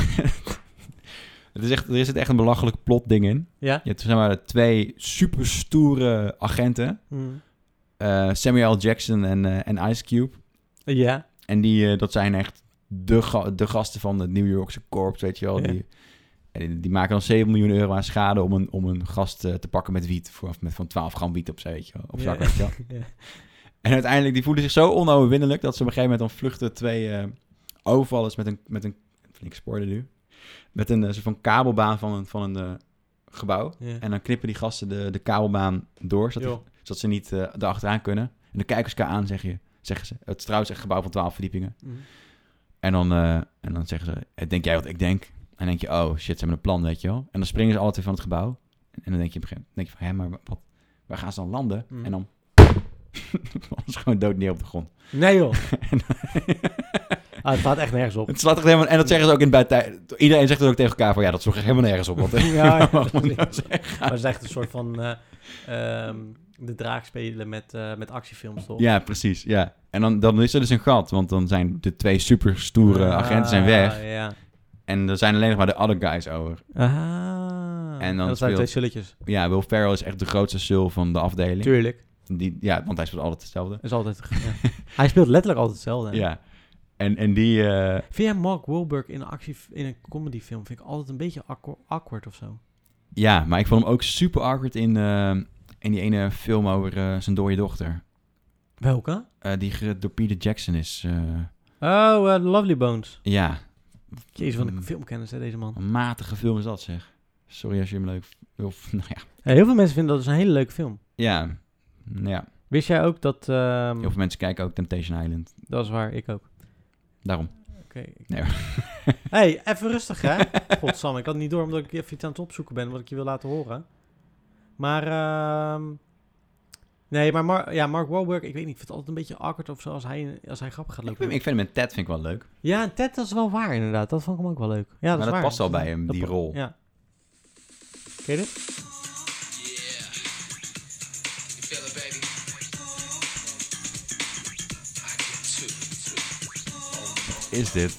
Speaker 2: het is echt, er zit echt een belachelijk plotding in.
Speaker 1: Ja?
Speaker 2: Je hebt zeg maar twee super stoere agenten.
Speaker 1: Mm.
Speaker 2: eh, Samuel L. Jackson en, eh, en Ice Cube.
Speaker 1: Ja.
Speaker 2: En die, eh, dat zijn echt de, ga- de gasten van het New Yorkse korps, weet je wel.
Speaker 1: Ja.
Speaker 2: Die, en die, die maken dan 7 miljoen euro aan schade om een, om een gast eh, te pakken met wiet. Voor, of met van 12 gram wiet op, zak, weet je wel, op zak,
Speaker 1: Ja.
Speaker 2: weet je wel.
Speaker 1: Ja.
Speaker 2: En uiteindelijk, die voelen zich zo onoverwinnelijk... dat ze op een gegeven moment dan vluchten twee eh, overvallers met een... Met een flink spoorde nu. Met een eh, soort van kabelbaan van een, van een eh, gebouw.
Speaker 1: Ja.
Speaker 2: En dan knippen die gasten de, de kabelbaan door... zodat die
Speaker 1: Joh.
Speaker 2: zodat ze niet eh erachteraan kunnen. En dan kijken ze elkaar aan, zeg je, zeggen ze. Het is trouwens echt een gebouw van twaalf verdiepingen.
Speaker 1: Mm.
Speaker 2: En dan, eh, en dan zeggen ze, "Eh, denk jij wat ik denk? En dan denk je, oh shit, ze hebben een plan, weet je wel. En dan springen ze alle twee van het gebouw. En dan denk je, op een gegeven moment- denk je van, hé, maar wat, waar gaan ze dan landen?
Speaker 1: Mm.
Speaker 2: En dan vallen ze gewoon dood neer op de grond.
Speaker 1: Nee joh. ah, het staat echt nergens op.
Speaker 2: Het slaat echt helemaal... En dat zeggen ze ook in het buiten... Iedereen zegt het ook tegen elkaar van, ja, dat sloeg echt helemaal nergens op. Wat,
Speaker 1: Ja, ja,
Speaker 2: wat
Speaker 1: dat
Speaker 2: moet ik
Speaker 1: is-
Speaker 2: nou zeggen?
Speaker 1: Maar het is echt een soort van eh, ehm, de draak spelen met, eh, met actiefilms, toch?
Speaker 2: Ja, precies, ja. En dan, dan is er dus een gat, want dan zijn de twee super stoere agenten zijn weg.
Speaker 1: Ah, ja.
Speaker 2: En er zijn alleen nog maar de other guys over.
Speaker 1: Ah.
Speaker 2: En dan
Speaker 1: dat zijn
Speaker 2: speelt-
Speaker 1: twee sulletjes.
Speaker 2: Ja, Will Ferrell is echt de grootste sul van de afdeling.
Speaker 1: Tuurlijk.
Speaker 2: Die, ja, want hij speelt altijd hetzelfde.
Speaker 1: Is altijd, ja. Hij speelt letterlijk altijd hetzelfde.
Speaker 2: Ja. En, en die... eh,
Speaker 1: Vind jij Mark Wahlberg in een, actie, in een comedyfilm vind ik altijd een beetje akko- awkward of zo?
Speaker 2: ja, maar ik vond hem ook super awkward in, eh, in die ene film over eh, zijn dode dochter.
Speaker 1: Welke?
Speaker 2: Eh, die ge- door Peter Jackson is. eh,
Speaker 1: Oh, eh, Lovely Bones.
Speaker 2: ja,
Speaker 1: Jezus, wat een
Speaker 2: Mm.
Speaker 1: filmkennis hè, deze man.
Speaker 2: een matige film is dat zeg. Sorry als je hem leuk... Of, nou ja.
Speaker 1: Ja, heel veel mensen vinden dat dus een hele leuke film.
Speaker 2: Ja. Nou ja.
Speaker 1: Wist jij ook dat... ehm,
Speaker 2: Heel veel mensen kijken ook Temptation Island.
Speaker 1: Dat is waar, ik ook.
Speaker 2: Daarom.
Speaker 1: Oké. ik-
Speaker 2: Nee.
Speaker 1: hey, even rustig hè. Godsam, ik had het niet door omdat ik even iets aan het opzoeken ben wat ik je wil laten horen. Maar, ehm, nee, maar Mar- ja, Mark Wahlberg, ik weet niet, ik vind het altijd een beetje awkward of zo als hij, als hij grappig gaat
Speaker 2: Ik
Speaker 1: lopen.
Speaker 2: vind, ik vind hem in Ted vind ik wel leuk.
Speaker 1: Ja, en Ted, dat is wel waar inderdaad. Dat vond ik hem ook wel leuk. Ja, dat
Speaker 2: maar
Speaker 1: is
Speaker 2: dat
Speaker 1: waar.
Speaker 2: past al bij hem,
Speaker 1: Dat
Speaker 2: die
Speaker 1: pa-
Speaker 2: rol.
Speaker 1: Ja. Ken je dit?
Speaker 3: You feel it, baby? I get two, two.
Speaker 2: Is dit?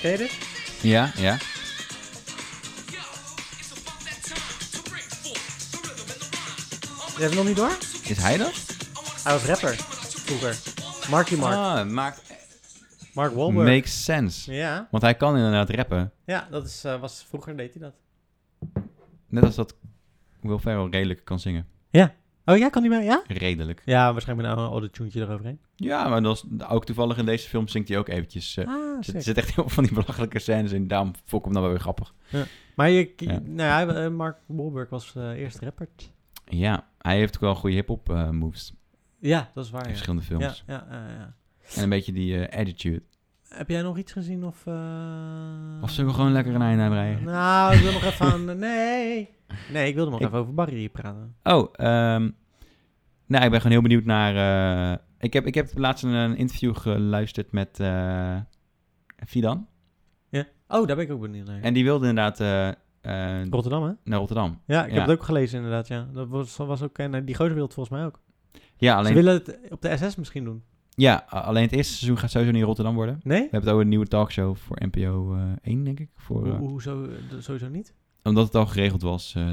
Speaker 1: Ken je dit?
Speaker 2: Ja, ja.
Speaker 3: Yo, it's about that time to bring forth the rhythm and the rhyme. I'm
Speaker 1: Je hebt hem nog niet door?
Speaker 2: Is hij dat?
Speaker 1: Hij was rapper vroeger. Marky Mark.
Speaker 2: Ah, maakt
Speaker 1: Mark Wahlberg.
Speaker 2: makes sense.
Speaker 1: Ja,
Speaker 2: Want hij kan inderdaad rappen.
Speaker 1: ja dat is, eh, was, vroeger deed hij dat.
Speaker 2: Net als dat Will Ferrell redelijk kan zingen.
Speaker 1: Oh ja, kan hij wel? Ja?
Speaker 2: Redelijk.
Speaker 1: Ja, waarschijnlijk met een autotune eroverheen.
Speaker 2: Ja, maar dat is ook toevallig in deze film zingt hij ook eventjes. eh,
Speaker 1: Ah,
Speaker 2: er
Speaker 1: sick.
Speaker 2: zit echt heel veel van die belachelijke scènes in. Daarom vond ik hem dan wel weer grappig.
Speaker 1: Maar je, je-
Speaker 2: Ja.
Speaker 1: nou ja, hij- eh, Mark Wahlberg was eh, eerst rapper.
Speaker 2: Ja, hij heeft ook wel goede hip-hop eh, moves
Speaker 1: Ja, dat is waar.
Speaker 2: in
Speaker 1: Ah, ja.
Speaker 2: verschillende
Speaker 1: Ja,
Speaker 2: films.
Speaker 1: ja, ja, ja.
Speaker 2: En een beetje die eh, attitude.
Speaker 1: Heb jij nog iets gezien of... eh,
Speaker 2: Of zullen we gewoon lekker een einde aan breien?
Speaker 1: Nou, ik wil nog even aan... Nee. Nee, ik wilde nog
Speaker 2: Ik-
Speaker 1: even over Barry hier praten.
Speaker 2: Oh, ehm, nou, ik ben gewoon heel benieuwd naar. eh, ik, heb, ik heb laatst een, een interview geluisterd met eh Fidan.
Speaker 1: Oh, daar ben ik ook benieuwd naar.
Speaker 2: En die wilde inderdaad eh, eh,
Speaker 1: Rotterdam, hè?
Speaker 2: naar Rotterdam.
Speaker 1: Ja, ik
Speaker 2: Ja.
Speaker 1: heb het ook gelezen inderdaad, ja. Dat was, was ook... En eh, die gozer wil het volgens mij ook.
Speaker 2: Ja
Speaker 1: Ze
Speaker 2: alleen,
Speaker 1: willen het op de SS misschien doen.
Speaker 2: ja, a- alleen het eerste seizoen gaat sowieso niet in Rotterdam worden.
Speaker 1: Nee?
Speaker 2: We hebben het over een nieuwe talkshow voor NPO eh 1, denk ik. Voor, eh,
Speaker 1: Hoe- Hoezo? eh, Sowieso niet?
Speaker 2: omdat het al geregeld was. eh,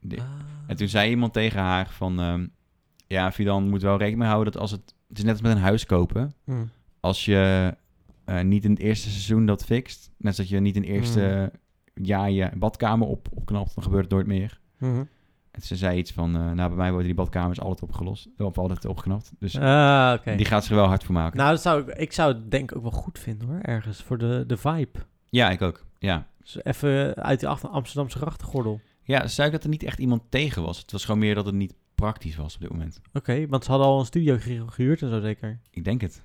Speaker 2: de-
Speaker 1: Ah.
Speaker 2: En toen zei iemand tegen haar van... ehm, ja, Fidan moet wel rekening mee houden dat als het... Het is net als met een huis kopen.
Speaker 1: Mm.
Speaker 2: Als je eh, niet in het eerste seizoen dat fixt. Net als dat je niet in het eerste
Speaker 1: Hmm.
Speaker 2: jaar je badkamer op, opknapt, dan gebeurt het nooit meer.
Speaker 1: Mhm.
Speaker 2: En ze zei iets van, eh, nou bij mij worden die badkamers altijd opgelost, of altijd opgeknapt. Dus
Speaker 1: Ah, oké.
Speaker 2: die gaat zich er wel hard voor maken.
Speaker 1: Nou, dat zou ik, ik zou het denk ik ook wel goed vinden hoor, ergens, voor de, de vibe.
Speaker 2: ja, ik ook. Ja.
Speaker 1: Dus even uit die achter Amsterdamse grachtengordel. Oké,
Speaker 2: ja, zei ik dat er niet echt iemand tegen was. Het was gewoon meer dat het niet praktisch was op dit moment.
Speaker 1: want ze hadden al een studio ge- gehuurd en zo zeker.
Speaker 2: Ik denk het.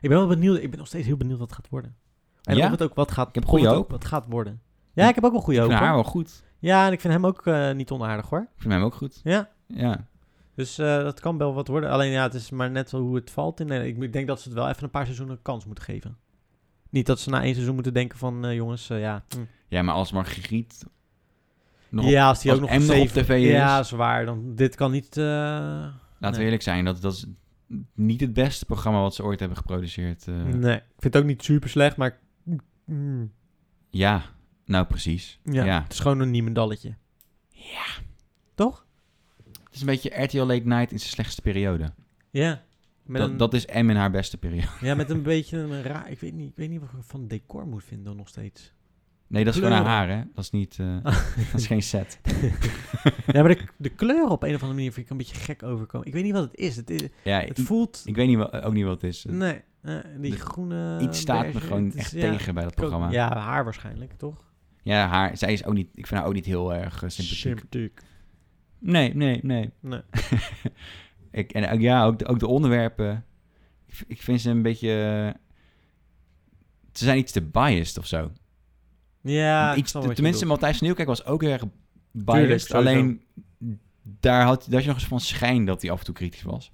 Speaker 1: Ik ben wel benieuwd, ik ben nog steeds heel benieuwd wat het gaat worden. En
Speaker 2: ja,
Speaker 1: of het ook wat gaat,
Speaker 2: Ik heb
Speaker 1: of
Speaker 2: goede
Speaker 1: het
Speaker 2: hoop.
Speaker 1: ook wat gaat worden. Ja, ik heb ook wel goede
Speaker 2: ik
Speaker 1: hoop.
Speaker 2: vind haar
Speaker 1: hoor.
Speaker 2: wel goed.
Speaker 1: Ja, en ik vind hem ook eh, niet onaardig hoor.
Speaker 2: Ik vind hem ook goed.
Speaker 1: Ja.
Speaker 2: Ja.
Speaker 1: Dus eh, dat kan wel wat worden. Alleen ja, het is maar net hoe het valt. In. Nederland. Ik denk dat ze het wel even een paar seizoenen een kans moeten geven. Niet dat ze na één seizoen moeten denken van, eh, jongens, eh, ja. hm.
Speaker 2: ja, maar als Margriet nog
Speaker 1: ja, als die
Speaker 2: als
Speaker 1: ook nog
Speaker 2: M nog op
Speaker 1: zeven-
Speaker 2: tv is.
Speaker 1: Ja, zwaar. Dan, dit kan niet... eh,
Speaker 2: Laten we
Speaker 1: Nee.
Speaker 2: eerlijk zijn, dat, dat is niet het beste programma wat ze ooit hebben geproduceerd. eh.
Speaker 1: Nee, ik vind het ook niet super slecht, maar... Mm,
Speaker 2: Ja, nou precies.
Speaker 1: ja,
Speaker 2: Ja.
Speaker 1: het is gewoon een niemendalletje. Ja. Toch?
Speaker 2: Het is een beetje RTL Late Night in zijn slechtste periode.
Speaker 1: Ja. Met
Speaker 2: Dat,
Speaker 1: een,
Speaker 2: dat is M in haar beste periode.
Speaker 1: Ja, met een beetje een raar... Ik weet niet, ik weet niet wat ik van decor moet vinden nog steeds.
Speaker 2: Nee, dat is gewoon haar
Speaker 1: Kleuren.
Speaker 2: haar, hè. Dat is, niet, eh,
Speaker 1: Oh.
Speaker 2: dat is geen set.
Speaker 1: ja, maar de, de kleuren op een of andere manier vind ik een beetje gek overkomen. Ik weet niet wat het is. Het, is-
Speaker 2: Ja,
Speaker 1: het
Speaker 2: i-
Speaker 1: voelt...
Speaker 2: ik weet niet wat, ook niet wat het is.
Speaker 1: Nee, eh, die
Speaker 2: de-
Speaker 1: groene...
Speaker 2: Iets staat me
Speaker 1: bergen,
Speaker 2: gewoon
Speaker 1: het is-
Speaker 2: echt
Speaker 1: ja,
Speaker 2: tegen bij dat
Speaker 1: ik ook-
Speaker 2: programma. Ja.
Speaker 1: Ja, haar waarschijnlijk, toch?
Speaker 2: haar, zij is ook niet, ik vind haar ook niet heel erg eh, sympathiek.
Speaker 1: Sympathiek.
Speaker 2: Nee, nee, nee.
Speaker 1: Nee.
Speaker 2: Ik, en ook, ja, ook de, ook de onderwerpen. Ik, v- ik vind ze een beetje... eh, Ze zijn iets te biased of zo.
Speaker 1: Ja, ik
Speaker 2: iets,
Speaker 1: snap wat je
Speaker 2: tenminste,
Speaker 1: bedoelt.
Speaker 2: Matthijs van Nieuwkerk was ook heel erg biased.
Speaker 1: sowieso.
Speaker 2: alleen daar had, daar had je nog eens van schijn dat hij af en toe kritisch was.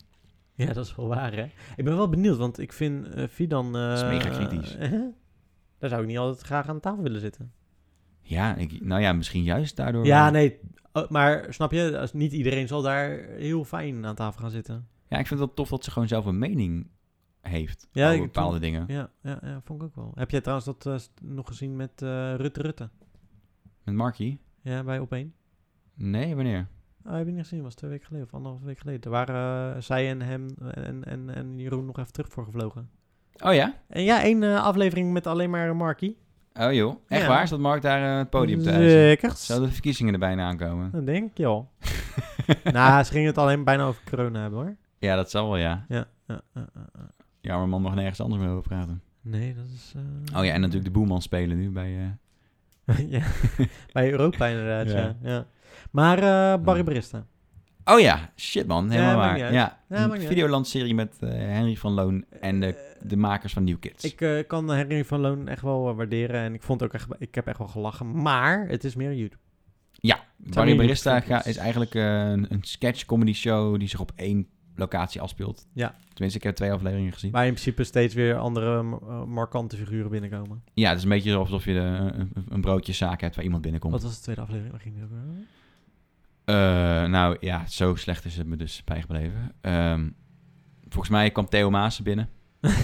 Speaker 1: Ja, dat is wel waar, hè? Ik ben wel benieuwd, want ik vind eh Fidan... eh,
Speaker 2: is mega kritisch.
Speaker 1: eh, daar zou ik niet altijd graag aan tafel willen zitten.
Speaker 2: Ja, ik, nou ja, misschien juist daardoor.
Speaker 1: Ja,
Speaker 2: wel.
Speaker 1: nee. oh, maar snap je, als, niet iedereen zal daar heel fijn aan tafel gaan zitten.
Speaker 2: ja, ik vind het wel tof dat ze gewoon zelf een mening heeft
Speaker 1: Ja,
Speaker 2: over
Speaker 1: ik-
Speaker 2: bepaalde dingen.
Speaker 1: Ja, ja, ja, vond ik ook wel. Heb jij trouwens dat eh, st- nog gezien met eh Rutte Rutte?
Speaker 2: Met Markie?
Speaker 1: Ja, bij Opeen?
Speaker 2: Nee, wanneer?
Speaker 1: Oh, heb je niet gezien? was twee weken geleden of anderhalve week geleden. Daar waren eh, zij en hem en, en, en Jeroen nog even terug voor gevlogen.
Speaker 2: Oh ja?
Speaker 1: En ja, één eh, aflevering met alleen maar Markie.
Speaker 2: Oh joh. Echt
Speaker 1: Ja.
Speaker 2: waar? Is dat Mark daar eh, het podium te eisen?
Speaker 1: Zeker.
Speaker 2: Zouden de verkiezingen er bijna aankomen?
Speaker 1: Dat denk ik, joh. nou, ze gingen het alleen bijna over corona hebben, hoor.
Speaker 2: Ja, dat zal wel, ja.
Speaker 1: Ja. ja, ja, ja, ja.
Speaker 2: Ja, maar man mag nergens anders meer over praten.
Speaker 1: Nee, dat is... eh,
Speaker 2: Oh ja, en natuurlijk de boeman spelen nu bij... eh,
Speaker 1: ja, bij Europa inderdaad, ja.
Speaker 2: Ja.
Speaker 1: ja. Maar eh Barry
Speaker 2: Ja.
Speaker 1: Barista.
Speaker 2: Oh ja, shit man, helemaal
Speaker 1: Ja, maakt
Speaker 2: waar.
Speaker 1: niet uit.
Speaker 2: Ja,
Speaker 1: Ja, maakt
Speaker 2: een
Speaker 1: niet
Speaker 2: Videoland-serie met eh, Henry van Loon en de, de makers van New Kids.
Speaker 1: Ik eh, kan Henry van Loon echt wel eh, waarderen. En ik vond ook echt... Ik heb echt wel gelachen. Maar het is meer YouTube.
Speaker 2: Barry
Speaker 1: niet
Speaker 2: Barista
Speaker 1: YouTube-filmpjes.
Speaker 2: ga- is eigenlijk eh, een, een sketch-comedy show die zich op één locatie afspeelt.
Speaker 1: Ja.
Speaker 2: Tenminste, ik heb twee afleveringen gezien.
Speaker 1: Waar in principe steeds weer andere eh, markante figuren binnenkomen.
Speaker 2: Ja, het is een beetje alsof je de, een, een broodjeszaak hebt waar iemand binnenkomt.
Speaker 1: Wat was de tweede aflevering? Waar ging die ook weer over?
Speaker 2: Eh, nou ja, zo slecht is het me dus bijgebleven. Ehm, volgens mij kwam Theo Maassen binnen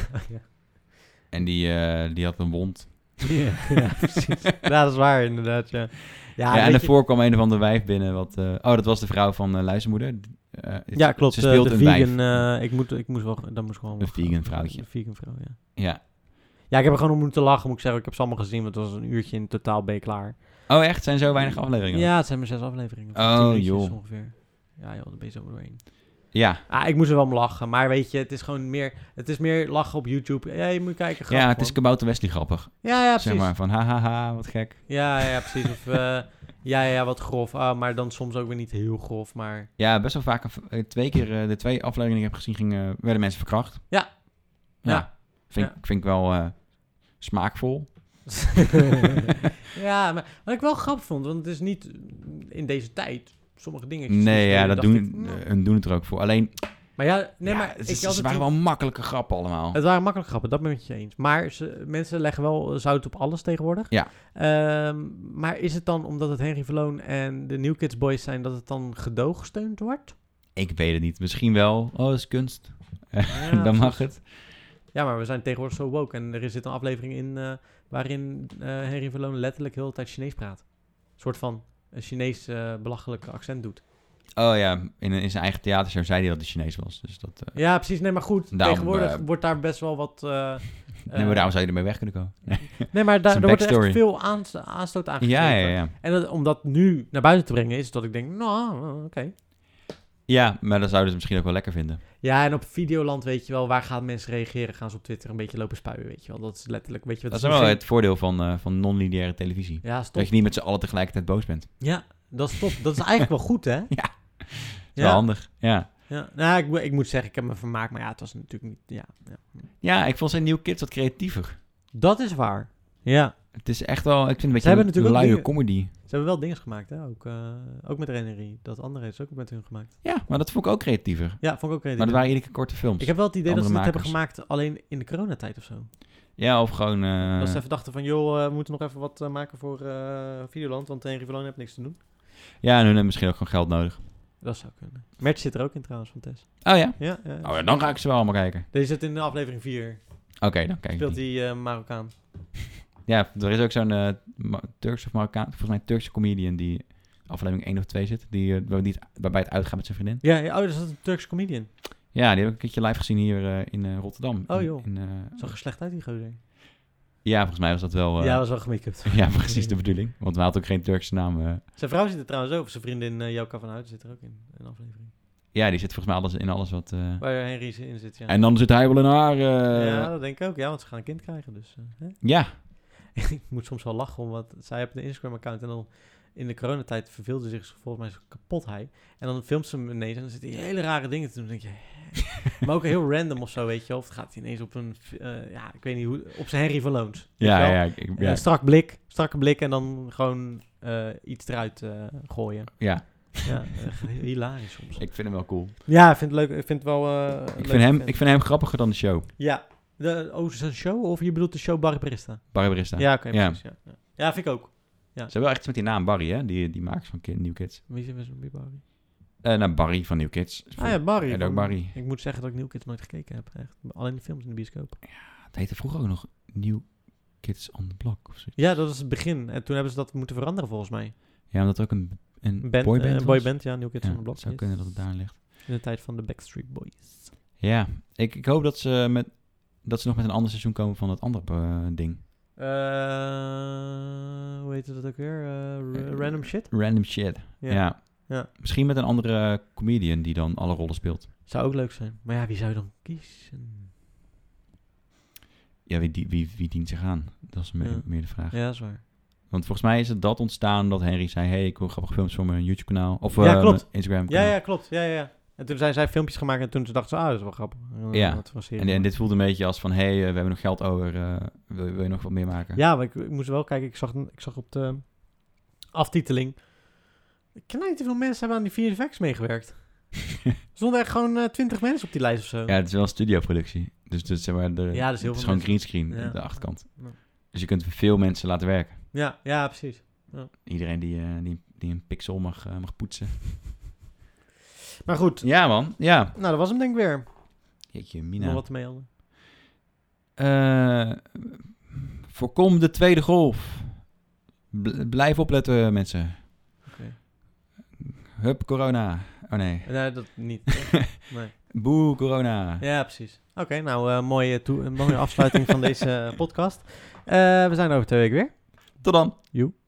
Speaker 1: ja.
Speaker 2: en die, eh, die had een wond.
Speaker 1: ja, precies. Ja, dat is waar inderdaad, ja.
Speaker 2: Ja,
Speaker 1: Ja, weet
Speaker 2: en
Speaker 1: je-
Speaker 2: daarvoor kwam een of ander wijf binnen. Wat, eh, oh, dat was de vrouw van eh Luizenmoeder. Eh,
Speaker 1: Ja, klopt.
Speaker 2: Ze
Speaker 1: eh,
Speaker 2: speelt
Speaker 1: de
Speaker 2: een
Speaker 1: vegan,
Speaker 2: wijf.
Speaker 1: eh, ik, moet, ik moest wel, dat moest gewoon...
Speaker 2: Een vegan vrouwtje.
Speaker 1: Een vegan vrouw, ja.
Speaker 2: Ja.
Speaker 1: Ja, ik heb er gewoon om moeten lachen, moet ik zeggen. Ik heb ze allemaal gezien, want het was een uurtje in totaal ben je klaar.
Speaker 2: Oh, echt? Zijn zo weinig afleveringen?
Speaker 1: eh. Ja, het zijn maar zes afleveringen.
Speaker 2: Oh,
Speaker 1: Tien uurtjes
Speaker 2: joh.
Speaker 1: Ongeveer. Ja, joh, daar ben je zo doorheen.
Speaker 2: Ja,
Speaker 1: Ah, ik moest er wel om lachen, maar weet je, het is gewoon meer... Het is meer lachen op YouTube. Ja, je moet kijken.
Speaker 2: ja
Speaker 1: grappig,
Speaker 2: het is
Speaker 1: man.
Speaker 2: Kabouter Wesley grappig.
Speaker 1: Ja, ja, precies.
Speaker 2: Zeg maar van, hahaha, wat gek.
Speaker 1: Ja, ja, precies. Of, eh, ja, ja, wat grof. Ah, maar dan soms ook weer niet heel grof, maar...
Speaker 2: Ja, best wel vaak. een- eh, Twee keer eh, de twee afleveringen die ik heb gezien, gingen, werden mensen verkracht.
Speaker 1: Ja.
Speaker 2: Ja.
Speaker 1: Ja.
Speaker 2: Vind, ik- vind ik wel eh, smaakvol.
Speaker 1: ja, maar wat ik wel grappig vond, want het is niet in deze tijd sommige dingen.
Speaker 2: Nee, ja, dat doen,
Speaker 1: Ik, Nou,
Speaker 2: eh, hun doen het er ook voor. Alleen,
Speaker 1: maar ja, nee,
Speaker 2: ja,
Speaker 1: maar
Speaker 2: het,
Speaker 1: ik
Speaker 2: is-
Speaker 1: had
Speaker 2: ze
Speaker 1: het,
Speaker 2: waren wel makkelijke grappen allemaal.
Speaker 1: het waren makkelijk grappen, dat ben ik met je eens. Maar ze, mensen leggen wel eh, zout op alles tegenwoordig.
Speaker 2: Ja.
Speaker 1: Ehm, maar is het dan omdat het Henry Verloon en de New Kids Boys zijn, dat het dan gedoogsteund wordt?
Speaker 2: Ik weet het niet. Misschien wel. Oh, dat is kunst.
Speaker 1: Ja,
Speaker 2: Dan mag
Speaker 1: precies.
Speaker 2: het.
Speaker 1: Ja, maar we zijn tegenwoordig zo woke. En er zit een aflevering in eh, waarin eh, Henry Verloon letterlijk heel de tijd Chinees praat. Een soort van een Chinees eh, belachelijke accent doet.
Speaker 2: Oh ja, in, in zijn eigen theatershow zei hij dat het Chinees was. Dus dat, eh
Speaker 1: Ja, precies. Nee, maar goed.
Speaker 2: Daarom,
Speaker 1: tegenwoordig
Speaker 2: eh,
Speaker 1: wordt daar best wel wat... eh,
Speaker 2: nee,
Speaker 1: eh,
Speaker 2: maar daarom zou je ermee weg kunnen komen. Nee.
Speaker 1: nee, maar daar,
Speaker 2: zijn
Speaker 1: er wordt echt
Speaker 2: backstory.
Speaker 1: veel aans- aanstoot aan
Speaker 2: Ja, ja,
Speaker 1: gegeven.
Speaker 2: ja.
Speaker 1: En dat, om dat nu naar buiten te brengen is dat ik denk, nou, oké.
Speaker 2: Ja, maar dat zouden ze misschien ook wel lekker vinden.
Speaker 1: Ja, en op Videoland weet je wel, waar gaan mensen reageren? Gaan ze op Twitter een beetje lopen spuien, weet je wel. Dat is letterlijk, weet je
Speaker 2: Dat,
Speaker 1: wat
Speaker 2: is wel het voordeel van, eh, van non-lineaire televisie.
Speaker 1: Ja, stop.
Speaker 2: Dat je niet met z'n allen tegelijkertijd boos bent.
Speaker 1: Ja, dat is top. Dat is eigenlijk wel goed, hè?
Speaker 2: Ja. Dat is wel
Speaker 1: Ja,
Speaker 2: handig. Ja.
Speaker 1: ja. Nou, ik, moet- ik moet zeggen, ik heb me vermaakt, maar ja, het was natuurlijk niet... Ja, ja.
Speaker 2: ja, ik vond zijn nieuwe kids wat creatiever.
Speaker 1: Dat is waar. Ja.
Speaker 2: Het is echt wel, ik vind het een beetje
Speaker 1: hebben
Speaker 2: een
Speaker 1: natuurlijk ook
Speaker 2: luie
Speaker 1: dingen-
Speaker 2: comedy.
Speaker 1: Ze hebben wel dingen gemaakt, hè? Ook, eh, ook met Renerie. Dat andere is ook met hun gemaakt.
Speaker 2: Ja, maar dat vond ik ook creatiever.
Speaker 1: Ja, vond ik ook
Speaker 2: Maar
Speaker 1: creatief.
Speaker 2: dat waren iedere keer korte films.
Speaker 1: Ik heb wel het idee dat ze
Speaker 2: andere
Speaker 1: dit hebben
Speaker 2: makers.
Speaker 1: gemaakt alleen in de coronatijd of zo.
Speaker 2: Ja, of gewoon... eh,
Speaker 1: dat ze even dachten van, joh, eh, we moeten nog even wat eh, maken voor eh Videoland, want Henry Verloon heeft niks te doen.
Speaker 2: Ja, en hun hebben misschien ook gewoon geld nodig.
Speaker 1: Dat zou kunnen. Merch zit er ook in trouwens, van Tess.
Speaker 2: Oh ja?
Speaker 1: Ja, ja.
Speaker 2: Oh ja, dan ga ik ze wel allemaal kijken.
Speaker 1: Deze zit in de aflevering 4.
Speaker 2: Oké, dan kijk ik
Speaker 1: Speelt
Speaker 2: die.
Speaker 1: hij Marokkaan.
Speaker 2: Ja, er is ook zo'n eh, Ma- Turks of Marokkaan... Volgens mij een Turkse comedian die aflevering 1 of 2 zit. Die, eh, waar- die het- waarbij het uitgaat met zijn vriendin.
Speaker 1: Ja, ja, oh, dat is een Turks comedian.
Speaker 2: Ja, die heb ik een keertje live gezien hier eh, in eh, Rotterdam.
Speaker 1: Oh,
Speaker 2: In-
Speaker 1: joh.
Speaker 2: in, eh,
Speaker 1: Zag er slecht uit, die gozer.
Speaker 2: ja, volgens mij was dat wel... eh,
Speaker 1: Ja, was wel gemake-up.
Speaker 2: ja, precies de bedoeling. Want hij had ook geen Turkse naam. eh.
Speaker 1: Zijn vrouw zit er trouwens over. Zijn vriendin eh Joka van Houten zit er ook in, een aflevering.
Speaker 2: ja, die zit volgens mij alles in alles wat... eh,
Speaker 1: Waar Henry in zit, ja.
Speaker 2: En dan zit hij wel in haar... eh,
Speaker 1: ja,
Speaker 2: ja.
Speaker 1: dat denk ik ook. Ja, want ze gaan een kind krijgen, dus... eh, hè? ik moet soms wel lachen, om wat zij heeft een Instagram-account en dan in de coronatijd verveelde zich ze volgens mij zo kapot hij. En dan filmt ze hem ineens en dan zit hij hele rare dingen te doen. Dan denk je, hè? maar ook heel random of zo, weet je. wel. Of het gaat hij ineens op een, eh, ja, ik weet niet hoe, op zijn Henry van Loons. weet je
Speaker 2: Ja,
Speaker 1: wel.
Speaker 2: ja, ik- ik-
Speaker 1: Eh,
Speaker 2: ja,
Speaker 1: strak blik, strakke blik en dan gewoon eh, iets eruit eh, gooien.
Speaker 2: ja,
Speaker 1: Ja, echt hilarisch soms.
Speaker 2: ik vind hem wel cool.
Speaker 1: Ja, ik vind het leuk. Ik vind het wel... eh,
Speaker 2: Ik
Speaker 1: leuk
Speaker 2: vind, hem,
Speaker 1: vent.
Speaker 2: ik vind hem grappiger dan de show.
Speaker 1: Ja. De, oh, is dat een show? Of je bedoelt de show Barbarista?
Speaker 2: Barbarista.
Speaker 1: Ja, oké,
Speaker 2: Ja.
Speaker 1: precies. Ja. Ja. ja, vind ik ook.
Speaker 2: Ze hebben wel echt iets met die naam Barry, hè? Die, die makers van Kid, New Kids.
Speaker 1: Wie is er Barry?
Speaker 2: Eh nou, Barry van New Kids.
Speaker 1: Ah ja, Barry.
Speaker 2: En ook
Speaker 1: van-
Speaker 2: Barry.
Speaker 1: Ik moet zeggen dat ik New Kids nooit gekeken heb. Echt. Alleen de films in de bioscoop.
Speaker 2: Het heette vroeger ook nog New Kids on the Block. Of zo.
Speaker 1: Ja, dat was het begin. En toen hebben ze dat moeten veranderen volgens mij.
Speaker 2: Ja, omdat het ook een, een
Speaker 1: Een band,
Speaker 2: boyband
Speaker 1: eh,
Speaker 2: was.
Speaker 1: een boyband, ja. New Kids
Speaker 2: Ja,
Speaker 1: on the Block.
Speaker 2: het zou
Speaker 1: yes.
Speaker 2: kunnen dat het daar ligt.
Speaker 1: In de tijd van de Backstreet Boys.
Speaker 2: Ja, ik, ik hoop dat ze, met, dat ze nog met een ander seizoen komen van dat andere eh, ding.
Speaker 1: Eh, hoe heette dat ook weer? Eh, ra-
Speaker 2: Eh,
Speaker 1: random shit?
Speaker 2: Random shit. Ja. ja.
Speaker 1: Ja.
Speaker 2: Misschien met een andere comedian die dan alle rollen speelt.
Speaker 1: Zou ook leuk zijn. Maar ja, wie zou je dan kiezen?
Speaker 2: Ja, wie, die- wie, wie dient zich aan? Dat is me-
Speaker 1: Ja.
Speaker 2: meer de vraag.
Speaker 1: Ja, dat is waar.
Speaker 2: Want volgens mij is het dat ontstaan dat Henry zei... hey, ik wil grappige films voor mijn YouTube-kanaal. Of
Speaker 1: Ja,
Speaker 2: eh,
Speaker 1: klopt.
Speaker 2: mijn Instagram
Speaker 1: Ja, ja, klopt. Ja, ja, ja. En toen zijn zij filmpjes gemaakt en toen ze dachten ze, ah, dat is wel grappig. Eh,
Speaker 2: Ja.
Speaker 1: wat voor serie.
Speaker 2: En, en dit voelde een beetje als van... hey, eh, we hebben nog geld over. eh, wil, wil je nog wat meer maken?
Speaker 1: Ja, maar ik, ik moest wel kijken. Ik zag, ik zag op de aftiteling... Knijt veel mensen hebben aan die vier effects meegewerkt. er stonden echt gewoon eh, twintig mensen op die lijst of zo.
Speaker 2: Ja, het is wel een studioproductie. Dus, dus zeg maar, de,
Speaker 1: Ja, dat is heel
Speaker 2: het is
Speaker 1: veel
Speaker 2: gewoon greenscreen,
Speaker 1: Ja.
Speaker 2: de achterkant.
Speaker 1: Ja.
Speaker 2: Dus je kunt veel mensen laten werken.
Speaker 1: ja, ja, precies.
Speaker 2: Iedereen die, eh, die, die een pixel mag, eh, mag poetsen.
Speaker 1: Maar goed,
Speaker 2: Ja, man. Ja.
Speaker 1: nou, dat was hem denk ik weer.
Speaker 2: Jeetje,
Speaker 1: Nog
Speaker 2: Mina.
Speaker 1: wat te melden.
Speaker 2: Eh, voorkom de tweede golf. Bl- blijf opletten, mensen.
Speaker 1: Oké.
Speaker 2: Hup, corona. Oh nee.
Speaker 1: Nee, dat niet. nee.
Speaker 2: Boe, corona.
Speaker 1: Ja, precies. Oké, nou, eh, mooie, toe- een mooie afsluiting van deze podcast. Eh, we zijn over twee weken weer.
Speaker 2: Tot dan.
Speaker 1: Joe.